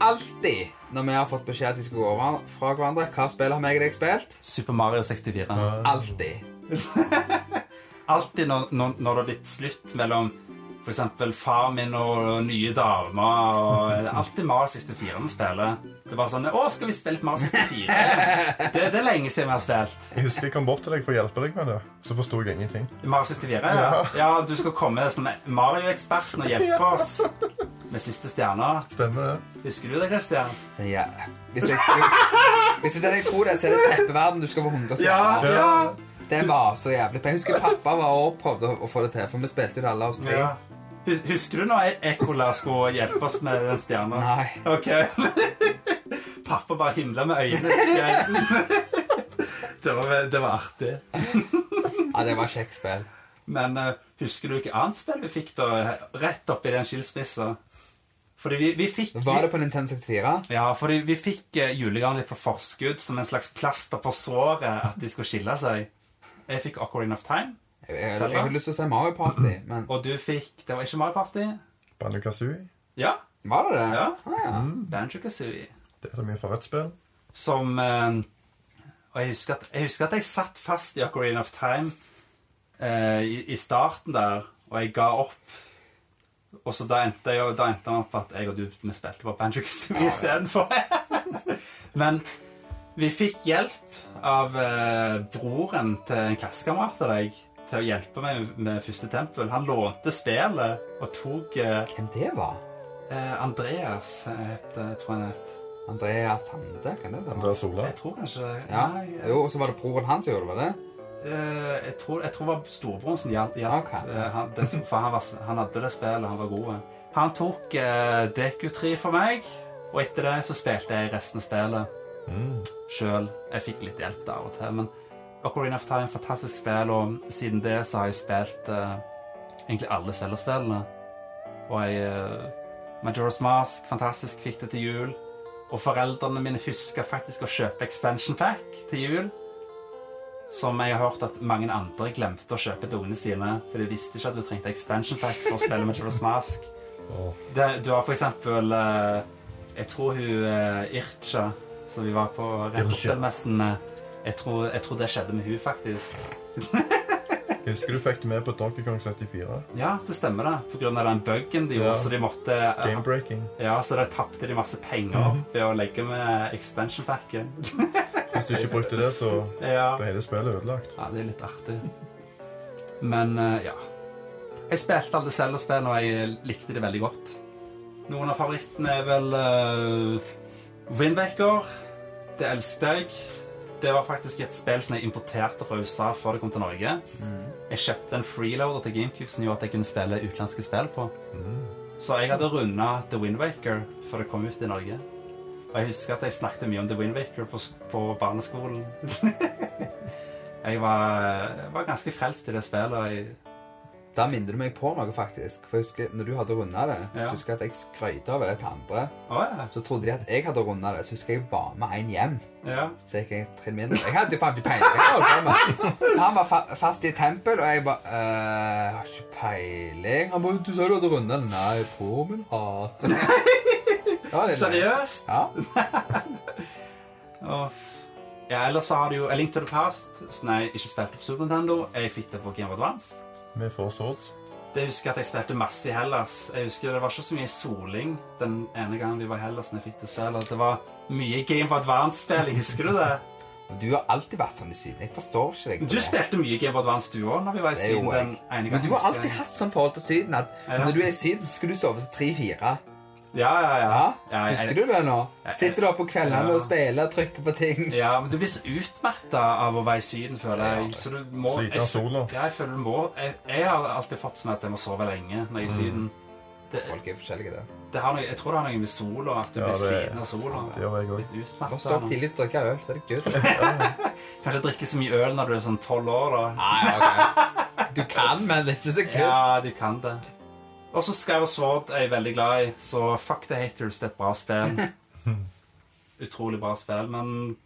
alltid, når vi har fått beskjed at de skal gå over fra hverandre Hva spill har meg og deg spilt? Super Mario 64. Alltid. Alltid når, når, når det har blitt slutt mellom f.eks. far min og nye damer og det er Alltid Mario 64 vi spiller. Det er bare sånn 'Å, skal vi spille litt Mario 64?' Det, det er lenge siden vi har spilt. Jeg husker jeg kom bort til deg for å hjelpe deg med det. Så forsto jeg ingenting. Mario 64, ja. ja. Du skal komme som Mario-eksperten og hjelpe oss med siste stjerna. Stemmer det? Husker du det, Christian? Ja. Hvis jeg, hvis det er det jeg tror det, er, så er det teppeverden du skal få 100 stjerner. Ja. Det var så jævlig. Jeg husker pappa var og prøvde å få det til, for vi spilte jo det alle oss tre. Ja. Hus- Husker du når Ekola skulle hjelpe oss med den stjerna? Nei. Ok. [LAUGHS] Pappa bare himla med øynene. husker jeg. [LAUGHS] Det var, det var artig. Ja, det var kjekt spill. Men eh, husker du hvilket annet spill vi fikk da, rett oppi den skilsmissa? Fordi vi, vi fikk Var det på Nintendo 64? Ja, fordi vi fikk eh, julegaven litt på forskudd som en slags plaster på såret at de skulle skille seg. Jeg fikk Ocarina of Time, Jeg, jeg, jeg, Zelda? har lyst til å si Mario Party, men og du fikk Det var ikke Mario Party? Banjo Kazooie. Ja. var det det? ja. Ah, ja. Banjo-Kazooie. Det er mye favorittspill. som eh, Og jeg husker, at, jeg husker at jeg satt fast i Ocarina of Time eh, i, i starten der, og jeg ga opp. Og så da endte jeg da endte jeg opp at jeg og du vi spilte på Banjo Kazooie istedenfor. [LAUGHS] Men vi fikk hjelp av eh, broren til en klassekamerat av deg til å hjelpe meg med første tempel. Han lånte spillet og tok eh, Hvem det var? eh, Andreas, het, tror jeg han het. Andrea Sande? Kan det stemme? Andrea Sola. Jeg tror kanskje det. Ja. Nei, jeg- Jo, og så var det broren hans som gjorde det, var det? Eh, jeg, tror, jeg tror det var storebroren som hjalp. hjalp. Ok. Eh, han, det, for han, var, s- han hadde det spillet, han var god. Han tok uh, Deku3 for meg, og etter Mm. det så spilte jeg resten av spillet sjøl. Jeg fikk litt hjelp der av og til, men Ocarina of Time, fantastisk spill, og siden det så har jeg spilt eh, egentlig alle Zelda-spillene. Og jeg eh, Majora's Mask, fantastisk, fikk det til jul. Og foreldrene mine husker faktisk å kjøpe expansion pack til jul. Som jeg har hørt at mange andre glemte å kjøpe til ungene sine. For de visste ikke at du trengte expansion pack for å spille Majora's Mask. Åh. Det, du har for eksempel eh, Jeg tror hun eh, Ircha, som vi var på Retterspillmessen med jeg tror, jeg tror det skjedde med hun faktisk. Jeg husker du fikk det med på Donkey Kong 74. Ja, det stemmer, det. På grunn av den buggen de Ja. gjorde, så de måtte eh, Game-breaking. Ja, så da tapte de masse penger ved å legge med expansion packen. [LAUGHS] Hvis du ikke brukte det, så ja. ble hele spillet ødelagt. Ja, det er litt artig. Men eh, ja. Jeg spilte alle Zelda-spillene, og jeg eh, likte det veldig godt. Noen av favorittene er vel uh, Windbaker. Det elsket jeg. Det var faktisk et spill som jeg importerte fra USA før det kom til Norge. Jeg kjøpte en freeloader til GameCube som gjorde at jeg kunne spille utenlandske spill på. Så jeg hadde runda The Windbaker før det kom ut i Norge. Og jeg husker at jeg snakket mye om The Windbaker på, sk- på barneskolen. Jeg var, jeg var ganske frelst i det spillet. og Jeg, Der minner du meg på noe, faktisk. For jeg husker, når du hadde runda det, Ja. så husker jeg at jeg skrøyta av det til andre. å ja. Så trodde de at jeg hadde runda det, så husker jeg jeg ba med en hjem. ja. Så gikk jeg et trinn mindre. Jeg hadde jo faen ikke peiling. Jeg holdt på med. Så han var fa fast i et tempel, og jeg bare «Øh, Jeg har ikke peiling. Han bare Du sa du hadde runda det. Nei, på min [LAUGHS] har Det var litt- Seriøst? Ja. Å, f- Ja, ellers så har du jo A Link to the Past, som jeg ikke spilte på Super Nintendo. Jeg fikk det på Game of Advance. Med Four Swords. Det husker jeg at jeg spilte masse i Hellas. Jeg husker Det var ikke så mye soling den ene gangen vi var i Hellas. når jeg fikk Det spillet. Det var mye Game of Advance-spilling, husker du det? [LAUGHS] Men Du har alltid vært sånn i Syden. Jeg forstår ikke deg. på Du det. spilte mye Game of Advance, du òg, når vi var i Det Syden gjorde den jeg. ene gangen. Men du har husker alltid jeg. hatt sånn forhold til Syden at Ja. når du er i Syden, så skal du sove til tre-fire. Ja, ja, ja. Ja? Ja, jeg- Husker du det nå? jeg- Sitter du oppe på kveldene Ja. og spiller og trykker på ting? Ja, men du blir så utmatta av å være i Syden, føler jeg. Så du må Sliten av sola. Ja, jeg føler du må jeg, jeg har alltid fått sånn at jeg må sove lenge når Mm. jeg er i Syden. Det, Folk er forskjellige, det. det har noe, jeg tror det har noe med sola at du Ja, blir det- sliten av sola. Det gjør jeg òg. Litt Bare stå opp utmatta. tidlig og drikke øl, så er det good. Kanskje drikke så mye øl når du er sånn tolv år, da. Nei, ok. Du kan, men det er ikke så Ja, kult. du kan det. Og så Sky og Sword er jeg veldig glad i, så fuck the haters, det er et bra [LAUGHS] spill. Utrolig bra spill, men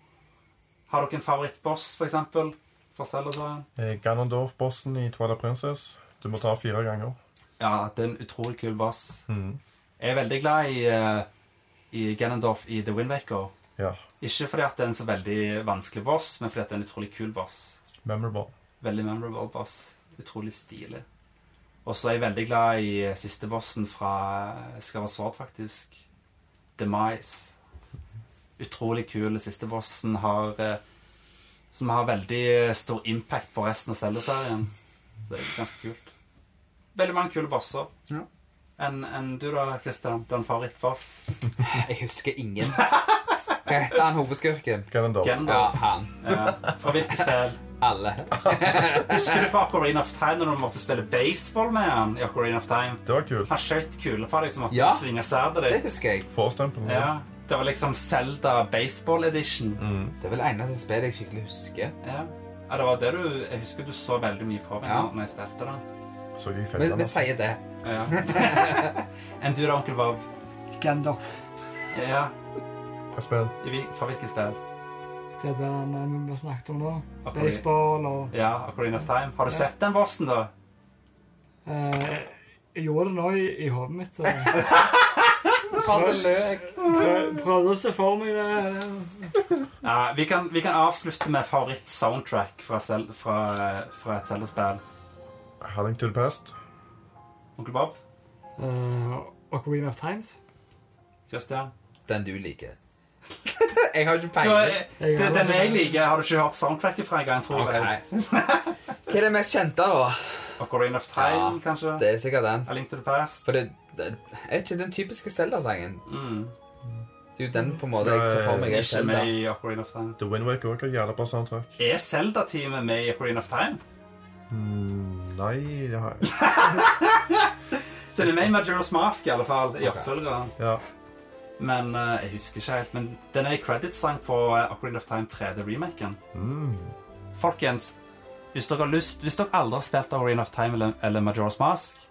har dere en favorittboss, for eksempel? For Zelda-serien? Eh, Ganondorf-bossen i Twilight Princess. Du må ta fire ganger. Ja, det er en utrolig kul boss. Mhm. Jeg er veldig glad i, eh, i Ganondorf i The Windwaker. Ja. Ikke fordi at det er en så veldig vanskelig boss, men fordi at det er en utrolig kul boss. Memorable. Veldig memorable boss. Utrolig stilig. Og så er jeg veldig glad i eh, siste bossen fra eh, Skava Sword, faktisk. Demise. Utrolig kul. Siste bossen har eh, Som har veldig eh, stor impact på resten av Zelda-serien. Så det er ganske kult. Veldig mange kule bosser. Ja. Enn enn du da, Christian? Den favorittboss? Jeg husker ingen. Hva heter han hovedskurken? Ganondorf. Ja, Gendorf. han. Ja. Fra hvilket spill? Alle. Husker du fra Ocarina of Time når du måtte spille baseball med han i Ocarina of Time? Det var kult. Han skjøt kuler fra deg som måtte Ja. liksom du svinge sverdet Det ditt. husker jeg. Forstempelen. Ja, det var liksom Zelda Baseball Edition. Mm. Det er vel eneste spillet jeg skikkelig husker. Ja. ja, det var det du Jeg husker du så veldig mye på meg Ja. når jeg spilte det. Så jeg altså. Vi, feilene. vi sier det. Ja. [LAUGHS] Enn du da, onkel Bob? Gandalf. Ja, Hva spill? i hvil- fra hvilket spill? Det der vi vi snakket om nå. Ocarina- Baseball og Ja, Ocarina of Time. Har du sett den bossen, da? eh, Jeg gjorde det nå i, i hodet mitt. eh. Faen, så løk. Prøv- Prøvde å se for meg det. Ja, vi, kan, vi kan avslutte med favoritt-soundtrack fra, Zel- fra, fra et Zelda-spill. Halling to the Past. Onkel Bob? Eh, Ocarina of Times. Christian? Den du liker. [LAUGHS] Jeg har ikke Du, peiling. eh, det er den jeg liker. Har du ikke hørt soundtracket fra en gang, tror Ok. jeg? Hva er det mest kjente, da? Ocarina of Ja, Time, kanskje? Det er sikkert den. A Link to the Past? For det, det er ikke den typiske Zelda-sangen. Mm. Det er jo den på en måte jeg ser for meg er Ikke Zelda. med i Ocarina of Time. The Windwaker òg har jævla bra soundtrack. Er Zelda-teamet med i Ocarina of Time? Mm, nei, det har jeg Så det er med i Majora's Mask, i alle fall, i Ok. oppfølgeren. [LAUGHS] Ja. Men eh, jeg husker ikke helt. Men den er i creditsang på eh, Ocarina of Time 3D-remaken. Mm. Folkens, hvis dere, har lyst, hvis dere aldri har spilt Ocarina of Time eller, eller Majora's Mask,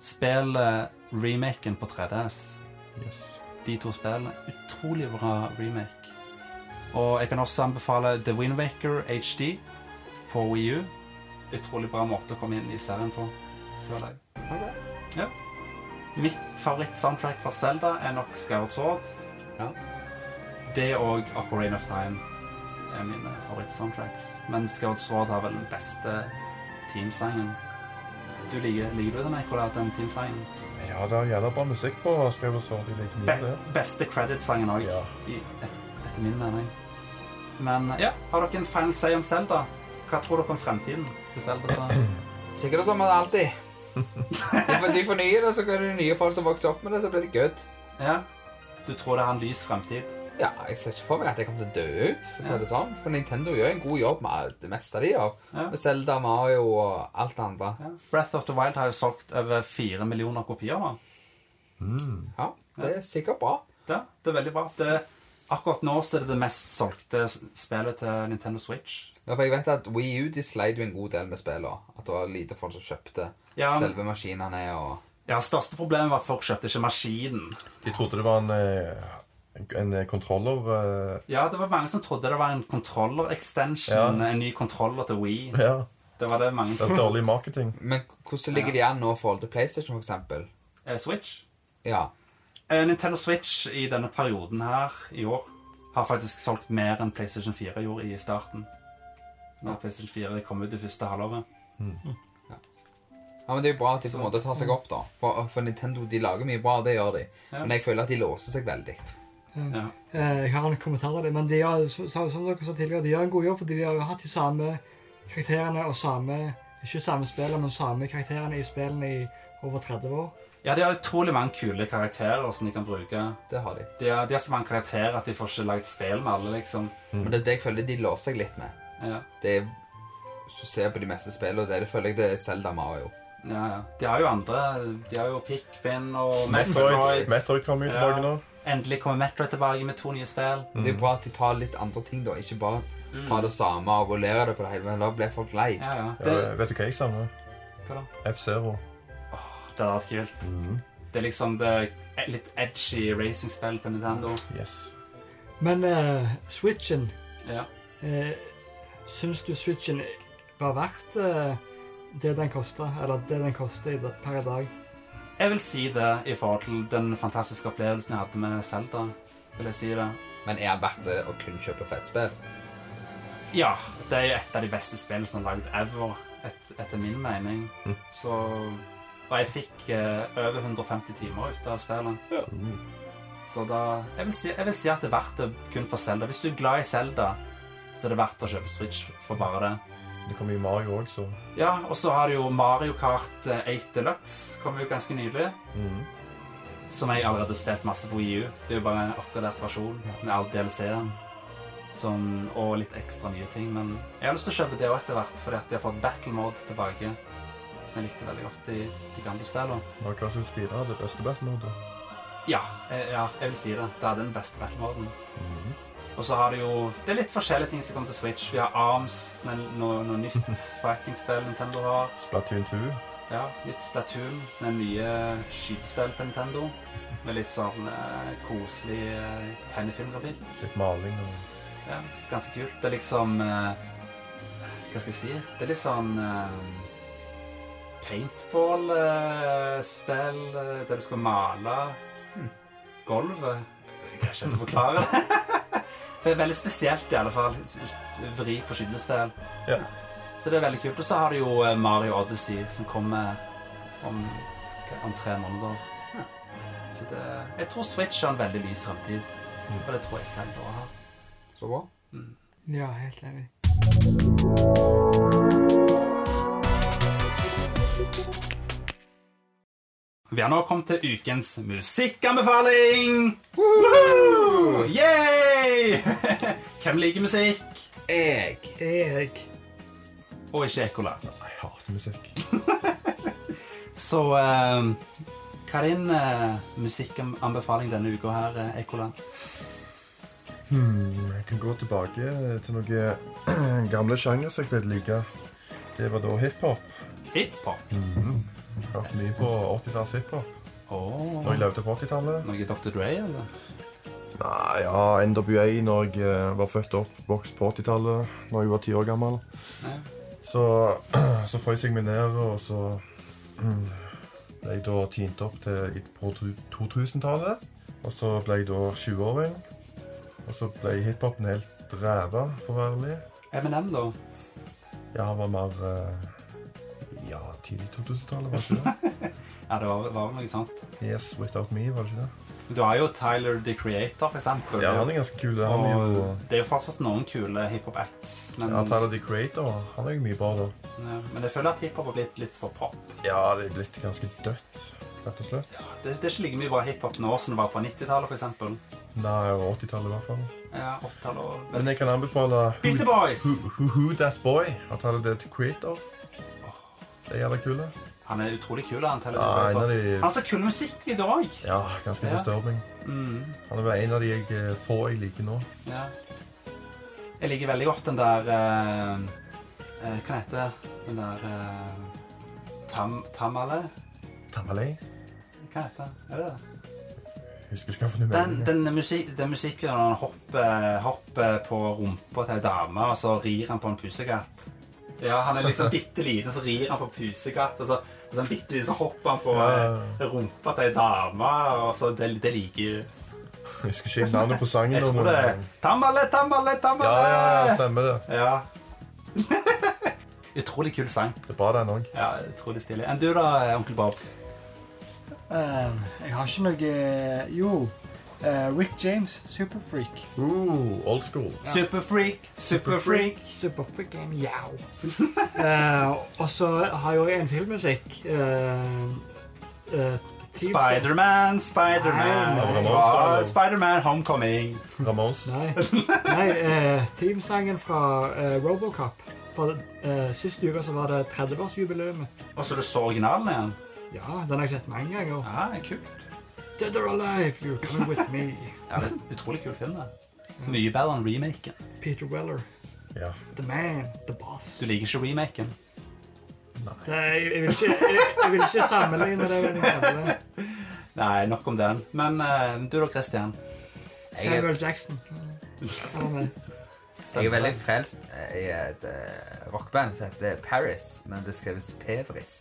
spill eh, remaken på 3DS. Yes. De to spillene. Utrolig bra remake. Og jeg kan også anbefale The Windwaker HD på Wii U. Utrolig bra måte å komme inn i serien på, føler jeg. Ok. Ja. Mitt favoritt-soundtrack fra Zelda er nok Skyward Sword. Ja. Det og Ocarina of Time er mine favoritt-soundtracks. Men Skyward Sword har vel den beste teamsangen. Du liker, liker du den, Ekola, den teamsangen? Ja, det er jævla bra musikk på Skyward Sword. Jeg liker mye Be av det. beste credit-sangen òg, Ja. etter min mening. Men ja, har dere en final say om Zelda? Hva tror dere om fremtiden til Zelda? Så? Sikkert som alltid. [LAUGHS] De, for- de fornyer det, så kan det nye folk som vokser opp med det, så blir det good. Ja. Du tror det har en lys fremtid? Ja, jeg ser ikke for meg at jeg kommer til å dø ut, for å si det sånn. For Nintendo gjør en god jobb med alt- det meste de gjør. Ja. Med Zelda, Mario og alt det andre. Ja. Breath of the Wild har jo solgt over fire millioner kopier nå. Ja, det er sikkert bra. Ja, det er veldig bra. Det, akkurat nå så er det det mest solgte s- spillet til Nintendo Switch. Ja, for jeg vet at Wii U de sleit jo en god del med spillene. At det var lite folk som kjøpte Ja. selve maskinene og Ja, Største problemet var at folk kjøpte ikke maskinen. De trodde det var en, eh, en eh, kontroller eh, [LAUGHS] Ja, Det var mange som trodde det var en kontroller-extension, en ny kontroller til Wii. Ja. Det var det mange Det er dårlig marketing. Men hvordan ligger de an nå i forhold til PlayStation, for eksempel? Eh, Switch. Ja. Eh, Nintendo Switch i denne perioden her i år har faktisk solgt mer enn PlayStation 4 gjorde i starten. Når PlayStation 4 kom ut det første halvåret. Ja, men Det er jo bra at de på en Så- Mm. måte tar seg opp, da. For, for Nintendo de lager mye bra, det gjør de. Ja. Men jeg føler at de låser seg veldig. Ja. Eh, Jeg har en kommentar til det, men de har, så- så- som dere sa tidligere, de gjør en god jobb, fordi de har jo hatt de samme karakterene og samme Ikke samme spillene, men samme karakterene i spillene i over 30 år. ja, de har utrolig mange kule karakterer som de kan bruke. Det har de. De har, de har så mange karakterer at de får ikke lagd spill med alle, liksom. Mm. Men det er det jeg føler de låser seg litt med. Ja, Det er, Hvis du ser på de meste spillene, så er det, føler jeg det er Zelda Mario. ja, ja. De har jo andre. De har jo Pikmin og [LAUGHS] Metroid. Metroid, Metroid kommer jo tilbake nå. Endelig kommer Metroid tilbake med to nye spill. Det er Mm. bra at de tar litt andre ting, da. Ikke bare ta det samme og rullere det på det hele. Men da blir folk lei. Ja, ja. Ja, Det, vet du hva jeg savner? hva da? F-Zero. det hadde vært kult. Mm. Det er liksom det litt edgy racingspillet til Nintendo. Yes. Men eh, Switchen Ja. eh, Syns du Switchen var verdt eh, det den kosta? Eller det den koster i da- per i dag? Jeg vil si det i forhold til den fantastiske opplevelsen jeg hadde med Zelda. Vil jeg si det. Men er det verdt det å kun kjøpe fettspill? Ja, det er jo et av de beste spillene som er lagd ever, et, etter min mening. Så Og jeg fikk eh, over 150 timer ut av spillet. Mm. Så da jeg vil, si, jeg vil si at det er verdt det kun for Zelda. Hvis du er glad i Zelda, så er det verdt å kjøpe Switch for bare det. Det kommer jo Mario òg, så Ja, og så har du jo Mario Kart eh, 8 Deluxe. Kom jo ganske nydelig. Mhm. Som jeg allerede har spilt masse på EU. Det er jo bare en oppgradert versjon med all DLC-en. Som, og litt ekstra nye ting. Men jeg har lyst til å kjøpe det òg etter hvert, fordi at de har fått battle mode tilbake. Som jeg likte veldig godt i de gamle spillene. Mario Kart 64 er det beste Batman-modet. Ja, eh, ja, jeg vil si det. Det er den beste battle moden. Og så har du jo Det er litt forskjellige ting som kommer til Switch. Vi har Arms, som er noe, noe nytt fighting-spill Nintendo har. Splatoon 2. Ja, litt Splatoon, som er mye skytespill til Nintendo. Med litt sånn eh, koselig eh, tegnefilmgrafikk. Litt maling og Ja, ganske kult. Det er liksom eh, Hva skal jeg si? Det er litt sånn eh, paintball-spill eh, der du skal male gulvet. Jeg greier ikke helt å forklare det. [LAUGHS] det er veldig spesielt, i alle fall. Vri på skyndespill. Ja. Så det er veldig kult. Og så har du jo eh, Mario Odyssey, som kommer om, om tre måneder. Så det, jeg tror Switch har en veldig lys framtid. Og det tror jeg selv da har. Så bra. Ja, helt enig. Vi har nå kommet til ukens musikkanbefaling! Woohoo! Yay! [LAUGHS] Hvem liker musikk? Jeg Jeg Og ikke ekkola. Jeg hater musikk. Så eh, hva er din eh, musikkanbefaling denne uka her, eh, ekkola? Mm. Jeg kan gå tilbake til noen [CLEARS THROAT] gamle sjanger som jeg vet like. Det var da hiphop. Hiphop. Mm. Hørte mye på 80-talls hiphop. Åh, Når jeg levde på 80-tallet. Noe Dr. Dre, eller? Nei, ja, NWA når jeg eh, var født og oppvokst på 80-tallet, når jeg var ti år gammel. Så, [CLEARS THROAT] så frøs jeg meg ned, og så [CLEARS THROAT] mm, ble jeg da tint opp til i- på to- 2000-tallet. Og så ble jeg da 20-åring. Og så ble hiphopen helt ræva, for å være ærlig. Eminem, da? Ja, han var mer eh, Ja, tidlig 2000-tallet, var det ikke det? Ja, det var, var vel noe sånt. Yes, Without Me, var det ikke det? Du har jo Tyler the Creator, for eksempel. Ja, han er ganske kul. Han er jo og det er jo fortsatt noen kule hiphop-acts, men, ja, Tyler the Creator. Han er jo mye bra, da. ja, men jeg føler at hiphop har blitt litt for pop. Ja, det er blitt ganske dødt, rett og slett. Det, det er ikke like mye bra hiphop nå som det var på 90-tallet, for eksempel. Nei, over 80-tallet i hvert fall. Ja, 80-tallet og... Men jeg kan anbefale Beastie Boys! Who, who, who That Boy av Tyler The Creator. Det er jævla kule. Han er utrolig kul, han Tyler. the Ja, en av Creator. de- Han har så kul musikkvideo òg. Ja, ganske Ja. disturbing. Han er vel en av de jeg eh, få jeg liker nå. Ja. Jeg liker veldig godt den der eh, eh, Hva heter det? Den der eh, tam, Tamale? Tamalei. Hva heter det? Er det det? Husker ikke hva for noe Den, mening. den, musik, den musikken når han hopper, hopper på rumpa til ei dame, og så rir han på en pusekatt. Ja, Han er liksom bitte liten, så rir han på en pusekatt, og så, og så, en bitte liten, så hopper han på eh, rumpa til ei dame. og så Det, det liker Jeg husker ikke navnet på sangen. Jeg nå, tror men- det er Tamale, tamale, Ja, tamale! ja, ja, stemmer det. Ja. [LAUGHS] Utrolig kul sang. Det er bra, den òg. Ja, Utrolig stilig. Enn du da, onkel Bob? Eh, jeg har ikke noe Jo. eh, Rick James, Superfreak. Uh, old school. Superfreak, superfreak. Superfreak er mjau. Eh, og så har jeg òg en filmmusikk. eh, eh, Thieves- Spiderman, Spiderman. Nei, nei. Ja, Spiderman Homecoming. Ramones. Nei, nei eh, themesangen fra eh, Robocop. For eh, Sist uke så var det 30-årsjubileet. Og så du så originalen igjen? Ja, den har jeg sett mange ganger. Ja, kult. Dead or alive, you're coming with me. Ja, det er en Utrolig kul film. det. Mye bedre enn remaken. Peter Weller, Ja. the man, the boss. Du liker ikke remaken? Nei, jeg vil ikke, jeg, jeg vil ikke sammenligne det med den andre. Nei, nok om den. Men eh, du da, Christian? Samuel Jackson. Han er- Stemmer Jeg er veldig det? frelst eh, i et eh, rockeband som heter Paris, men det skrives Pevris.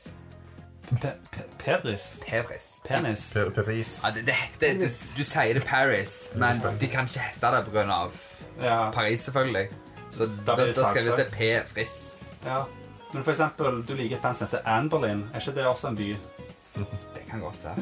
Pe- pe- Pevris? Pevris. Penis? Per- Paris. Ja, det, det, det, det, du sier det Paris, men de kan ikke hete det pga. Ja. Paris, selvfølgelig. Så Da da, da blir det skrives saksak. det P-Fris. ja. Men for eksempel, du liker et band som heter Anne Boleyn. Er ikke det også en by? Det kan godt være.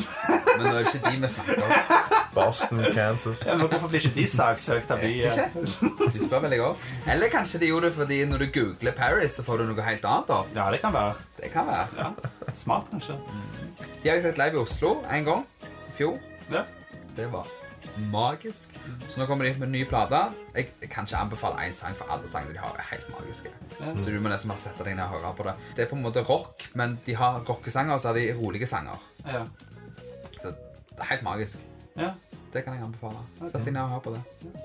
Men nå er det ikke de vi snakker om. Boston, Kansas. Ja, men Hvorfor blir ikke de saksøkt [LAUGHS] av byen? Du spør veldig godt. Eller kanskje de gjorde det fordi når du googler Paris, så får du noe helt annet opp. eh, Ja, det kan være. Det kan være. Ja. Smart, kanskje. De har jeg sett live i Oslo en gang i fjor. Ja. Det var magisk. Så nå kommer de med en ny plate. Jeg, jeg kan ikke anbefale én sang, for alle sangene de har, er helt magiske. Så du må nesten bare sette deg ned og høre på det. Det er på en måte rock, men de har rockesanger, og så har de rolige sanger. Ja. Så det er helt magisk. ja. Det kan jeg anbefale. Sett deg ned og hør på det.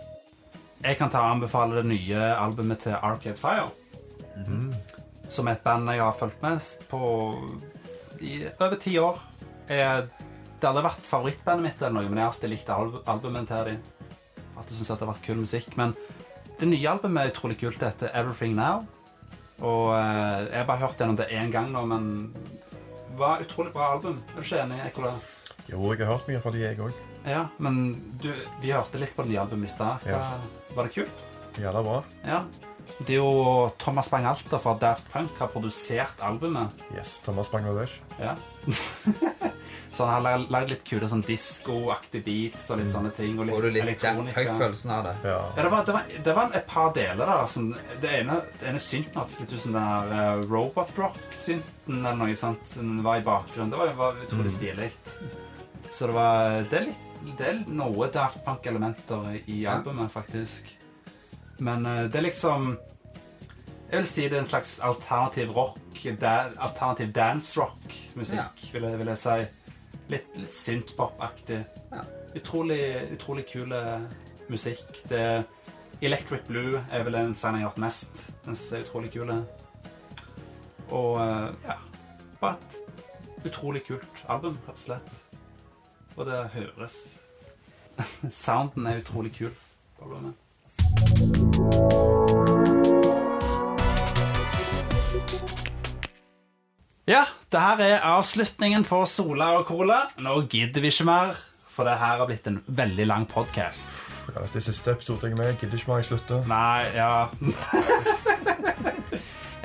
Jeg kan ta og anbefale det nye albumet til Arcade Fire. Som er et band jeg har fulgt med på i over ti år. Jeg, det har aldri vært favorittbandet mitt, eller noe, men jeg har alltid likt alb albumet til dem. At jeg synes at det har vært kul musikk. Men det nye albumet er utrolig kult. Det heter Everything Now. Og eh, jeg har bare hørt gjennom det én gang nå, men det var et utrolig bra album. Er du ikke enig, Ekola? Jo, jeg har hørt mye fra de, jeg òg. Ja, men du, vi hørte litt på det nye albumet i stad. Hva- Ja. Var det kult? Jævla bra. Ja. Det er jo Thomas Bang-Alter fra Daft Punk har produsert albumet. Yes, Thomas Bangladesh. Ja. [LAUGHS] så han har lagd litt kule sånn disko-aktige beats og litt sånne ting. Og litt, Får du litt Daft elektronika. Punk-følelsen av det? Ja. Ja, det var, det, var, det var et par deler der. Som, det ene, det ene synten hørtes litt ut som den her eh, Robot Rock-synten eller noe sånt. som var i bakgrunnen. Det var, var Mm. utrolig stilig. Så det var Det er, litt, det er noe Daft Punk-elementer i Ja. albumet, faktisk. Men eh, det er liksom Jeg vil si det er en slags alternativ rock. Da, alternativ dance-rock-musikk, vil, jeg- vil jeg si. Litt, litt synth-pop-aktig. Ja. Utrolig, utrolig kul eh, musikk. Det Electric Blue er vel den sangen jeg har hørt mest. Den synes jeg er utrolig kul. det. Og eh, ja Bare et utrolig kult album, rett og slett. Og det høres [LAUGHS] Sounden er utrolig kul. på albumet. Ja, det her er avslutningen på Sola og Cola. Nå gidder vi ikke mer, for det her har blitt en veldig lang podkast. Ja, dette er siste episode jeg er med. Jeg gidder ikke mer. Jeg slutter. Nei, [LAUGHS] ja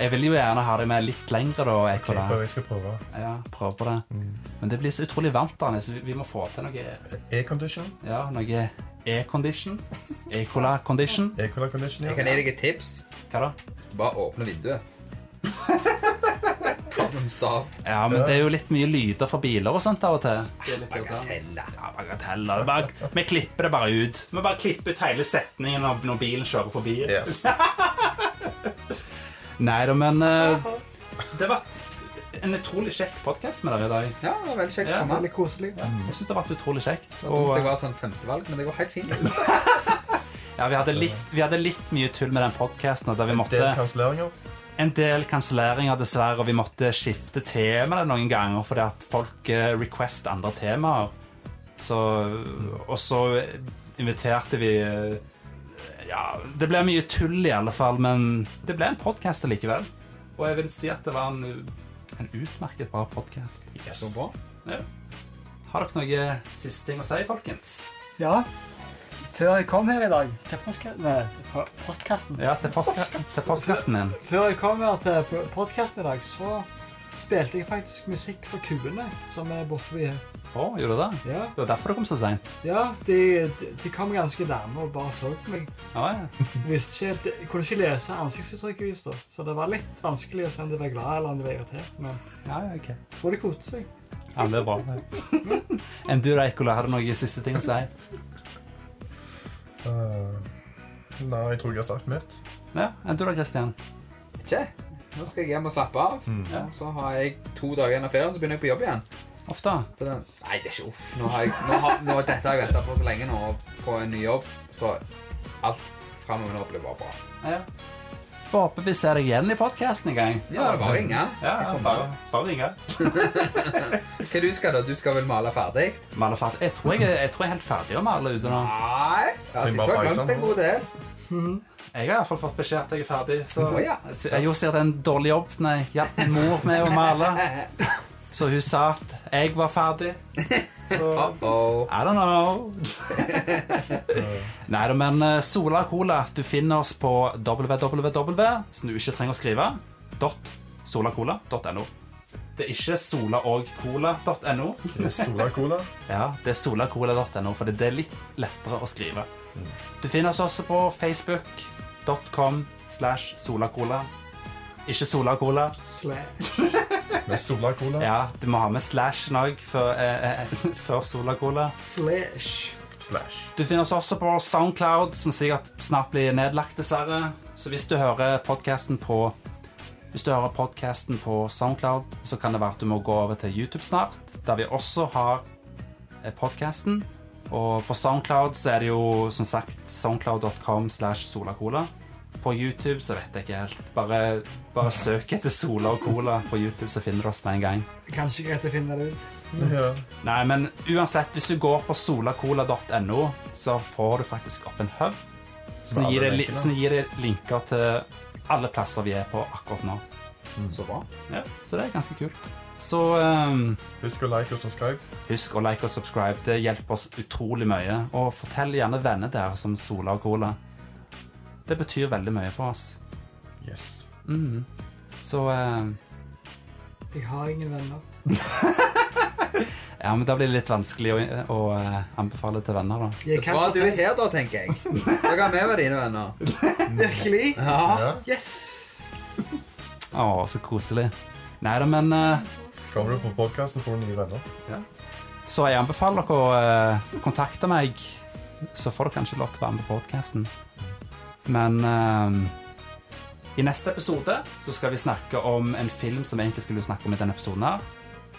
Jeg vil jo gjerne ha det med litt lengre, da. Jeg Ekola. prøver, jeg skal prøve. Ja, prøv på det. Men det blir så utrolig varmt, Arne, så vi- vi må få til noe E-condition. Ja, noe e-condition. Ecola-condition. E-condition, Jeg kan ja. gi deg et tips. Hva da? Bare åpne [LAUGHS] vinduet. Problem solved. Ja, men det er jo litt mye lyder fra biler og sånt av og til. Det er litt irriterende. Bagatella. Ja, bagateller. Det er Bare, vi klipper det bare ut. Vi bare klipper ut hele setningen når, når bilen kjører forbi. Yes. Nei da, men eh, Det har vært en utrolig kjekk podkast med dere i dag. Ja, det var veldig kjekt å Ja, komme. Veldig koselig. Jeg syns det har vært utrolig kjekt. Mm. Det var Og, dumt eh, jeg var sånn femtevalg, men det går helt fint. ja, vi, hadde litt, vi hadde litt mye tull med den podkasten. Der vi Det måtte er kanselleringer. en del kanselleringer, dessverre, og vi måtte skifte temaer noen ganger fordi at folk eh, request andre temaer. Så, og så inviterte vi eh, Ja, det ble mye tull i alle fall, men det ble en podkast likevel. Og jeg vil si at det var en, en utmerket bra podkast. Så bra. Har dere noen siste ting å si, folkens? Ja. Før jeg kom her i dag til postka- nei, po- postkassen Ja, til, postka til postkassen din. Før jeg kom her til po- podkasten i dag, så spilte jeg faktisk musikk for kuene som er borte forbi her. Å, gjorde du det? Ja, Det var derfor du kom så seint. ja de, de, de kom ganske nærme og bare så på meg. Ja, ja. Visste ikke helt, jeg kunne ikke lese ansiktsuttrykket deres, da. Så det var litt vanskelig å se om de var glad eller om de var irritert. Men ja, ja, ok. jeg tror de koste seg. Ja, men det er bra. [LAUGHS] Enn du, Reikola, har du noen siste ting å si? Eh, Nei, jeg tror jeg har sagt mitt. Ja, enn du da, Kristian? Ikke? Nå skal jeg hjem og slappe av. Ja. Og så har jeg to dager igjen av ferien, så begynner jeg på jobb igjen. Ofte? Så det, nei, det er ikke uff. Nå har jeg, nå har, nå, dette har jeg venta på så lenge nå, å få en ny jobb. Så alt framover nå blir bare bra. Ja. Får håpe vi ser deg igjen i podkasten en gang. Ja, det er bare å ringe. Ja, ja, bare, bare ringe. Hva du skal da? Du skal vel male ferdig? Male ferdig. Jeg tror jeg, er- jeg tror jeg er helt ferdig å male ute nå. Nei. Ja, Kan jeg sitter bare og har bajse sånn. glemt nå? en god del. Jeg har iallfall fått beskjed at jeg er ferdig. Så Å, ja. Så jeg gjorde sikkert en dårlig jobb når jeg hjalp min mor med å male. Så hun sa at jeg var ferdig. Så Uh-oh. I don't [LAUGHS] know. Nei da, men eh, Sola Cola, du finner oss på www, som du ikke trenger å skrive, dot solacola.no. Det er ikke solaogcola.no. Det er Sola Cola. Ja, det er solacola.no, for det er litt lettere å skrive. Du finner oss også på facebook.com slash solacola. Ikke solacola. Slash. Med Sola Cola. Ja, du må ha med slashen òg før, eh, eh, [LAUGHS] før solacola. Slash. Slash. Du finner oss også på Soundcloud, som sikkert snart blir nedlagt, dessverre. Så hvis du hører podkasten på Hvis du hører podcasten på Soundcloud, så kan det være at du må gå over til YouTube snart, der vi også har podkasten. Og på Soundcloud så er det jo som sagt soundcloud.com slash solacola. På YouTube så vet jeg ikke helt. Bare, bare søk etter Sola og Cola på YouTube, så finner du oss med en gang. Kanskje greit å finne det ut. Ja. Nei, men uansett, hvis du går på solacola.no, så får du faktisk opp en hub. Som Med alle gir, deg, li- linkene. som gir deg linker til alle plasser vi er på akkurat nå. Så bra. Ja, så det er ganske kult. Så ehm, Husk å like og subscribe. husk å like og subscribe. Det hjelper oss utrolig mye. Og fortell gjerne venner der som Sola og Cola. Det betyr veldig mye for oss. Yes. Mhm. Så ehm, Jeg har ingen venner. Ja, men da blir det litt vanskelig å, å eh, anbefale til venner, da. Det Jeg er kan bra at du er her, da, tenker jeg. Dere har med meg dine venner. Virkelig? Ja. Ja. Yes! Å, så koselig. Nei da, men eh, Kommer du på podkasten, får du nye venner. Så jeg anbefaler dere å eh, kontakte meg, så får dere kanskje lov til å være med på podkasten. Men eh, i neste episode så skal vi snakke om en film som vi egentlig skulle snakke om i denne episoden her.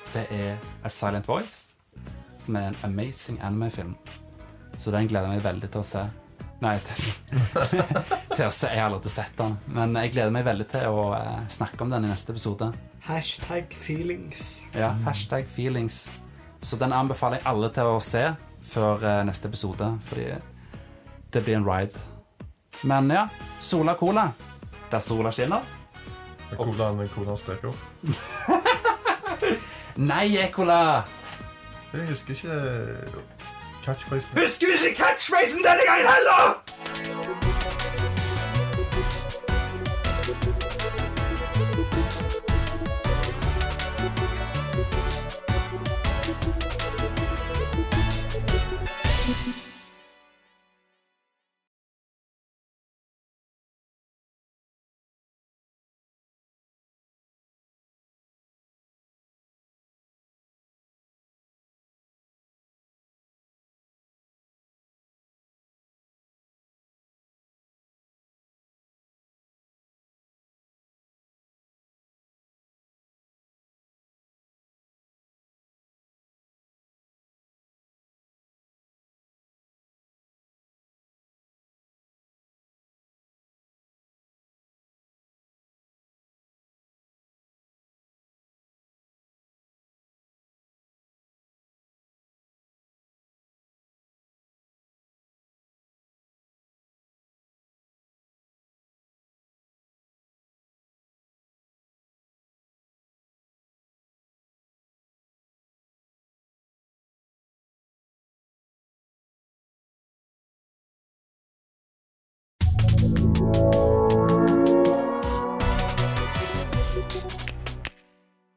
Det er A Silent Voice, som er en amazing anime-film. Så den gleder jeg meg veldig til å se. Nei, [LAUGHS] til, til å se. Jeg har allerede sett den. Men jeg gleder meg veldig til å eh, snakke om den i neste episode. Hashtag feelings. Ja, Mm. hashtag feelings. Så den anbefaler jeg alle til å se før eh, neste episode, fordi det blir en ride. Men ja, Sola Cola. Der sola skinner. Hvordan, hvordan streker opp? Nei, E. Ekola! Jeg husker ikke eh, catchphrasen. Husker du ikke catchphrasen denne gangen heller!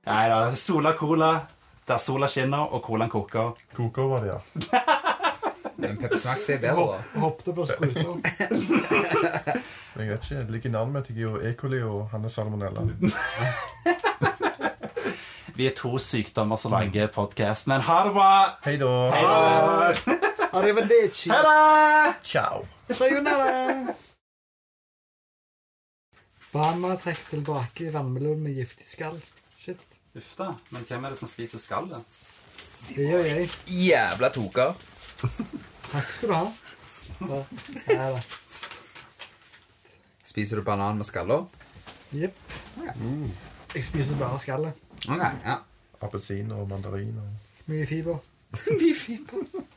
Nei da, Sola Cola. Der sola skinner og colaen koker. Koker var det, ja. Men Pepsi Max er bedre, da. Hoppte på spruter. Men Jeg vet ikke, Det ligger i navnet mitt. Jeg er jo E. coli, og han er salmonella. Vi er to sykdommer som lager podkast, men ha det bra! Hei da. Arrivederci. Ha det! Ciao. Sayonara. Bahama trekker tilbake vannmelon med giftig skall. Shit. Uff da. Men hvem er det som spiser skallet? Det gjør jeg. Jævla toker. Takk skal du ha. Da- Nei da. Spiser du banan med skaller? Jepp. Jeg spiser bare skallet. Ok, ja. Appelsin og mandarin og Mye fiber. Mye fint.